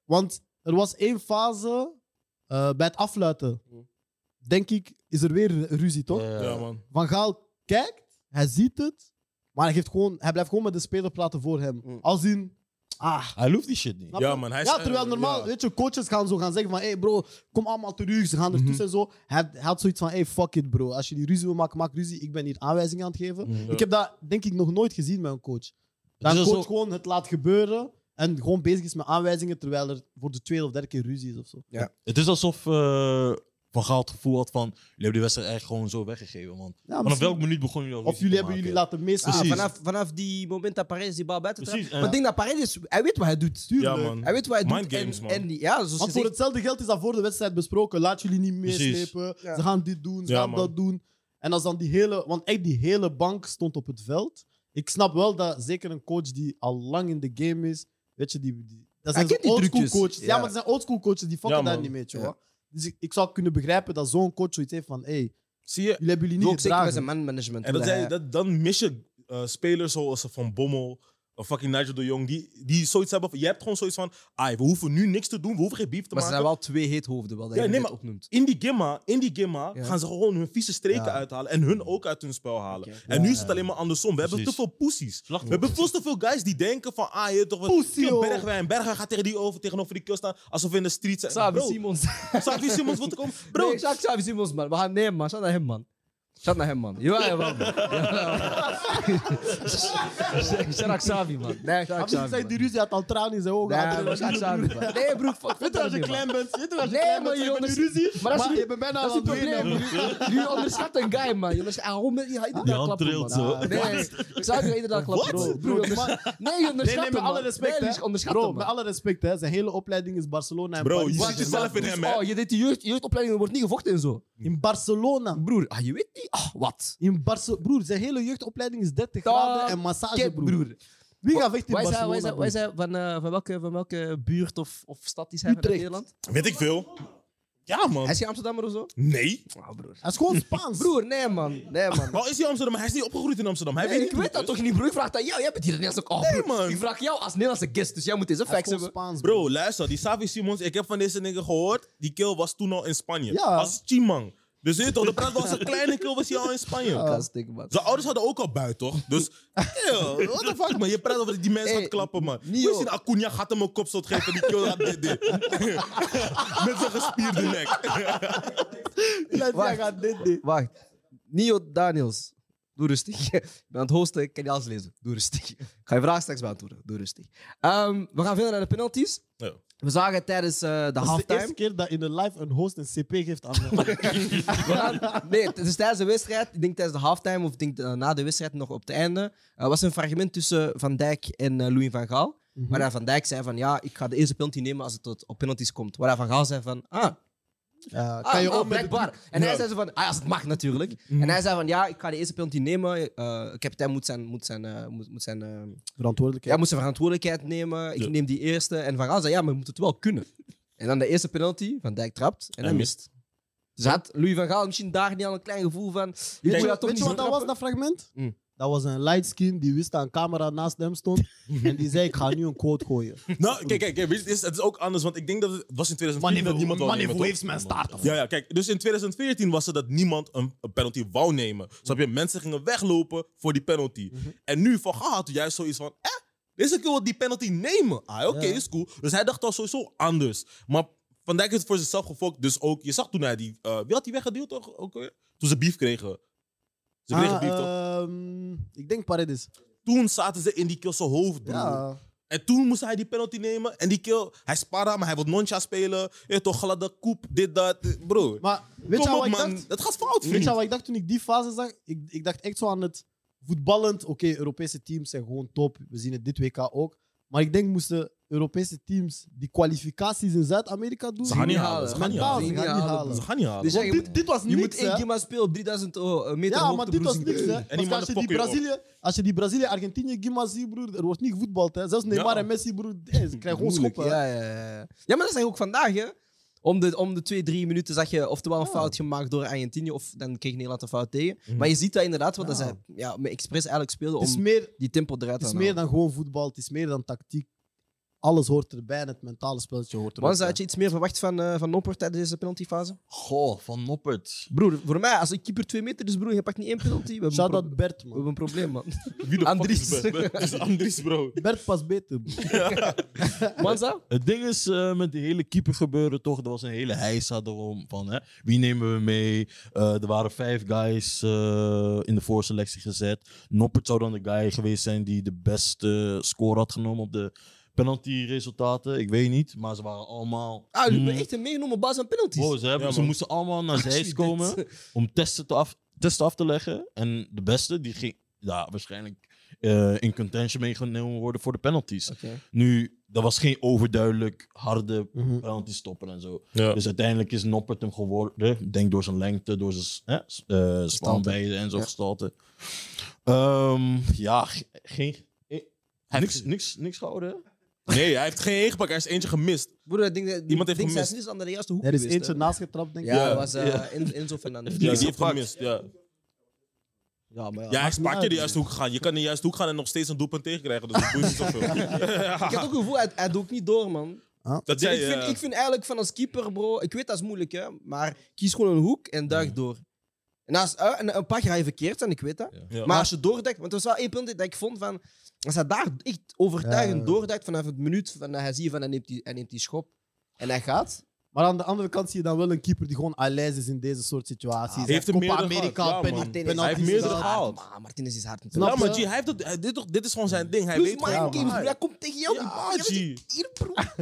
E: Want er was één fase eh, bij het afluiten. Denk ik, is er weer ruzie, toch?
G: Eh,
F: Mhm. Ja, man.
E: Van Gaal kijkt, hij ziet het, maar hij, geeft gewoon, hij blijft gewoon met de speler praten voor hem.
A: Mm.
E: Als in, ah.
G: Hij hoeft die shit niet.
E: Snap
F: Ja,
E: je?
F: man, hij is- eh,
E: ja, terwijl normaal,
F: ja.
E: weet je, coaches gaan zo gaan zeggen van, hé hey bro, kom allemaal terug, ze gaan
G: Mhm.
E: ertussen en zo. Hij, hij had zoiets van, hé, hey, fuck it bro, als je die ruzie wil maken, maak ruzie, ik ben hier aanwijzingen aan het geven. Ik heb dat, denk ik, nog nooit gezien met een coach. Dat
G: Mhm. is
E: een
G: alsof-
E: coach gewoon het laat gebeuren en gewoon bezig is met aanwijzingen, terwijl er voor de tweede of derde keer ruzie is of zo.
G: Het is alsof eh, Van Gaal het gevoel had van... Jullie hebben de wedstrijd eigenlijk gewoon zo weggegeven, man.
E: Ja,
G: Vanaf
E: misschien-
G: welk minuut begonnen jullie al
E: of jullie hebben jullie laten meestal.
A: Ah,
G: precies.
A: vanaf, vanaf die moment dat Paredes die bal buiten trapt.
G: Precies,
A: Maar
G: ja.
A: ik denk dat Paredes, hij weet wat hij doet.
F: Ja, man.
A: Hij weet wat hij doet.
F: Mind
A: en-
F: games, man.
A: en, die- ja, zoals
E: Want voor
A: gezegd,
E: hetzelfde geld is dat voor de wedstrijd besproken. Laat jullie niet
G: Precies.
E: meeslepen.
A: Ja.
E: Ze gaan dit doen, ze
F: Ja,
E: gaan
F: man.
E: dat doen. En als dan die hele... Want echt, die hele bank stond op het veld. Ik snap wel dat zeker een coach die al lang in de game is... Weet je, die... die dat zijn
A: kent die
E: oldschool
A: trucjes.
E: coaches. Ja.
A: Ja.
E: maar dat zijn oldschool coaches. Die fucken
F: Ja,
E: daar
F: man.
E: niet mee, joh.
A: Ja.
E: Dus ik, ik zou kunnen begrijpen dat zo'n coach zoiets heeft van... Hé, hey,
F: Zie je?
E: jullie hebben jullie
A: ook
E: niet
A: zeker met
E: gedragen.
A: zijn manmanagement.
F: En
A: hoe
F: dat
A: dat
F: zei-
A: hij-
F: dat, dan mis je eh, spelers zoals Van Bommel, of fucking Nigel de Jong, die, die zoiets hebben van... Je hebt gewoon zoiets van, "Ai, we hoeven nu niks te doen, we hoeven geen beef te
A: Maar ze
F: maken.
A: zijn wel twee heethoofden, wel, dat
F: Ja,
A: je
F: nee,
A: net
F: maar-
A: opnoemt.
F: In die gimma, in die gimma
A: Ja.
F: gaan ze gewoon hun vieze streken
E: Ja.
F: uithalen en hun ook uit hun spel halen.
A: Oké.
F: En nu is het alleen maar andersom. We hebben te
G: Precies.
F: veel poesies. We
G: Slachtoffer.
F: hebben veel te veel guys die denken van, ah, je weet toch wat.
E: Poesie,
F: Kijk,
E: joh.
F: Bergwijn, Bergwijn gaat tegen die over, tegenover die kill staan, alsof we in de street zijn.
A: Xavi
F: bro,
A: Simons.
F: Xavi Simons wil te komen. Bro,
A: Bro, nee, Sjaak Xavi Simons, man. We gaan, nee, man. Shout naar hem, man. Shout naar hem, man. Jawel, jawel, man. Shout naar Xavi, man. Nee, shout
E: Heb je gezegd, die
A: Nee,
E: ruzie had al tranen in zijn ogen. Had er-
A: maar Sjaak Xavi, man. Nee, broer, fuck.
E: Weet je, als je klein bent, weet je, als je
A: Nee, maar
E: klein bent, je bent
A: jongens,
E: in ruzie.
A: maar
E: Maar,
A: als je-
E: je bent bijna
A: Dat is
E: al
A: het
E: aan het
A: probleem.
E: winnen.
A: Jullie- Jullie onderschatten een guy, man. Jullie ah, waarom ben je
G: Die
A: inderdaad
G: hand
A: klappen,
G: trilt
A: man.
G: zo.
A: Ah, Nee, Xavi gaat inderdaad klappen, bro. Broer,
E: Bro, die man-
A: onders- Nee, je onderschat
E: Nee, nee,
A: hem,
E: met alle
A: man.
E: respect.
A: Nee,
E: hè.
A: je onderschat
E: Bro,
A: hem,
E: met
A: man.
E: alle respect, hè. zijn hele opleiding is Barcelona en
F: Bro, je
E: Parijs.
F: zit jezelf in hem, hè.
A: Oh, je deed die jeugd, jeugdopleiding, er wordt niet gevochten en zo.
E: In Barcelona.
A: Broer, ah, je weet niet. Ah, wat?
E: In Barce broer, zijn hele jeugdopleiding is 30
A: Dat
E: graden en massage,
A: Kijk,
E: broer.
A: broer.
E: Wie gaat vechten in
A: Waar is hij,
E: Barcelona?
A: waar is hij, waar is
E: broer?
A: hij- van, eh, van, welke, van welke buurt of, of stad is hij van
E: Utrecht.
A: Nederland?
F: weet ik veel. Ja,
A: Hij
F: man.
A: is geen Amsterdammer of zo?
F: Nee.
A: Ah, broer.
E: Hij is gewoon Spaans.
A: Broer, nee man. Nee man.
F: Wel is hij Amsterdam, hij is niet opgegroeid in Amsterdam. Hij
A: Nee,
F: weet
A: ik
F: niet
A: weet dat
F: hoe
A: toch
F: het
A: niet, broer. Ik vraag dat jou. Jij bent hier in ook. Oh,
F: Nee,
A: broer.
F: man.
A: Ik vraag jou als Nederlandse guest, dus jij moet deze
E: Hij is
A: facts
E: gewoon
A: hebben.
E: Spaans,
F: is. Bro, luister, die Savi Simons, ik heb van deze nigger gehoord, die kill was toen al in Spanje.
E: Ja.
F: Als Chimang. Dus je weet toch, de praat was een kleine keer was hij al in Spanje.
A: Kastig, man.
F: Zijn ouders hadden ook al buiten, toch? Dus, yo, what the fuck, man? Je praat over die mensen
A: Hey,
F: gaat klappen, man. Hoe
A: Nio.
F: is het? Acuna gaat hem een kopstoot geven, die kill gaat dit, dit. Met zijn gespierde nek.
A: Wacht. Wacht. Nio Daniels. Doe rustig. Ik ben aan het hosten, ik kan niet alles lezen. Doe rustig. Ik ga je vraag straks beantwoorden. Doe rustig. Ehm, we gaan verder naar de penalties.
F: Ja.
A: We zagen tijdens eh, de
E: Dat is de eerste
A: halftime.
E: keer dat in een live een host een CP geeft aan mij.
A: We gaan- Nee, het is tijdens de wedstrijd. Ik denk tijdens de halftime of ik denk, eh, na de wedstrijd nog op het einde. eh, was een fragment tussen Van Dijk en eh, Louis van Gaal.
E: Mhm.
A: Waar hij Van Dijk zei van ja, ik ga de eerste penalty nemen als het tot op penalties komt. Waar hij Van Gaal zei van ah,
E: Ja,
A: Ah,
E: kan je
A: ah,
E: ook met
A: blijkbaar. En hij zei zo van, ah, als het mag natuurlijk.
E: Mhm.
A: En hij zei van, ja, ik ga de eerste penalty nemen. Eh kapitein moet zijn, moet zijn, eh, moet, moet zijn, eh, ja,
E: verantwoordelijkheid?
A: moet zijn verantwoordelijkheid nemen. Ik neem die eerste. En Van Gaal zei, ja, maar je moet het wel kunnen. En dan de eerste penalty, Van Dijk trapt en, hij mist. Dus had Louis van Gaal misschien daar niet al een klein gevoel van... Ik
E: Weet
A: moet
E: je,
A: dat toch
E: weet
A: niet
E: je wat dat was, dat fragment?
A: Mm.
E: Dat was een lightskin die wist dat een camera naast hem stond. en die zei, ik ga nu een quote gooien.
F: Nou, kijk, kijk, kijk, weet je, het is, het is ook anders, want ik denk dat het, het was in 2014 dat niemand wou nemen, toch?
E: mijn staart
F: Ja, ja, kijk, dus in 2014 was het dat niemand een, een penalty wou nemen. Snap je? Mensen gingen weglopen voor die penalty. En nu, Van Gaal had juist zoiets van, eh, deze keer wil die penalty nemen. Ah, oké,
E: Ja.
F: is cool. Dus hij dacht al sowieso anders. Maar Van Dijk heeft voor zichzelf gefokt, dus ook, je zag toen hij die, eh, wie had die weggedeeld toch? Ook, weer? toen ze beef kregen. Ze
C: Ah,
F: kregen beef
C: eh.
F: toch?
E: Ah, ehm, ik denk Paredes.
F: Toen zaten ze in die kill zijn hoofd, broer.
E: Ja.
F: En toen moest hij die penalty nemen. En die kill, hij spaarde hem, maar hij wil noncha spelen. Je weet toch, gladde koep, dit, dat. Bro,
E: Maar weet je
F: kom
E: wat
F: op
E: ik
F: man,
E: dacht?
F: het gaat fout,
E: Weet
F: vriend.
E: je wat ik dacht toen ik die fase zag? Ik, ik dacht echt zo aan het voetballend. Oké, Europese teams zijn gewoon top. We zien het dit WK ook. Maar ik denk moesten Europese teams die kwalificaties in Zuid-Amerika doen.
F: Ze gaan niet halen, ze
E: Ze
F: gaan niet
E: gaan
F: halen.
E: niet halen.
F: Ze gaan niet halen.
A: Dus ja, je
E: Dit,
A: moet,
E: dit was
A: je moet
E: niks,
A: één
E: hè?
A: keer maar spelen op 3000 euro- meter
E: Ja,
A: hoogte
E: maar dit was
A: broezing. Eh,
E: niks, hè. Want als je die
F: motherfucker
E: Brazilië, als je die Brazilië, Argentinië, Gimas ziet, broer, er wordt niet gevoetbald, hè. Zelfs Neymar
F: Ja.
E: en Messi, broer, eh, ze krijgen gewoon
A: Moeilijk,
E: schoppen. hè.
A: Ja, ja, ja. ja, maar dat zijn ook vandaag, hè. Om de, om de twee, drie minuten zag je oftewel een fout gemaakt door Argentinië, of dan kreeg Nederland een fout tegen.
F: Mhm.
A: Maar je ziet dat inderdaad, wat dat
E: Ja.
A: zij ja, met expres eigenlijk speelden
E: Het is,
A: om
E: meer,
A: die tempo eruit
E: het
A: te
E: is
A: halen.
E: meer dan gewoon voetbal, het is meer dan tactiek. Alles hoort erbij en het mentale spelletje hoort erbij.
A: Was had je iets meer verwacht van, eh van Noppert tijdens deze penaltyfase?
G: Goh, van Noppert.
A: Broer, voor mij, als een keeper twee meter is, broer, je pakt niet één penalty. We hebben, een,
E: Shout
A: pro-
E: out Bert,
A: we
E: man.
A: hebben een probleem, man.
F: Wie de fuck
A: Andries.
F: is Bert? Bert is Andries, bro.
E: Bert past beter, broer.
A: Manza?
G: Het ding is eh, met de hele keeper gebeuren toch. Er was een hele heisa erom van hè, wie nemen we mee. Eh, er waren vijf guys eh, in de voorselectie gezet. Noppert zou dan de guy geweest zijn die de beste score had genomen op de penalty-resultaten. Ik weet niet, maar ze waren allemaal.
A: Ah, jullie
G: Mm.
F: Hmm.
A: hebben echt een meegenomen op basis van penalties.
G: Wow, ze, hebben-
F: Ja,
G: ze
F: man.
G: moesten allemaal naar Zeist
A: Dit.
G: komen om testen, te af, testen af te leggen. En de beste, die ging ja, waarschijnlijk eh, in contention meegenomen worden voor de penalties.
A: Oké. Mhm.
G: Nu, dat was geen overduidelijk harde penalty stoppen en zo.
F: Ja.
G: Dus uiteindelijk is Noppert hem geworden. Ik Denk door zijn lengte, door zijn eh, s- eh, spanwijze en zo gestalte. Ehm, ja, ge- geen... eh, Niks, niks, niks gehouden. hè?
F: Nee, hij heeft geen ingepakt, hij is eentje gemist.
A: Broer, ik denk dat
F: Iemand heeft
A: ik denk
F: gemist.
A: zelfs niet aan de juiste hoek
E: Er is
A: geweest,
E: eentje
A: hè.
E: naast getrapt, denk ik.
A: Ja,
F: Ja.
A: dat was eh,
G: Ja.
A: En- Enzo Fernandez.
F: Ja, die heeft gemist, ja.
A: Ja, maar ja.
F: Ja, hij is een paar
E: niet
F: keer de
E: uit.
F: juiste hoek gegaan. Je kan in de juiste hoek gaan en nog steeds een doelpunt tegenkrijgen. Dus dat boeit niet zoveel.
A: Ik heb ook het gevoel, hij, hij doet ook niet door, man.
F: Dat
A: Dus
F: zei
A: ik, vind,
F: eh,
A: ik vind eigenlijk van als keeper, bro, ik weet dat is moeilijk, hè, maar kies gewoon een hoek en duik door. En, als, eh, en een paar ga je verkeerd zijn, ik weet dat.
F: ja.
A: Maar als je doordekt, want er was wel één punt dat ik vond van. Als hij daar echt overtuigend
E: Ja.
A: doordekt vanaf het minuut, van, hij zie je van hij neemt, die, hij neemt die schop en hij gaat.
E: Maar aan de andere kant zie je dan wel een keeper die gewoon alert is in deze soort situaties.
F: Ah. Heeft er
E: Copa
F: meerdere
E: Amerika,
F: gehad, ja,
E: penalty-
A: Martinez
F: man.
E: penalties
F: Hij heeft meerdere
E: gedaan.
F: gehad.
A: hard, man. Martinez is hard.
E: Snap
F: Ja,
A: natuurlijk.
F: maar G, hij heeft dat, hij- dit, toch- dit is gewoon zijn ding. Hij
A: Plus
F: weet gewoon-
A: mind games, broer.
F: Ja,
A: Hij komt tegen jou. die bal.
F: G.
A: Hier, broer.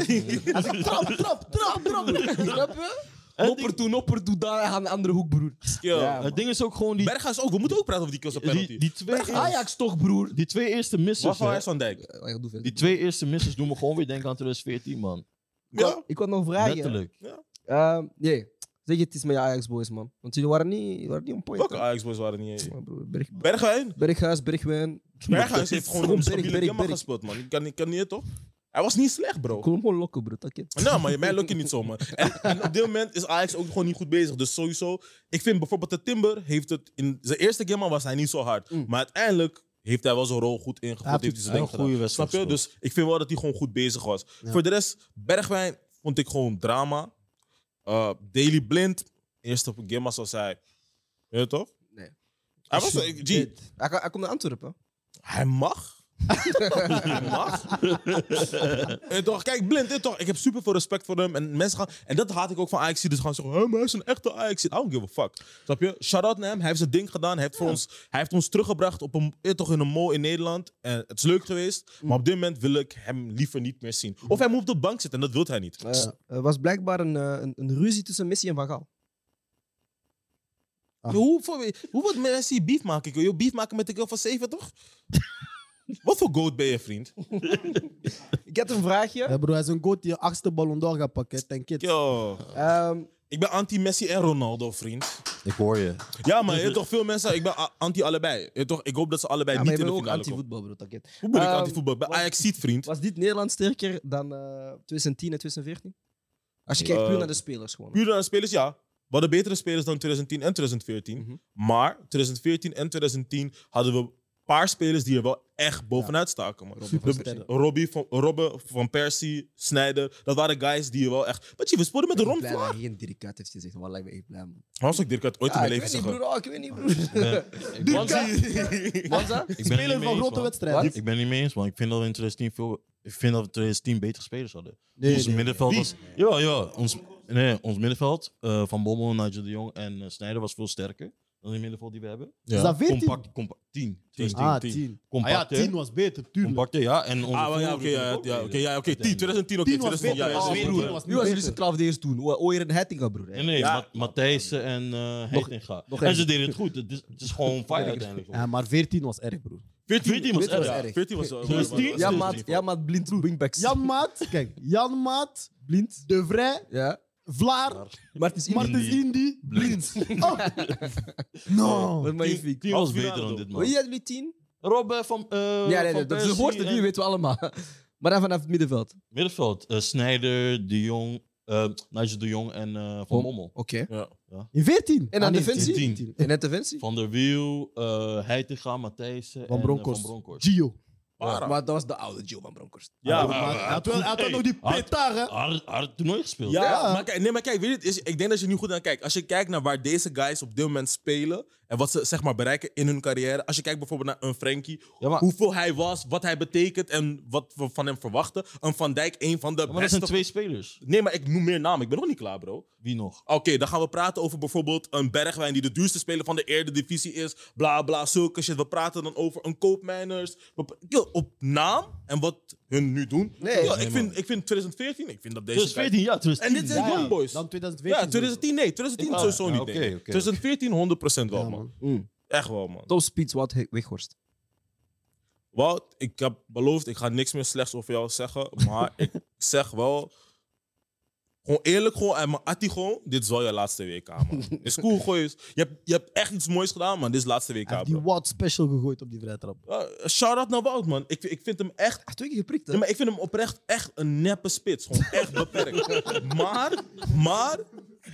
A: Hij zegt, trap, trap, trap, trap. Snap je? Nopper toe, nopper toe, daar aan de andere hoek, broer.
F: Ja.
G: het ding is ook gewoon die,
F: Berghuis ook, we moeten ook praten over die kills op penalty.
G: die, die, twee,
A: Ajax toch, broer.
G: die twee eerste
F: Wat
G: missers.
F: van
G: hè?
F: Huis van Dijk?
A: Ja, doe verder.
G: Die twee eerste misses doen me gewoon weer denken aan 2014, man.
F: Ja.
A: Ik had nog vragen.
G: Letterlijk.
A: Ehm, Nee, zeg het is met je Ajax-boys, man. Want jullie waren niet, jullie waren niet on point.
F: Welke
A: hè.
F: Ajax-boys waren niet? hè?
A: Maar broer, Berg-
F: Berghuis?
A: Berghuis, Bergwijn.
F: Berghuis heeft gewoon
A: Berg,
F: een stabiele
A: Berg,
F: gamma
A: Berg.
F: gespeeld, man. Ik kan, ik kan niet, toch? Hij was niet slecht, bro.
A: Ik wil hem gewoon lokken, bro. Dat kent.
F: Nou, maar mij lukt het niet zo, man. En, en op dit moment is Ajax ook gewoon niet goed bezig. Dus sowieso, ik vind bijvoorbeeld de Timber heeft het... In zijn eerste game was hij niet zo hard.
A: Mm.
F: Maar uiteindelijk heeft hij wel zijn rol goed ingevuld. Heeft hij zijn
G: een
F: ding
G: goede
F: gedaan.
G: wedstrijd
F: Snap je? Dus ik vind wel dat hij gewoon goed bezig was. Voor de rest, Bergwijn vond ik gewoon drama. Eh Daily Blind eerste game zoals hij. Weet je toch?
A: Nee.
F: Hij, was, eh, G,
A: Hij, kan- hij komt naar Antwerpen.
F: hij mag. hij mag. en toch, kijk, blind. En toch, ik heb super veel respect voor hem. En mensen gaan. En dat haat ik ook van Ajax. Dus gaan zeggen: "Hé, maar hij is een echte Ajax. I don't give a fuck. Snap je? Shout out naar hem. Hij heeft zijn ding gedaan. Hij heeft, voor ons, hij heeft ons teruggebracht op een, eh, toch in een mall in Nederland. En het is leuk geweest. Maar op dit moment wil ik hem liever niet meer zien. Of hij moet op de bank zitten. En dat wil hij niet.
A: Eh, er was blijkbaar een, eh, een, een ruzie tussen Messi en Van Gaal.
F: Hoe, voor, hoe wordt Messi beef maken? Kun je beef maken met de girl van 7, toch? Wat voor goat ben je, vriend?
A: Ik had een vraagje.
E: Ja, bro, hij is een goat die je achtste ballon door gaat pakken. hè. Thank it.
F: Yo.
A: Ehm,
F: Ik ben anti-Messi en Ronaldo, vriend.
G: Ik hoor je.
F: Ja, maar je hebt toch veel mensen... Ik ben a- anti-allebei. Je hebt toch- Ik hoop dat ze allebei
A: ja, maar
F: niet
A: je
F: in
A: bent
F: de
A: ook
F: finale komen.
A: anti-voetbal, bro. Taket.
F: Hoe ben ik
A: Ehm,
F: anti-voetbal? Ik ben
A: was-
F: Ajax-ziet, vriend.
A: Was dit Nederland sterker dan eh 2010 en 2014? Als je kijkt
F: Eh,
A: puur naar de spelers gewoon.
F: Puur aan spelers, ja. We hadden betere spelers dan 2010 en 2014.
A: Mhm.
F: Maar 2014 en 2010 hadden we een paar spelers die er wel echt bovenuit staken. Man. De- Robbie van, Robbe van Persie, Snyder. Dat waren guys die er wel echt... Maar je we speelden met de
A: Ik ben
F: rond.
A: blij dat hij geen Dirk Kuyt heeft gezegd. Wallah, ik ben echt blij. man.
F: Hans, ik Dirk had ooit in
A: Ah,
F: mijn
A: ik
F: leven
A: weet niet,
F: zeggen.
A: broer. Ah, ik weet niet, broer.
F: Dirk
A: Wanza?
G: Ik ben het niet mee
E: van
G: eens,
E: grote
G: man.
E: wedstrijden.
G: Ik ben het niet mee eens, man. Ik vind dat we in 2010 veel... Ik vind dat we in 2010 betere spelers hadden.
E: Nee,
G: ons
E: nee,
G: middenveld was... Ja, ja. Ons, nee, ons middenveld, eh, Van Bommel, Nigel de Jong en eh, Snijder was veel sterker dan die middenveld die we hebben.
E: Is dat 14?
G: Compact, compact, 10. 10.
E: ah, 10. Ah ja,
G: Compacter.
E: 10 was beter, tuurlijk.
G: Compacter, ja. En onze
F: Ah, maar ja, oké,
G: voorhoede
F: ja,
G: ook
F: ja, oké,
G: beter.
F: ja, oké, 10, 2010, oké,
E: 10 was
F: 2010,
E: beter.
F: ja, ja,
E: Ah,
F: ja,
E: broer, 10 was
A: Nu was
E: niet
A: jullie zijn
E: beter.
A: 12 eerst toen. O- Ooyer en Heitinga, broer. hè.
G: Nee, nee,
F: Ja.
G: Ma- Matthijsen en eh Heitinga.
A: nog
G: en
A: even.
G: ze deden het goed. Het is, het is gewoon fijn uiteindelijk.
E: Ja, maar 14 was erg, broer.
F: 14,
G: 14 was erg.
F: ja, 14 was wel-
G: Dus
F: wel-
G: die-
F: wel-
A: Ja,
G: dus
A: maat,
G: niet
A: ja, maat, blind wingbacks.
E: Jan Maat, kijk, Jan Maat, Blind, De Vrij,
A: Ja.
E: Vlaar,
A: Martens Indy.
E: Martens Indy, Blind. Oh.
A: Wat
E: No.
A: magnifiek.
G: Alles
F: finale
G: beter dan
F: dan.
G: dit, man.
A: Wie hadden jullie tien?
G: Robben van. eh
A: Ja, nee, nee,
G: van
A: dat is de
G: Persie
A: woorden,
G: en-
A: die weten we allemaal. Maar dan vanaf het middenveld.
G: Middenveld. eh, Snijder, De Jong. eh Nigel De Jong en eh, Van
A: Bom.
G: Mommel.
A: Oké.
E: In 14.
A: En
E: Ah,
A: aan
E: nee,
A: defensie?
E: 10.
G: 10.
A: En interventie?
G: Van der Wiel, eh Heitinga, Matthijsen.
E: Van
G: en, eh,
E: Bronckhorst.
G: Van Bronckhorst.
E: Gio.
F: Para.
A: Maar dat was de oude Joe van Bronckhorst.
F: Ja,
E: Maar
F: maar-
E: Hij had wel- hij had wel
G: Hey,
E: nog die
G: had-
E: petar, hè?
G: Hard, hard toernooi gespeeld.
F: Ja, maar kijk, nee, maar kijk, weet je, het is, ik denk dat je nu goed naar kijkt. Als je kijkt naar waar deze guys op dit moment spelen en wat ze zeg maar bereiken in hun carrière. Als je kijkt bijvoorbeeld naar een Frankie,
G: Ja, maar-
F: hoeveel hij was, wat hij betekent en wat we van hem verwachten. Een Van Dijk, een van de
G: Ja, maar dat
F: beste.
G: zijn twee spelers.
F: Nee, maar ik noem meer namen. Ik ben nog niet klaar, bro.
G: Wie nog?
F: Oké, dan gaan we praten over bijvoorbeeld een Bergwijn die de duurste speler van de Eredivisie is. Bla bla, zulke shit. We praten dan over een Koopmijners. We pra- Yo, op naam en wat hun nu doen.
A: Nee.
F: Yo,
G: Nee,
F: ik,
G: man.
F: vind, ik vind 2014, ik vind dat deze.
G: Dus 14 jaar, dus
F: En dit zijn
E: Ja, ja.
F: Youngboys.
E: Dan 2014.
F: Ja, 2010 nee, 2010
G: Ah,
F: sowieso
G: ja,
F: niet.
G: oké,
F: nee.
G: oké, Mm.
F: 2014 100% wel,
E: Ja,
F: man.
E: man.
F: Echt wel, man.
A: Top speed, wat Weghorst.
F: Wout, ik heb beloofd, ik ga niks meer slechts over jou zeggen. Maar ik zeg wel. Gewoon eerlijk, gewoon en mijn attie gewoon. Dit is wel je laatste WK, man. is cool, gooi eens. Je hebt, je hebt echt iets moois gedaan, man. Dit is laatste WK,
E: Hij heeft die
F: bro.
E: Watt special gegooid op die vrijtrap.
F: Ja, Shout-out naar Wout, man. Ik, ik vind hem echt...
A: Ah, twee keer geprikt, hè?
F: Nee, maar ik vind hem oprecht echt een neppe spits. Gewoon echt beperkt. maar, maar...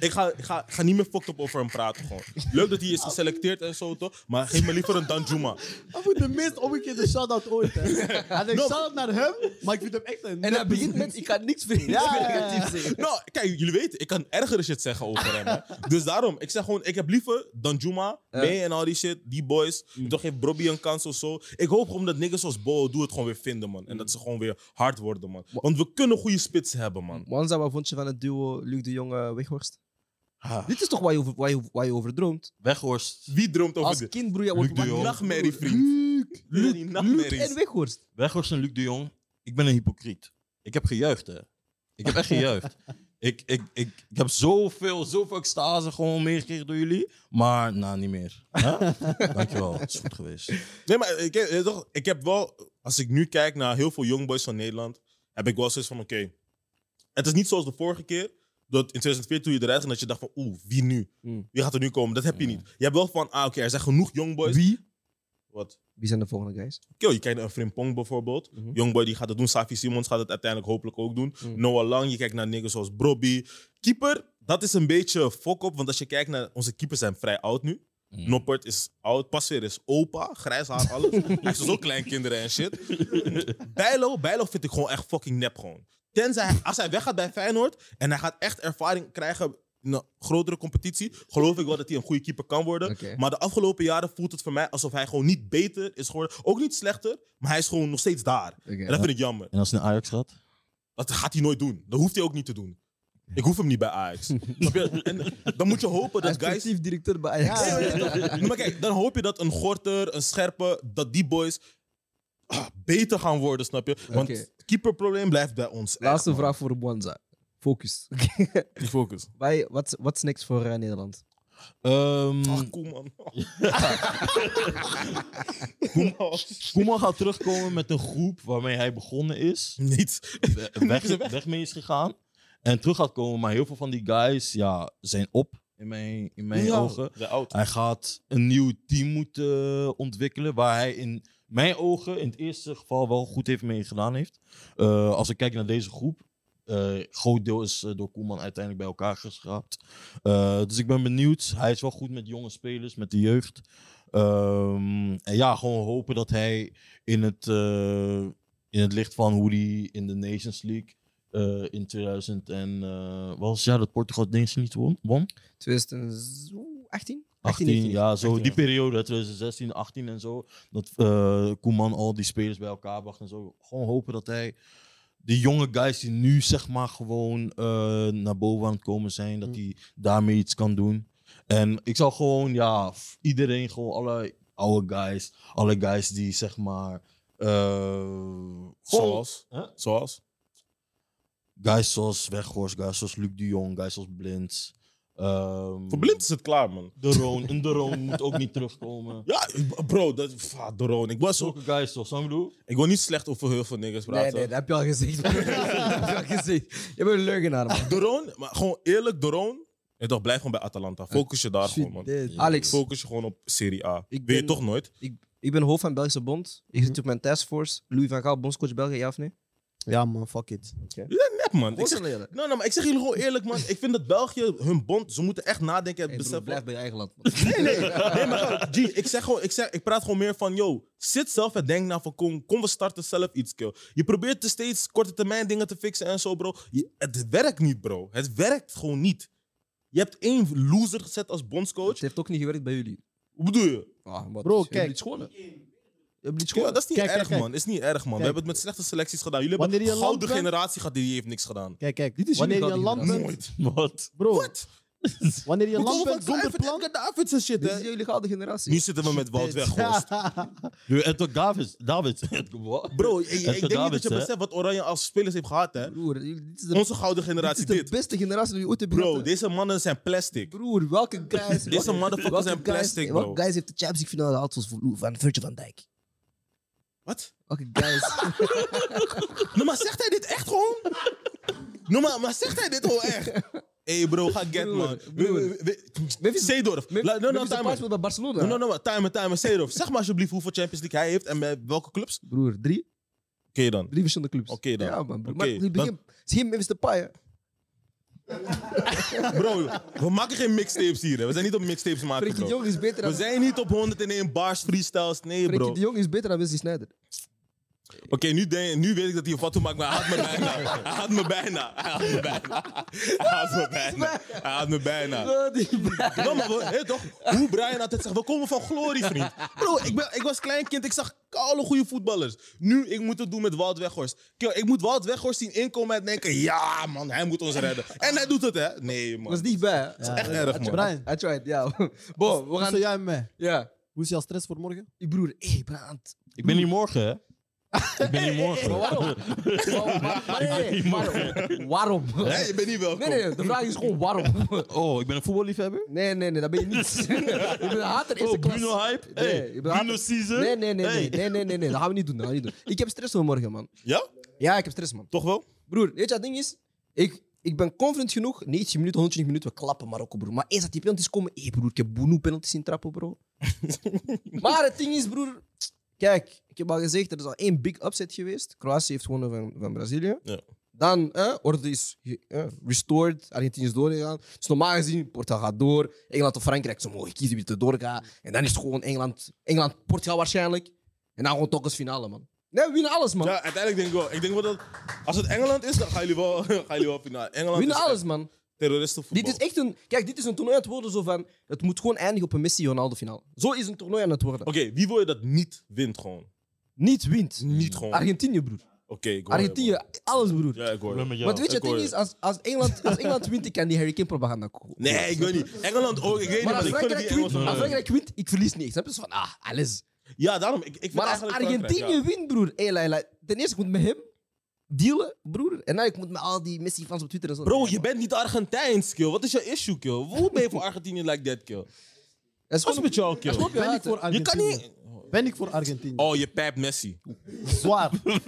F: Ik ga, ik ga, ik ga niet meer fucked up over hem praten, gewoon. Leuk dat hij is geselecteerd en zo, toch? Maar geef me liever een Danjuma.
E: Hij moet de meest omgekeerde shout-out ooit, hè? Hij denkt shout-out naar hem, maar ik vind hem echt een...
A: En hij begint met, ik ga niks meer
E: Ja, ja, ja.
A: negatief zeggen.
F: Nou, kijk, jullie weten, ik kan ergere shit zeggen over hem. Hè. Dus daarom, ik zeg gewoon, ik heb liever dan Juma, May en al die shit, die boys. Toch geeft Bobby een kans of zo. Ik hoop gewoon dat niggas zoals Bo doe het gewoon weer vinden, man. En dat ze gewoon weer hard worden, man. Want we kunnen goede spitsen hebben, man.
A: Wanza, wat vond je van het duo Luc de Jonge Weghorst? Dit is toch waar je over, waar je, waar je over droomt?
G: Weghorst.
F: Wie droomt over
A: Als
F: dit?
A: kind, broer, jij
G: Luc
A: wordt
G: de
A: wakker.
G: Jong.
F: Nachtmerrie, vriend. Jullie die
A: Luc
F: nachtmerries.
A: en Weghorst.
G: Weghorst en Luc de Jong. Ik ben een hypocriet. Ik heb gejuicht, hè. Ik heb echt gejuicht. Ik, ik, ik, ik heb zoveel, zoveel extase gewoon meegekregen door jullie. Maar, nou, niet meer. Huh? Dankjewel. Het is goed geweest.
F: Nee, maar ik, eh, toch, ik heb wel, als ik nu kijk naar heel veel jongboys van Nederland, heb ik wel zoiets van: oké, het is niet zoals de vorige keer. Dat in 2004 toen je eruit ging, dat je dacht van, oeh, wie nu?
A: Mm.
F: Wie gaat er nu komen? Dat heb je niet. Je hebt wel van, ah, oké, er zijn genoeg jongboys.
A: Wie?
F: Wat?
A: Wie zijn de volgende guys?
F: Yo, je kijkt naar een Frimpong bijvoorbeeld.
A: Mhm.
F: Jongboy die gaat het doen. Safi Simons gaat het uiteindelijk hopelijk ook doen.
A: Mm.
F: Noah Lang, je kijkt naar niggas zoals Brobby. Keeper, dat is een beetje fok op. Want als je kijkt naar... Onze keepers zijn vrij oud nu.
A: Mhm.
G: Mm.
F: Noppert is oud. Pasveer is opa. Grijs haar, alles. Hij heeft dus ook kleinkinderen en shit. Bijlo, Bijlo vind ik gewoon echt fucking nep gewoon. Tenzij, hij- als hij weggaat bij Feyenoord... en hij gaat echt ervaring krijgen een grotere competitie, geloof ik wel dat hij een goede keeper kan worden.
A: Oké.
F: Maar de afgelopen jaren voelt het voor mij alsof hij gewoon niet beter is geworden. Ook niet slechter, maar hij is gewoon nog steeds daar.
A: Oké.
F: En dat vind ik jammer.
G: En als hij naar Ajax gaat?
F: Dat gaat hij nooit doen. Dat hoeft hij ook niet te doen. Ik hoef hem niet bij Ajax. Snap je? En dan moet je hopen
A: Hij is
F: dat dus, guys...
A: sportief directeur bij Ajax.
F: Ja, ja, ja. Maar kijk, dan hoop je dat een Gorter, een Scherpe, dat die boys ah, beter gaan worden, snap je? Want
A: Oké.
F: het keeperprobleem blijft bij ons.
A: Laatste
F: Echt, man.
A: vraag voor Bonza. Focus.
F: Die focus.
A: Wij- Wat wat is niks voor eh, Nederland?
G: Ehm,
F: Ach, cool man.
G: Koeman gaat terugkomen met een groep waarmee hij begonnen is.
F: Niet.
G: we- weg, weg mee is gegaan. En terug gaat komen. Maar heel veel van die guys ja, zijn op in mijn, in mijn
F: Ja,
G: ogen.
F: De oud.
G: Hij gaat een nieuw team moeten ontwikkelen. Waar hij in mijn ogen in het eerste geval wel goed heeft mee gedaan heeft. Eh, als ik kijk naar deze groep. eh groot deel is eh, door Koeman uiteindelijk bij elkaar geschraapt. Eh, dus ik ben benieuwd. Hij is wel goed met jonge spelers, met de jeugd. Ehm, en ja, gewoon hopen dat hij in het, eh, in het licht van hoe hij in de Nations League eh, in 2000 en eh, wat was het jaar dat Portugal de Nations League won? won?
A: 2018?
G: 18,
A: 19.
G: ja, zo
F: 18,
G: die
F: ja.
G: periode, 2016, 18 en zo. Dat eh, Koeman al die spelers bij elkaar bracht en zo. Gewoon hopen dat hij die jonge guys die nu zeg maar gewoon eh, naar boven aan het komen zijn,
F: Hm.
G: dat hij daarmee iets kan doen. En ik zal gewoon, ja, f- iedereen, gewoon alle oude guys, alle guys die zeg maar. eh, gewoon
F: Zoals.
G: Huh?
F: Zoals.
G: guys zoals Weghorst, guys zoals Luc de Jong, guys zoals Blind. ehm,
F: Voor blind is het klaar, man.
G: De Roon, een De Roon moet ook niet terugkomen.
F: Ja, bro, dat fa, Doron. Ik, was zo,
G: Zulke guys toch, snap je wat ik bedoel?
F: ik wil niet slecht over heel veel niggas
A: Nee,
F: praten.
A: nee, dat heb je al gezegd. dat heb je al gezegd. Je bent een leugenaar, man.
F: Doron, maar gewoon eerlijk, Doron. Ik dacht, blijf gewoon bij Atalanta. Focus je daar gewoon, man.
A: Alex,
F: Focus je gewoon op Serie A.
A: Ik
F: Weet je
A: ben-
F: toch nooit?
A: ik, ik ben hoofd van Belgische Bond. Ik zit op mijn taskforce. Louis van Gaal, bondscoach België, ja of nee?
E: Ja, man, fuck it.
F: Nep, man. Ik zeg,
A: Gewoon leren.
F: Nou, nou, maar ik zeg jullie gewoon eerlijk, man. Ik vind dat België, hun bond, ze moeten echt nadenken en
A: Hey, broer,
F: beseffen.
A: blijf bij je eigen land. man.
F: Nee, nee, nee, maar G, ik zeg gewoon, ik, zeg, ik praat gewoon meer van, yo, zit zelf en denk na van, kom, kom we starten zelf iets, kill. Je probeert te steeds korte termijn dingen te fixen en zo, bro. Je- het werkt niet, bro. Het werkt gewoon niet. Je hebt één loser gezet als bondscoach.
A: Het heeft ook niet gewerkt bij jullie.
F: Hoe bedoel je?
A: Ah, wat?
E: Bro,
A: Je
E: kijk.
A: hebt niet scholen. Je hebt niet
F: Ja,
A: scholen.
F: dat is niet
E: Kijk,
F: erg,
E: kijk, kijk.
F: man. is niet erg, man. We
E: Kijk.
F: hebben het met slechte selecties gedaan. Jullie
E: Wanneer
F: hebben
E: je
F: een
E: land
F: gouden
E: bent-
F: generatie gehad die heeft niks gedaan.
E: Kijk, kijk.
A: Dit is
E: wanneer je
A: jullie
E: een
A: gouden
E: land bent,
F: Nooit.
G: Wat?
E: bro,
F: Wat?
E: wanneer je een
F: Hoe
E: land
F: komen
E: bent
F: we van
E: zonder plan...
F: Kluivert en Davids en shit,
A: Dit is
F: hè?
A: jullie gouden generatie.
F: Nu zitten we met Wout Weghorst.
G: Nu, Edward Davids. Davids. Edward- wat?
F: Bro, ik, ik
G: Edgar
F: denk niet dat
G: Davids,
F: je
G: hè?
F: beseft wat Oranje als spelers heeft gehad, hè?
A: Broer, jullie- dit is de,
F: Onze gouden
A: dit
F: generatie,
A: is
F: dit.
A: de beste generatie die je ooit hebt
F: Bro,
A: gehad.
F: deze mannen zijn plastic.
A: Broer, welke guys...
F: Deze
A: welke-
F: motherfuckers
A: welke
F: zijn
A: guys-
F: plastic, bro.
A: Welke guys heeft de Champions League finale gehaald zoals Lou- van Virgil van Dijk?
F: Wat?
A: Welke guys...
F: Nou, maar zegt hij dit echt gewoon? nou, maar, maar zegt hij dit gewoon echt? Hé, hey bro, ga get,
A: Broer,
F: man.
A: broer.
F: We- we- we-
A: Memphis-
F: Seedorf.
A: Memphis-
F: La- No, no,
A: Memphis Depay
F: timer.
A: speelt bij Barcelona.
F: No, no, no, maar timer, timer. Seedorf. Zeg maar alsjeblieft hoeveel Champions League hij heeft en bij welke clubs. Oké
A: Broer, drie,
F: dan.
A: drie verschillende clubs.
F: Oké dan.
A: Ja, man. Broer.
F: Oké,
A: maar,
F: dan- Ah,
A: begin, zie je hem Memphis Depay, hè?
F: Bro, we maken geen mixtapes hier. hè. We zijn niet op mixtapes maken,
A: Frenkie de
F: bro.
A: Jong is beter
F: We
A: dan...
F: zijn niet op 101 bars freestyles. Nee,
A: Frenkie
F: bro.
A: de Jong is beter dan Wesley Sneijder.
F: Oké, nu, denk- nu weet ik dat hij een foto maakt, maar hij had me bijna. Hij had me bijna. Hij had me bijna. Hij had me bijna. Hij had me bijna. No, maar we- hé, toch? Hoe Brian altijd zegt, we komen van glorie, vriend. Bro, ik, ben, ik was klein kind, ik zag alle goede voetballers. Nu, ik moet het doen met Wout Weghorst. Kill, ik moet Wout Weghorst zien inkomen en denken, ja man, hij moet ons redden. En hij doet het, hè? Nee, man.
A: was dichtbij, hè?
E: Ja.
F: Echt erg, man.
E: Brian,
A: I tried, ja. Bo, Oh, we
E: hoe
A: gaan...
E: sta jij met mij?
A: Dus, eh, Ja.
E: Hoe is jouw stress voor morgen?
A: Je broer, hé, hey, Brand.
G: Ik ben hier morgen, hè? Ik ben hier morgen.
A: Nee, waarom? Waarom?
F: Hé, je bent niet welkom.
A: Nee, nee, de vraag is gewoon waarom.
G: Oh, ik ben een voetballiefhebber?
A: Nee, nee, nee, dat ben je niet. je bent een hater eerste
G: Oh,
A: klas.
G: Bruno Hype?
A: Nee,
G: Hey,
A: je bent
G: Bruno
A: hater.
G: Caesar?
A: Nee, nee, nee, nee,
G: Hey.
A: nee, nee, nee, nee, dat gaan we niet doen, dat gaan we niet doen. Ik heb stress voor morgen, man.
F: Ja?
A: Ja, ik heb stress, man.
F: Toch wel?
A: Broer, weet je wat het ding is? Ik, ik ben confident genoeg. 90 minuten, 120 minuten, we klappen Marokko, broer. Maar eens dat die penalties komen... Hé, broer, ik heb Boenu penalties zien trappen, bro. maar het ding is, broer... Kijk, ik heb al gezegd, er is al één big upset geweest. Kroatië heeft gewonnen van, van Brazilië.
F: Ja.
A: Dan, eh, orde is ge- eh, restored. Argentinië is doorgegaan. Dus normaal gezien, Portugal gaat door. Engeland of Frankrijk, ze mogen kiezen wie er doorgaat. En dan is het gewoon Engeland, Engeland Portugal waarschijnlijk. En dan gewoon toch eens finale, man. Nee, we winnen alles, man.
F: Ja, uiteindelijk denk ik wel. Ik denk wel dat als het Engeland is, dan gaan jullie wel, gaan jullie wel finale.
A: we
F: Engeland
A: winnen
F: is echt-
A: alles, man.
F: Terroristenvoetbal.
A: Dit is echt een, kijk, dit is een toernooi aan het worden zo van... Het moet gewoon eindigen op een Messi-Ronaldo-finale. Zo is een toernooi aan het worden.
F: Oké, wie wil je dat niet wint gewoon?
A: Niet wint.
F: Niet gewoon. Oké,
A: Argentinië, broer.
F: ik hoor je,
A: Argentinië, alles, broer.
F: man. Ja, ik hoor je.
A: Want weet je, het
F: Ik
A: ding
F: hoor je.
A: is, als, als, Engeland, als Engeland wint, ik kan die Harry Kane-propaganda kopen.
F: Nee, ik weet niet. Engeland ook. Ik weet
A: Maar
F: niet,
A: als
F: maar ik vind
A: Frankrijk,
F: die
A: wint, als
F: Engeland... eh,
A: Frankrijk wint, ik verlies niks. Snap je? Zo van, ah, alles.
F: Ja, daarom. Ik, ik vind
A: Maar als
F: eigenlijk Frankrijk,
A: Argentinië
F: ja.
A: wint, broer, hey, Laila, ten eerste ik moet met hem dealen, broer. En dan ik moet met al die Messi-fans op Twitter en zo.
F: Bro,
A: Nee,
F: je
A: man.
F: bent niet Argentijns, kill. Wat is je issue, kill? Hoe ben je voor Argentinië like that, kill?
A: Dat is
F: Wat is
A: gewoon
F: met jou, kill?
A: Stop je
E: Ben ik
A: haten.
E: voor
F: Je kan
E: Argentinië?
F: niet...
E: Ben ik voor Argentinië?
F: Oh, je pijp Messi.
E: Zwaar. Doe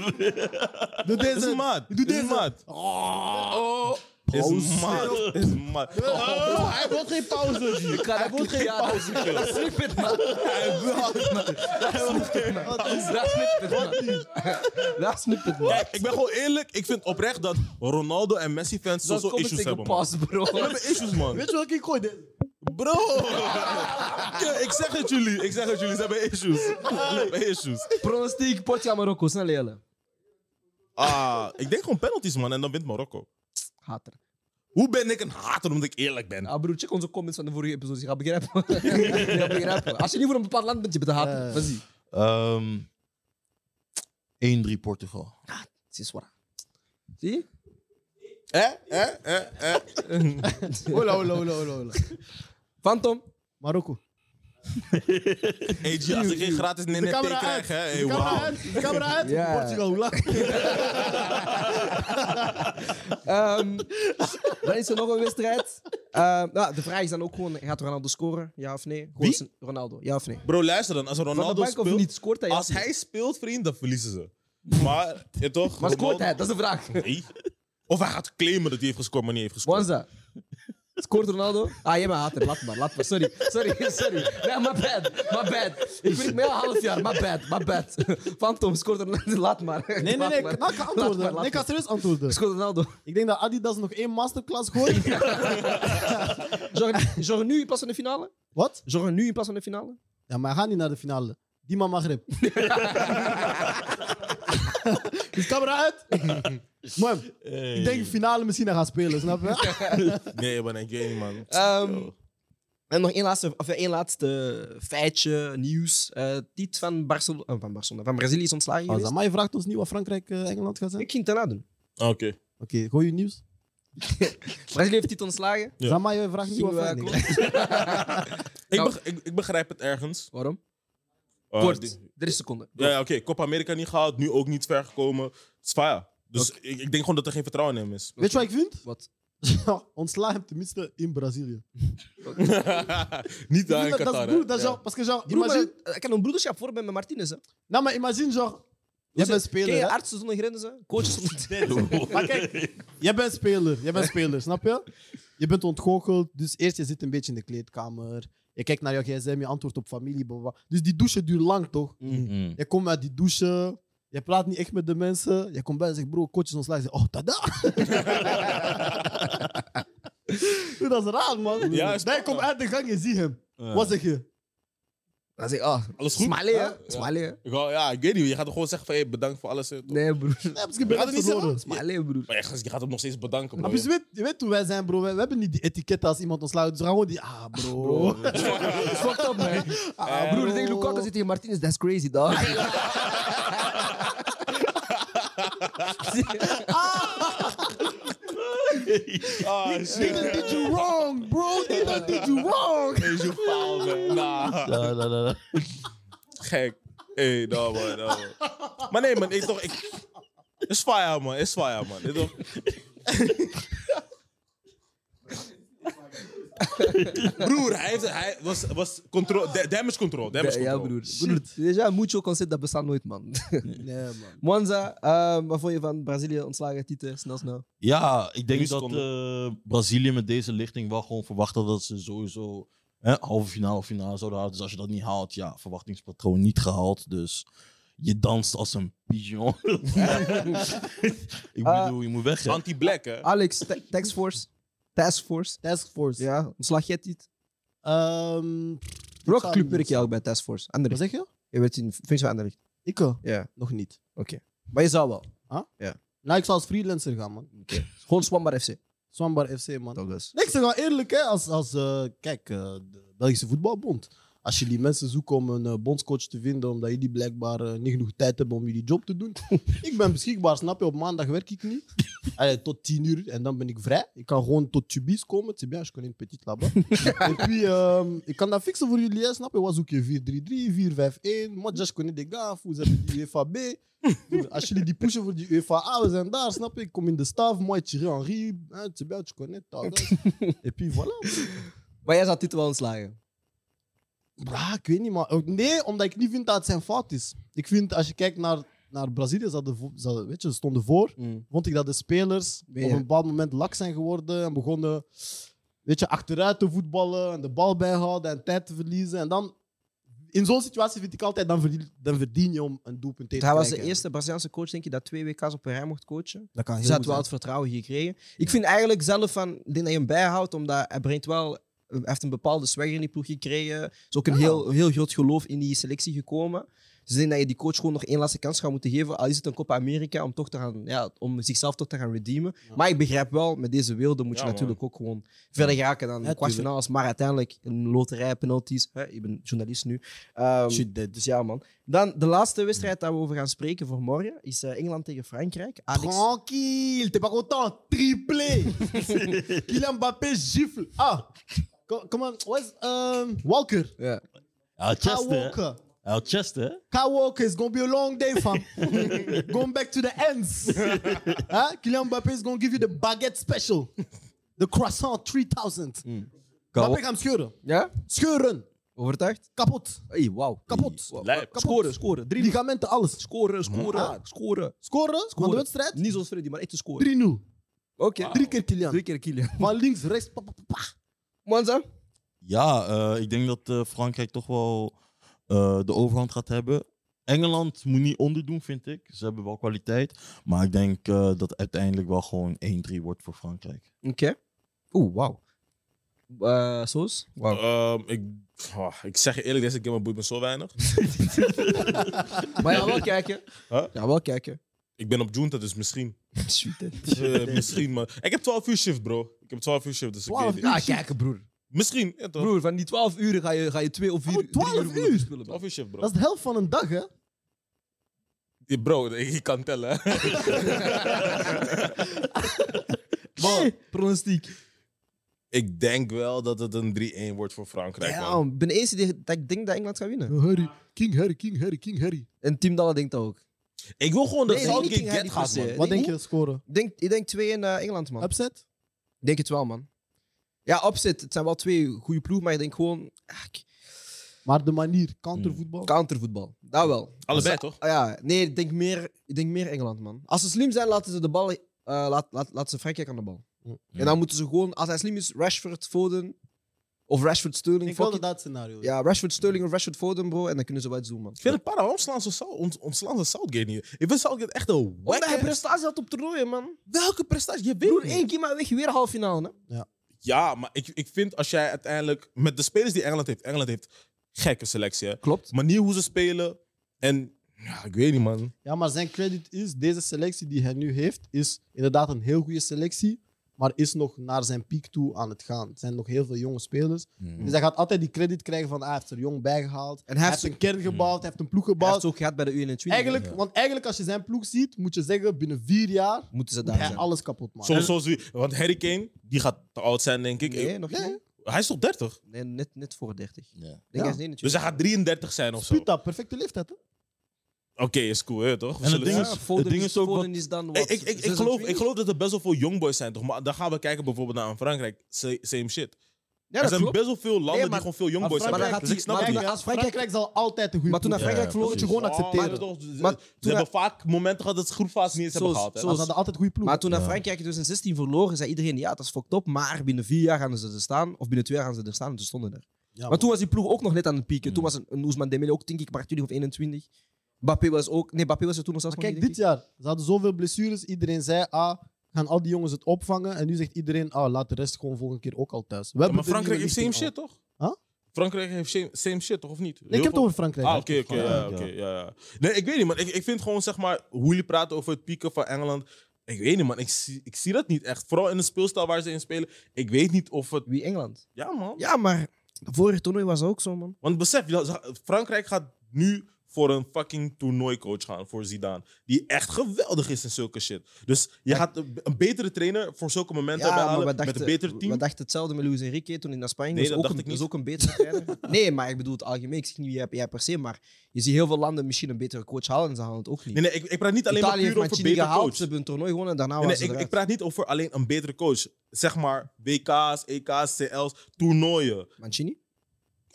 F: Dat is
E: deze.
F: een maat.
E: Doe
F: Dit is een
E: deze.
F: maat. Oh, is een maat. Is een maat.
C: Oh, hij wil geen pauze.
A: Ik kan dat niet gaan. Dat is niet man. Dat is niet man. Dat is niet man.
F: Kijk, ik ben gewoon eerlijk. Ik vind oprecht dat Ronaldo en Messi-fans
A: Dat
F: sowieso
A: komt
F: issues
A: tegen
F: hebben, man.
A: pas, bro.
F: We hebben issues, man.
E: Weet je welke ik gooi? De-
F: Bro! Kill, ik zeg het jullie. Ik zeg het jullie. Ze hebben issues. Ze hebben issues.
A: Pronostiek, Portia, Marokko. Snel jellen.
F: Ah, ik denk gewoon penalties, man. En dan wint Marokko.
A: Hater.
F: Hoe ben ik een hater omdat ik eerlijk ben?
A: Ah, broer, check onze comments van de vorige episode. Je gaat begrijpen. Je gaat begrijpen. Als je niet voor een bepaald land bent, je bent een hater. Vas-y.
G: Ehm 1-3 Portugal.
A: Het is waar. Zie je?
F: Hè? Hè? Hè? Hè?
E: Hola, hola, hola, hola, hola.
A: Phantom.
E: Marokko.
F: Hey, G, als ik geen gratis
E: De
F: NNT
E: camera
F: krijg, hè? Hey,
E: De camera
F: wow.
E: uit. De camera uit.
A: Ja.
E: Portugal, hoe laat?
A: Ehm, dan is er nog een wedstrijd. Ehm, nou, de vraag is dan ook gewoon, gaat Ronaldo scoren? Ja of nee? Gewoon
F: Wie?
A: zijn- Ronaldo, ja of nee?
F: Bro, luister dan. Als
A: Van de
F: Ronaldo
A: bank of
F: speelt...
A: niet? Scoort hij? ja
F: Als
A: of nee?
F: hij speelt, vriend, dan verliezen ze. Maar, je toch?
A: Maar scoort
F: Ronaldo-
A: hij? Dat is de vraag.
F: Nee. Of hij gaat claimen dat hij heeft gescoord, maar niet heeft gescoord.
A: Wanza. Scoort Ronaldo? Ah, jij bent hater. Laat maar, laat maar. Sorry, sorry, sorry. Nee, my bad, my bad. Ik ben me al een half jaar. My bad, my bad. Phantom, scoort Ronaldo? Laat maar.
E: Nee, nee,
A: Laat
E: nee.
A: maar.
E: Ik kan
A: Laat maar,
E: antwoorden.
A: laat
E: Nee, ik kan
A: maar.
E: serieus antwoorden.
A: Scoort Ronaldo.
E: Ik denk dat Adidas nog één masterclass gooit.
A: Zorg- Zorg nu in plaats van de finale?
E: Wat?
A: Zorg nu in plaats van de finale?
E: Ja, maar hij gaat niet naar de finale. Dima Maghreb. Is camera uit? Man, ik denk finale misschien hij gaat spelen, snap je?
F: Nee, maar ik weet niet, man.
A: Ehm, en nog één laatste, of één laatste feitje, nieuws. Eh Tiet van, Barcel eh, van Barcelona, van Brazilië is ontslagen
F: Oh,
E: Als
A: geweest.
E: maar je vraagt ons niet wat Frankrijk-Engeland gaat zijn.
A: Ik ging het daarna doen.
F: Ah, Oké.
E: Oké, gooi je nieuws.
A: Brazilië heeft Tiet ontslagen.
F: Ja.
E: Zama, je vraagt niet wat
A: Zo, eh,
E: Frankrijk.
A: klopt.
F: Ik,
A: Nou-
F: beg- ik, ik begrijp het ergens.
A: Waarom?
F: Eh,
A: Kort,
F: die-
A: 30 seconden.
F: ja, ja, oké. Copa America niet gehaald, nu ook niet ver gekomen. Het is fire. Dus ik, ik denk gewoon dat er geen vertrouwen in hem is.
E: Weet je wat ik vind?
A: Wat?
E: Ontsla hem tenminste in Brazilië.
F: niet daar in
E: dat, dat is
F: Qatar,
E: broer, dat
F: hè?
E: is genre, parce que genre,
A: Broer, maar,
E: imagine,
A: eh, ik kan een broederschap voor met Martinez. Hè. Dus
E: nou maar imagine genre, jij bent
A: Ken
E: speler,
A: je
E: hè?
A: artsen zonder grenzen? Coaches zonder
E: Maar kijk, jij bent speler, jij bent speler, snap je? Je bent ontgoocheld, dus eerst je zit een beetje in de kleedkamer. Je kijkt naar je gsm, je antwoordt op familie. bla, bla, bla. Dus die douche duurt lang, toch?
G: Mm.
E: Je komt uit die douche, je praat niet echt met de mensen. Je komt bij en zegt, bro, coach is ontslagen. Je zegt, oh, tada! Dude, dat is raar, man.
F: Ja, is
E: Dan je komt uit de gang, je ziet hem. Wat zeg je?
A: Dan zeg ik, ah,
F: Alles goed?
A: smiley hè?
F: Ja.
A: Smiley hè?
F: Ik wou- ja, ik weet niet. Je gaat toch gewoon zeggen van, hey, bedankt voor alles. hè, toch?
A: Nee, broer.
E: Nee, misschien
F: Gaat
E: ben
F: het
E: ik
F: niet
E: verloren.
A: Smiley broer.
F: Maar echt, je gaat hem nog steeds bedanken,
E: Maar
F: bro.
E: je weet, je weet hoe wij zijn, bro. We, hebben niet die etiketten als iemand ontslagen. Dus we gaan gewoon die, ah, bro.
A: Oh. Fucked up, man. Ah, broer, ik denk Lukaku zit tegen Martinez. That's crazy, dog.
F: Ah, shit.
E: Nigga did you wrong, bro. Nigga did you wrong.
F: Is je faal, man. Nah.
G: Da, da, da, da.
F: Gek. hey, nou man, nou man. Maar nee, man, ik toch. Ik... Is fire, man. Is fire, man. Ik toch... Broer, hij, heeft, hij was, was control, da- damage control. Damage control.
A: Ja, broer. broer déjà, mucho concept, dat bestaat nooit, man.
E: Nee, man.
A: Mwanza, ehm wat vond je van Brazilië ontslagen, Tite? Snel, snel.
G: Ja, ik
F: Drie
G: denk dat
F: seconden.
G: eh, Brazilië met deze lichting wel gewoon verwacht had dat ze sowieso hè, halve finale of finale zouden halen. Dus als je dat niet haalt, ja, verwachtingspatroon niet gehaald. Dus je danst als een pigeon. ik
A: Ah.
G: bedoel, je moet weg. hè.
F: Anti-black, hè?
A: Alex, ta- Task Force. Task Force.
E: Task Force.
A: Ja, ontslag jij Tite?
E: Ehm,
A: Welke
E: zou
A: club
E: niet
A: werk je ook bij Task Force?
E: wat
A: Anderlecht.
E: zeg je?
A: Je werkt in functie van Anderlecht.
E: Ik? eh,
A: Ja,
E: Nog niet.
A: oké. Maar je zou wel.
E: Nou, ik zou als freelancer gaan, man.
A: Gewoon Swambar FC.
E: Zwambar FC, man.
D: Douglas.
E: Nee, ik zeg wel eerlijk, hè, als, als eh, kijk, eh, de Belgische voetbalbond. Als jullie mensen zoeken om een eh, bondscoach te vinden, omdat jullie blijkbaar eh, niet genoeg tijd hebben om jullie job te doen. ik ben beschikbaar, snap je? Op maandag werk ik niet. Allee, tot tien uur en dan ben ik vrij. Ik kan gewoon tot Tubis komen. C'est bien, je connais een petit là-bas. en puis, ehm, ik kan dat fixen voor jullie, hè, snap je? Wat zoek je? 4-3-3, 4-5-1. Moi, déjà, je connais des gars. Vous hebben die UEFA B. Als jullie die pushen voor die UEFA A, we zijn daar, snap je? Ik kom in de staf. Moi, Thierry Henry. Hein, c'est bien, tu connais. t'as- en puis voilà.
A: Maar jij zou dit wel ontslagen.
E: Bra, ik weet niet, maar ook- nee, omdat ik niet vind dat het zijn fout is. Ik vind als je kijkt naar, naar Brazilië, ze, hadden vo- ze hadden- weet je, ze stonden voor.
A: Mm.
E: Vond ik dat de spelers
A: Ja.
E: op een bepaald moment lak zijn geworden en begonnen weet je, achteruit te voetballen en de bal bijhouden en tijd te verliezen. En dan, in zo'n situatie vind ik altijd, dan verdien, dan verdien je om een doelpunt tegen
A: Dus Hij
E: te
A: was
E: krijgen.
A: de eerste Braziliaanse coach, denk ik, dat twee WK's op een rij mocht coachen.
E: Dat kan
A: Ze had wel het vertrouwen gekregen. Ik vind eigenlijk zelf van, ik denk dat je hem bijhoudt, omdat hij brengt wel, hij heeft een bepaalde swagger in die ploeg gekregen. Er is ook een heel, heel groot geloof in die selectie gekomen. Dus ik denk dat je die coach gewoon nog één laatste kans gaat moeten geven, al is het een Copa America, om, toch te gaan, ja, om zichzelf toch te gaan redeemen. Maar ik begrijp wel, met deze wilde moet je
F: Ja, man.
A: natuurlijk ook gewoon verder geraken dan de
E: tuurlijk.
A: kwartfinales. Maar uiteindelijk een loterij, penalties. Hè, ik ben journalist nu. Ehm,
E: Shit, dead.
A: dus ja, man. Dan de laatste wedstrijd waar we over gaan spreken voor morgen is eh, Engeland tegen Frankrijk. Alex,
E: Tranquille, t'es pas content, triplé. Kylian Mbappé gifle. Ah, co- comment, what's, um, Walker.
A: Ja.
E: Ka
G: El Chester. hè?
E: Ah, Walker.
G: El Chester. hè?
E: Ka Walker, it's gonna be a long day, fam. going back to the ends. huh? Kylian Mbappé is gonna give you the baguette special. The croissant 3000.
G: Hmm.
A: Ka-
E: Mbappé gaat hem scheuren.
A: Ja?
E: Scheuren.
A: Overtuigd?
E: Kapot.
A: Hey, wauw.
E: Kapot.
A: Wow.
F: Lijp.
E: Kapot.
A: Scoren, scoren. Drie
E: Ligamenten, alles. Ah.
A: scoren, scoren, scoren.
E: Scoren, van de
A: Scoren.
E: wedstrijd.
A: Niet zoals Freddy, maar echt te scoren.
E: 3-0.
A: Oké.
E: Drie keer Kylian.
A: Drie keer Kylian.
E: Van links, rechts. pa, pa, pa, pa.
A: Manza?
G: Ja, eh, ik denk dat eh, Frankrijk toch wel eh, de overhand gaat hebben. Engeland moet niet onderdoen, vind ik. Ze hebben wel kwaliteit. Maar ik denk eh, dat uiteindelijk wel gewoon 1-3 wordt voor Frankrijk.
A: Oké. Oeh, wauw. Eh Soos? Wauw.
F: Ehm, ik, ah, ik zeg je eerlijk, deze game boeit me zo weinig.
A: Maar ja, wel kijken.
F: Huh?
A: Ja, wel kijken.
F: Ik ben op Junta, dus misschien.
A: Shoot it.
F: Eh, misschien, maar ik heb 12 uur shift, bro. Ik heb 12 uur shift, dus ik
A: 12
F: weet
A: uur.
F: niet.
A: Ah, kijken, broer.
F: Misschien, ja, toch?
A: Broer, van die 12 uur ga je, ga je 2 of 4
E: Oh, 12 uur?
A: spullen.
F: 12 uur shift, bro.
E: Dat is de helft van een dag, hè?
F: Ja, Bro, ik ik kan tellen. hè.
A: Man, pronostiek.
F: ik denk wel dat het een 3-1 wordt voor Frankrijk,
A: Ja,
F: man.
A: ik ben eens die- dat ik denk dat Engeland gaat winnen.
E: Harry. King Harry, King Harry, King Harry.
A: En Team Dalla denkt dat ook.
F: Ik wil gewoon dat
A: Nee,
F: Southgate
A: King
F: get
A: Harry
F: gaat,
A: per se.
F: man.
E: Wat denk
A: Denk-
E: je scoren?
A: Ik denk, ik denk 2 in eh, Engeland, man.
E: Upset?
A: Ik denk het wel, man. Ja, opzet. Het zijn wel twee goede ploegen, maar ik denk gewoon ah, k-
E: Maar de manier,
A: Hmm.
E: countervoetbal.
A: countervoetbal. Dat wel.
F: Allebei, toch?
A: Ah, ja, nee, ik denk, meer, ik denk meer Engeland, man. Als ze slim zijn, laten ze de bal... eh, laat, laat, laten ze Frankrijk aan de bal. En dan moeten ze gewoon... Als hij slim is, Rashford, Foden... Of Rashford, Sterling.
E: Ik wil
A: fuck
E: dat
A: it.
E: dat scenario.
A: Ja, Rashford, Sterling of Rashford, Foden, bro. En dan kunnen ze wel iets doen, man.
F: Ik vind het para, waarom slaan ze, Sou- ont- ontslaan ze Southgate niet? Ik vind Southgate echt een
A: Omdat hij
F: wack
A: prestatie had op toernooien, man.
F: Welke prestatie? Je weet
A: Broer,
F: niet.
A: één keer maar weg, weer half finale, hè.
F: Ja, maar ik, ik vind als jij uiteindelijk... Met de spelers die Engeland heeft... Engeland heeft gekke selectie, hè.
A: Klopt.
F: Manier hoe ze spelen. En... Ja, ik weet niet, man.
E: Ja, maar zijn credit is, deze selectie die hij nu heeft, is inderdaad een heel goede selectie. Maar is nog naar zijn piek toe aan het gaan. Er zijn nog heel veel jonge spelers.
F: Hmm.
E: Dus hij gaat altijd die credit krijgen van ah, hij heeft er jong bijgehaald.
A: En
E: Hij
A: hij
E: heeft
A: heeft
E: een kern
F: Hmm.
E: gebouwd, hij heeft een ploeg
A: Hij heeft
E: gebouwd.
A: het ook gehad bij de U21.
E: Eigenlijk, Want eigenlijk als je zijn ploeg ziet, moet je zeggen binnen vier jaar
A: moeten ze
E: moet
A: daar
E: hij
A: zijn.
E: alles kapot maken.
F: Zo, zoals wie, want Harry Kane, die gaat te oud zijn, denk ik.
A: Nee, nog niet.
F: Hij is toch 30?
A: Nee, net, net voor 30.
G: Ja.
A: Ik Denk hij is 29.
F: Dus hij gaat 33 zijn of zo. Oké,
E: Sputa, perfecte leeftijd. Hè?
F: is cool, hè, toch? We
G: En het
F: zullen
G: ding
F: zien.
G: is-
A: Ja, Foden
G: het ding
A: is,
G: is ook
A: Foden
G: wat-
A: is dan wat.
F: Ik, ik, ik, ik, geloof,
A: 26?
F: ik geloof dat er best wel veel youngboys zijn, toch? Maar dan gaan we kijken bijvoorbeeld naar Frankrijk. Sa- Same shit.
A: Ja,
F: er
A: dat
F: zijn
A: klopt.
F: best wel veel landen
A: Nee, maar-
F: die gewoon veel youngboys
E: maar
F: hebben.
E: Frankrijk-
F: Dus ik snap
A: maar
F: het
A: toen
F: niet.
A: naar-
E: Frankrijk,
A: als Frankrijk,
E: zal altijd een goede
A: maar toen naar
E: ploeg
A: Frankrijk
G: Ja,
A: verloren, moet
E: moet je
A: je
E: gewoon
A: gewoon
F: Oh,
A: accepteren.
F: toch, ze-
A: Maar
F: ze
A: toen
F: hebben
A: hij-
F: vaak momenten gehad dat ze groepfase niet eens hebben
A: Zoals-
F: gehad. hè.
E: hebben. Ze hadden altijd goede ploeg.
A: Maar toen naar
G: Ja.
A: Frankrijk dus in 2016 verloren, zei iedereen: ja, dat is fucked up. Maar binnen vier jaar gaan ze er staan. Of binnen twee jaar gaan ze er staan. En ze stonden er.
E: Ja,
A: maar toen was die ploeg ook nog net aan het pieken. Toen
G: Mm.
F: Hmm.
A: was een, een Ousmane Dembele ook, denk ik, maar 20 of 21. Mbappé was ook. Nee, Mbappé was er toen nog zelfs
E: Maar
A: nog
E: kijk,
A: niet,
E: dit jaar, ze hadden zoveel blessures. Iedereen zei, ah, gaan al die jongens het opvangen? En nu zegt iedereen, ah, laat de rest gewoon volgende keer ook al thuis. We
F: Ja, maar
E: hebben de
F: Frankrijk
E: nieuwe
F: heeft same
E: lichting
F: shit,
E: al.
F: toch?
E: Huh?
F: Frankrijk heeft same, same shit, toch? Of niet?
E: Nee, ik heb het over Frankrijk.
F: Ah, oké, oké. ja,
G: Ja.
F: oké, ja, ja. Nee, ik weet niet, man. Ik, ik vind gewoon, zeg maar, hoe jullie praten over het pieken van Engeland. Ik weet niet, man. Ik zie, ik zie dat niet echt. Vooral in de speelstijl waar ze in spelen. Ik weet niet of het...
A: Wie Engeland?
F: Ja, man.
A: Ja, maar vorig toernooi was ook zo, man.
F: Want besef, je dat- Frankrijk gaat nu voor een fucking toernooicoach gaan voor Zidane. Die echt geweldig is in zulke shit. Dus je gaat een, een betere trainer voor zulke momenten
A: Ja,
F: bijhalen.
A: we
F: met een beter team.
A: we dachten hetzelfde met Luis Enrique toen hij naar Spanje
F: Nee,
A: was.
F: dat
A: ook
F: dacht
A: een,
F: ik niet.
A: is ook een betere trainer. nee, maar ik bedoel het algemeen. Ik zeg niet jij, jij per se, maar je ziet heel veel landen misschien een betere coach halen en ze halen het ook niet.
F: Nee, nee, ik, ik praat niet alleen
A: Italië
F: maar puur
A: heeft
F: over
A: Mancini
F: betere
A: gehaald,
F: coach.
A: ze hebben een toernooi gewonnen en daarna
C: Oh,
F: Nee,
A: was
F: nee, ik, ik
A: het
F: praat niet over alleen een betere coach. Zeg maar E WK's, EK's, CL's, toernooien.
A: Mancini?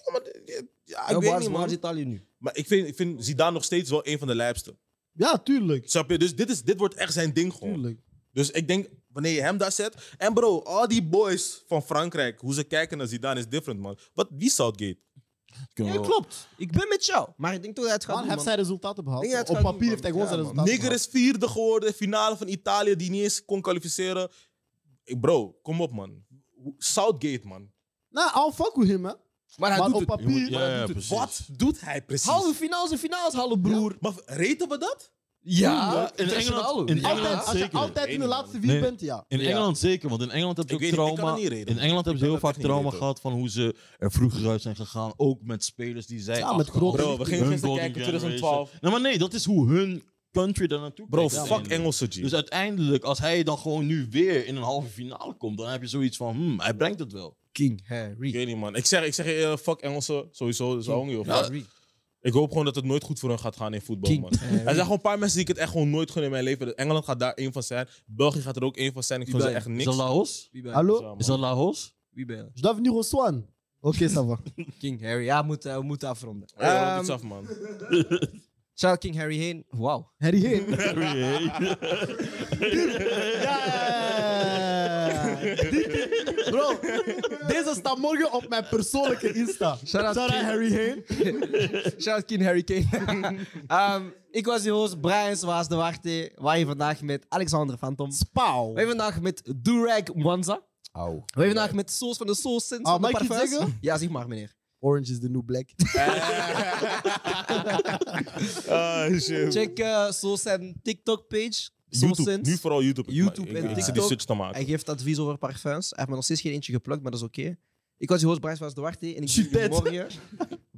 F: Ja, maar, eh, ja,
A: Ja,
F: ik
A: waar,
F: weet
A: is-
F: niet,
A: waar is
F: man.
A: Italië nu?
F: Maar ik vind, ik vind Zidane nog steeds wel een van de lijpste.
C: Ja, tuurlijk.
F: Snap je? Dus dit, is, dit wordt echt zijn ding gewoon.
C: tuurlijk.
F: Dus ik denk, wanneer je hem daar zet... En bro, al die boys van Frankrijk, hoe ze kijken naar Zidane is different, man. Wat, wie Southgate?
G: Kunnen
A: Nee,
G: we-
A: klopt. Ik ben met jou. Maar ik denk toch dat het gaat
C: Man
A: doen,
C: heeft
A: man.
C: zijn resultaten behaald.
A: Ik denk dat het
C: Op
A: gaat
C: papier
A: doen,
C: heeft hij
A: man.
C: gewoon zijn
A: Ja, man.
C: resultaten
F: Nigger is vierde geworden, finale van Italië, die niet eens kon kwalificeren. Ik- Bro, kom op, man. Southgate, man.
C: behaald. Nou, I'll fuck with him, man.
A: Maar hij
C: Maar
A: doet
C: op
A: het.
G: Je moet-
C: papier...
G: ja, ja, precies.
F: Wat doet hij precies?
A: Halve finales en finales halen, broer.
F: Maar reten we dat?
A: Ja,
G: Ja, in
A: internationaal.
G: Engeland- in
A: Ja.
G: Engeland-
C: Altijd, als je
G: zeker.
C: altijd in de
F: Nee,
C: laatste
G: Nee.
C: vier bent, ja.
G: In
A: Ja.
G: Engeland zeker, want in Engeland heb je
F: Ik
G: ook
F: weet niet, ik kan
G: trauma.
F: het niet reden.
G: in Engeland hebben ze heel
F: kan het
G: vaak
F: echt niet
G: trauma
F: reden.
G: gehad van hoe ze er vroeger uit zijn gegaan. Ook met spelers die zij.
C: Ja, met
G: afgehaald
C: grote-
F: Bro, we gingen
G: Hun
F: gisteren
G: golden
F: kijken,
G: generation.
F: 2012.
G: Nee, maar nee, dat is hoe hun country daar naartoe
F: Bro,
G: kijkt
F: fuck
G: uiteindelijk.
F: Engelse G.
G: Dus uiteindelijk, als hij dan gewoon nu weer in een halve finale komt, dan heb je zoiets van, hmm, hij brengt het wel.
A: King Harry.
F: ik weet niet, man. Ik zeg, ik zeg je eerlijk, fuck Engelsen sowieso. Ze houden niet
A: Ja.
F: op. Ik hoop gewoon dat het nooit goed voor hen gaat gaan in voetbal,
A: King.
F: man. Er zijn gewoon een paar mensen die ik het echt gewoon nooit gun in mijn leven. Engeland gaat daar één van zijn. België gaat er ook één van zijn. Ik gun ze echt
G: Is dat
F: niks.
G: Laos?
A: Wie ben
C: Hallo?
F: Ja, man.
G: Is dat Laos?
A: Wie ben
C: Je doet nu gewoon Swan. Oké, ça va.
A: King Harry. Ja, we moeten, we moeten afronden.
F: Hey, round
A: Ehm,
F: iets af, man.
A: Shout out King Harry heen. Wauw.
C: Harry Heen. Bro, deze staat morgen op mijn persoonlijke Insta.
A: Shout out
C: Shout out
A: King.
C: Harry Heen.
A: Shout out King Harry Kane. Ehm, ik was je host, Brian Zwaas de Warte. Waar je vandaag met Alexander Phantom.
C: Spauw.
A: We hebben vandaag met Durag Mwanza. We hebben vandaag met Soos van de Soos Sins
C: Ah,
A: van de
C: mag ik iets
A: Parfums.
C: zeggen?
A: Ja, zeg maar, meneer.
C: Orange is the new black.
A: Check eh Soos zijn TikTok-page. Soos
F: YouTube.
A: Sins.
F: Nu vooral YouTube.
A: YouTube
F: Ik-
A: en
F: ik- Ik zit die
A: TikTok.
F: switch te maken.
A: Hij geeft advies over parfums. Hij heeft me nog steeds geen eentje geplukt, maar dat is oké. Ik was je host, Bryce was Duarte. En ik zie jullie morgen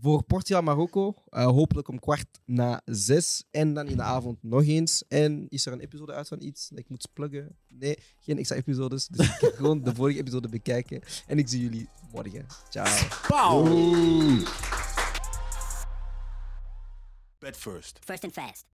A: voor Portugal-Marokko. eh, hopelijk om kwart na zes. En dan in de avond nog eens. En is er een episode uit van iets dat ik moet pluggen? Nee, geen extra episodes. Dus ik ga gewoon de vorige episode bekijken. En ik zie jullie morgen. Ciao.
E: First and fast.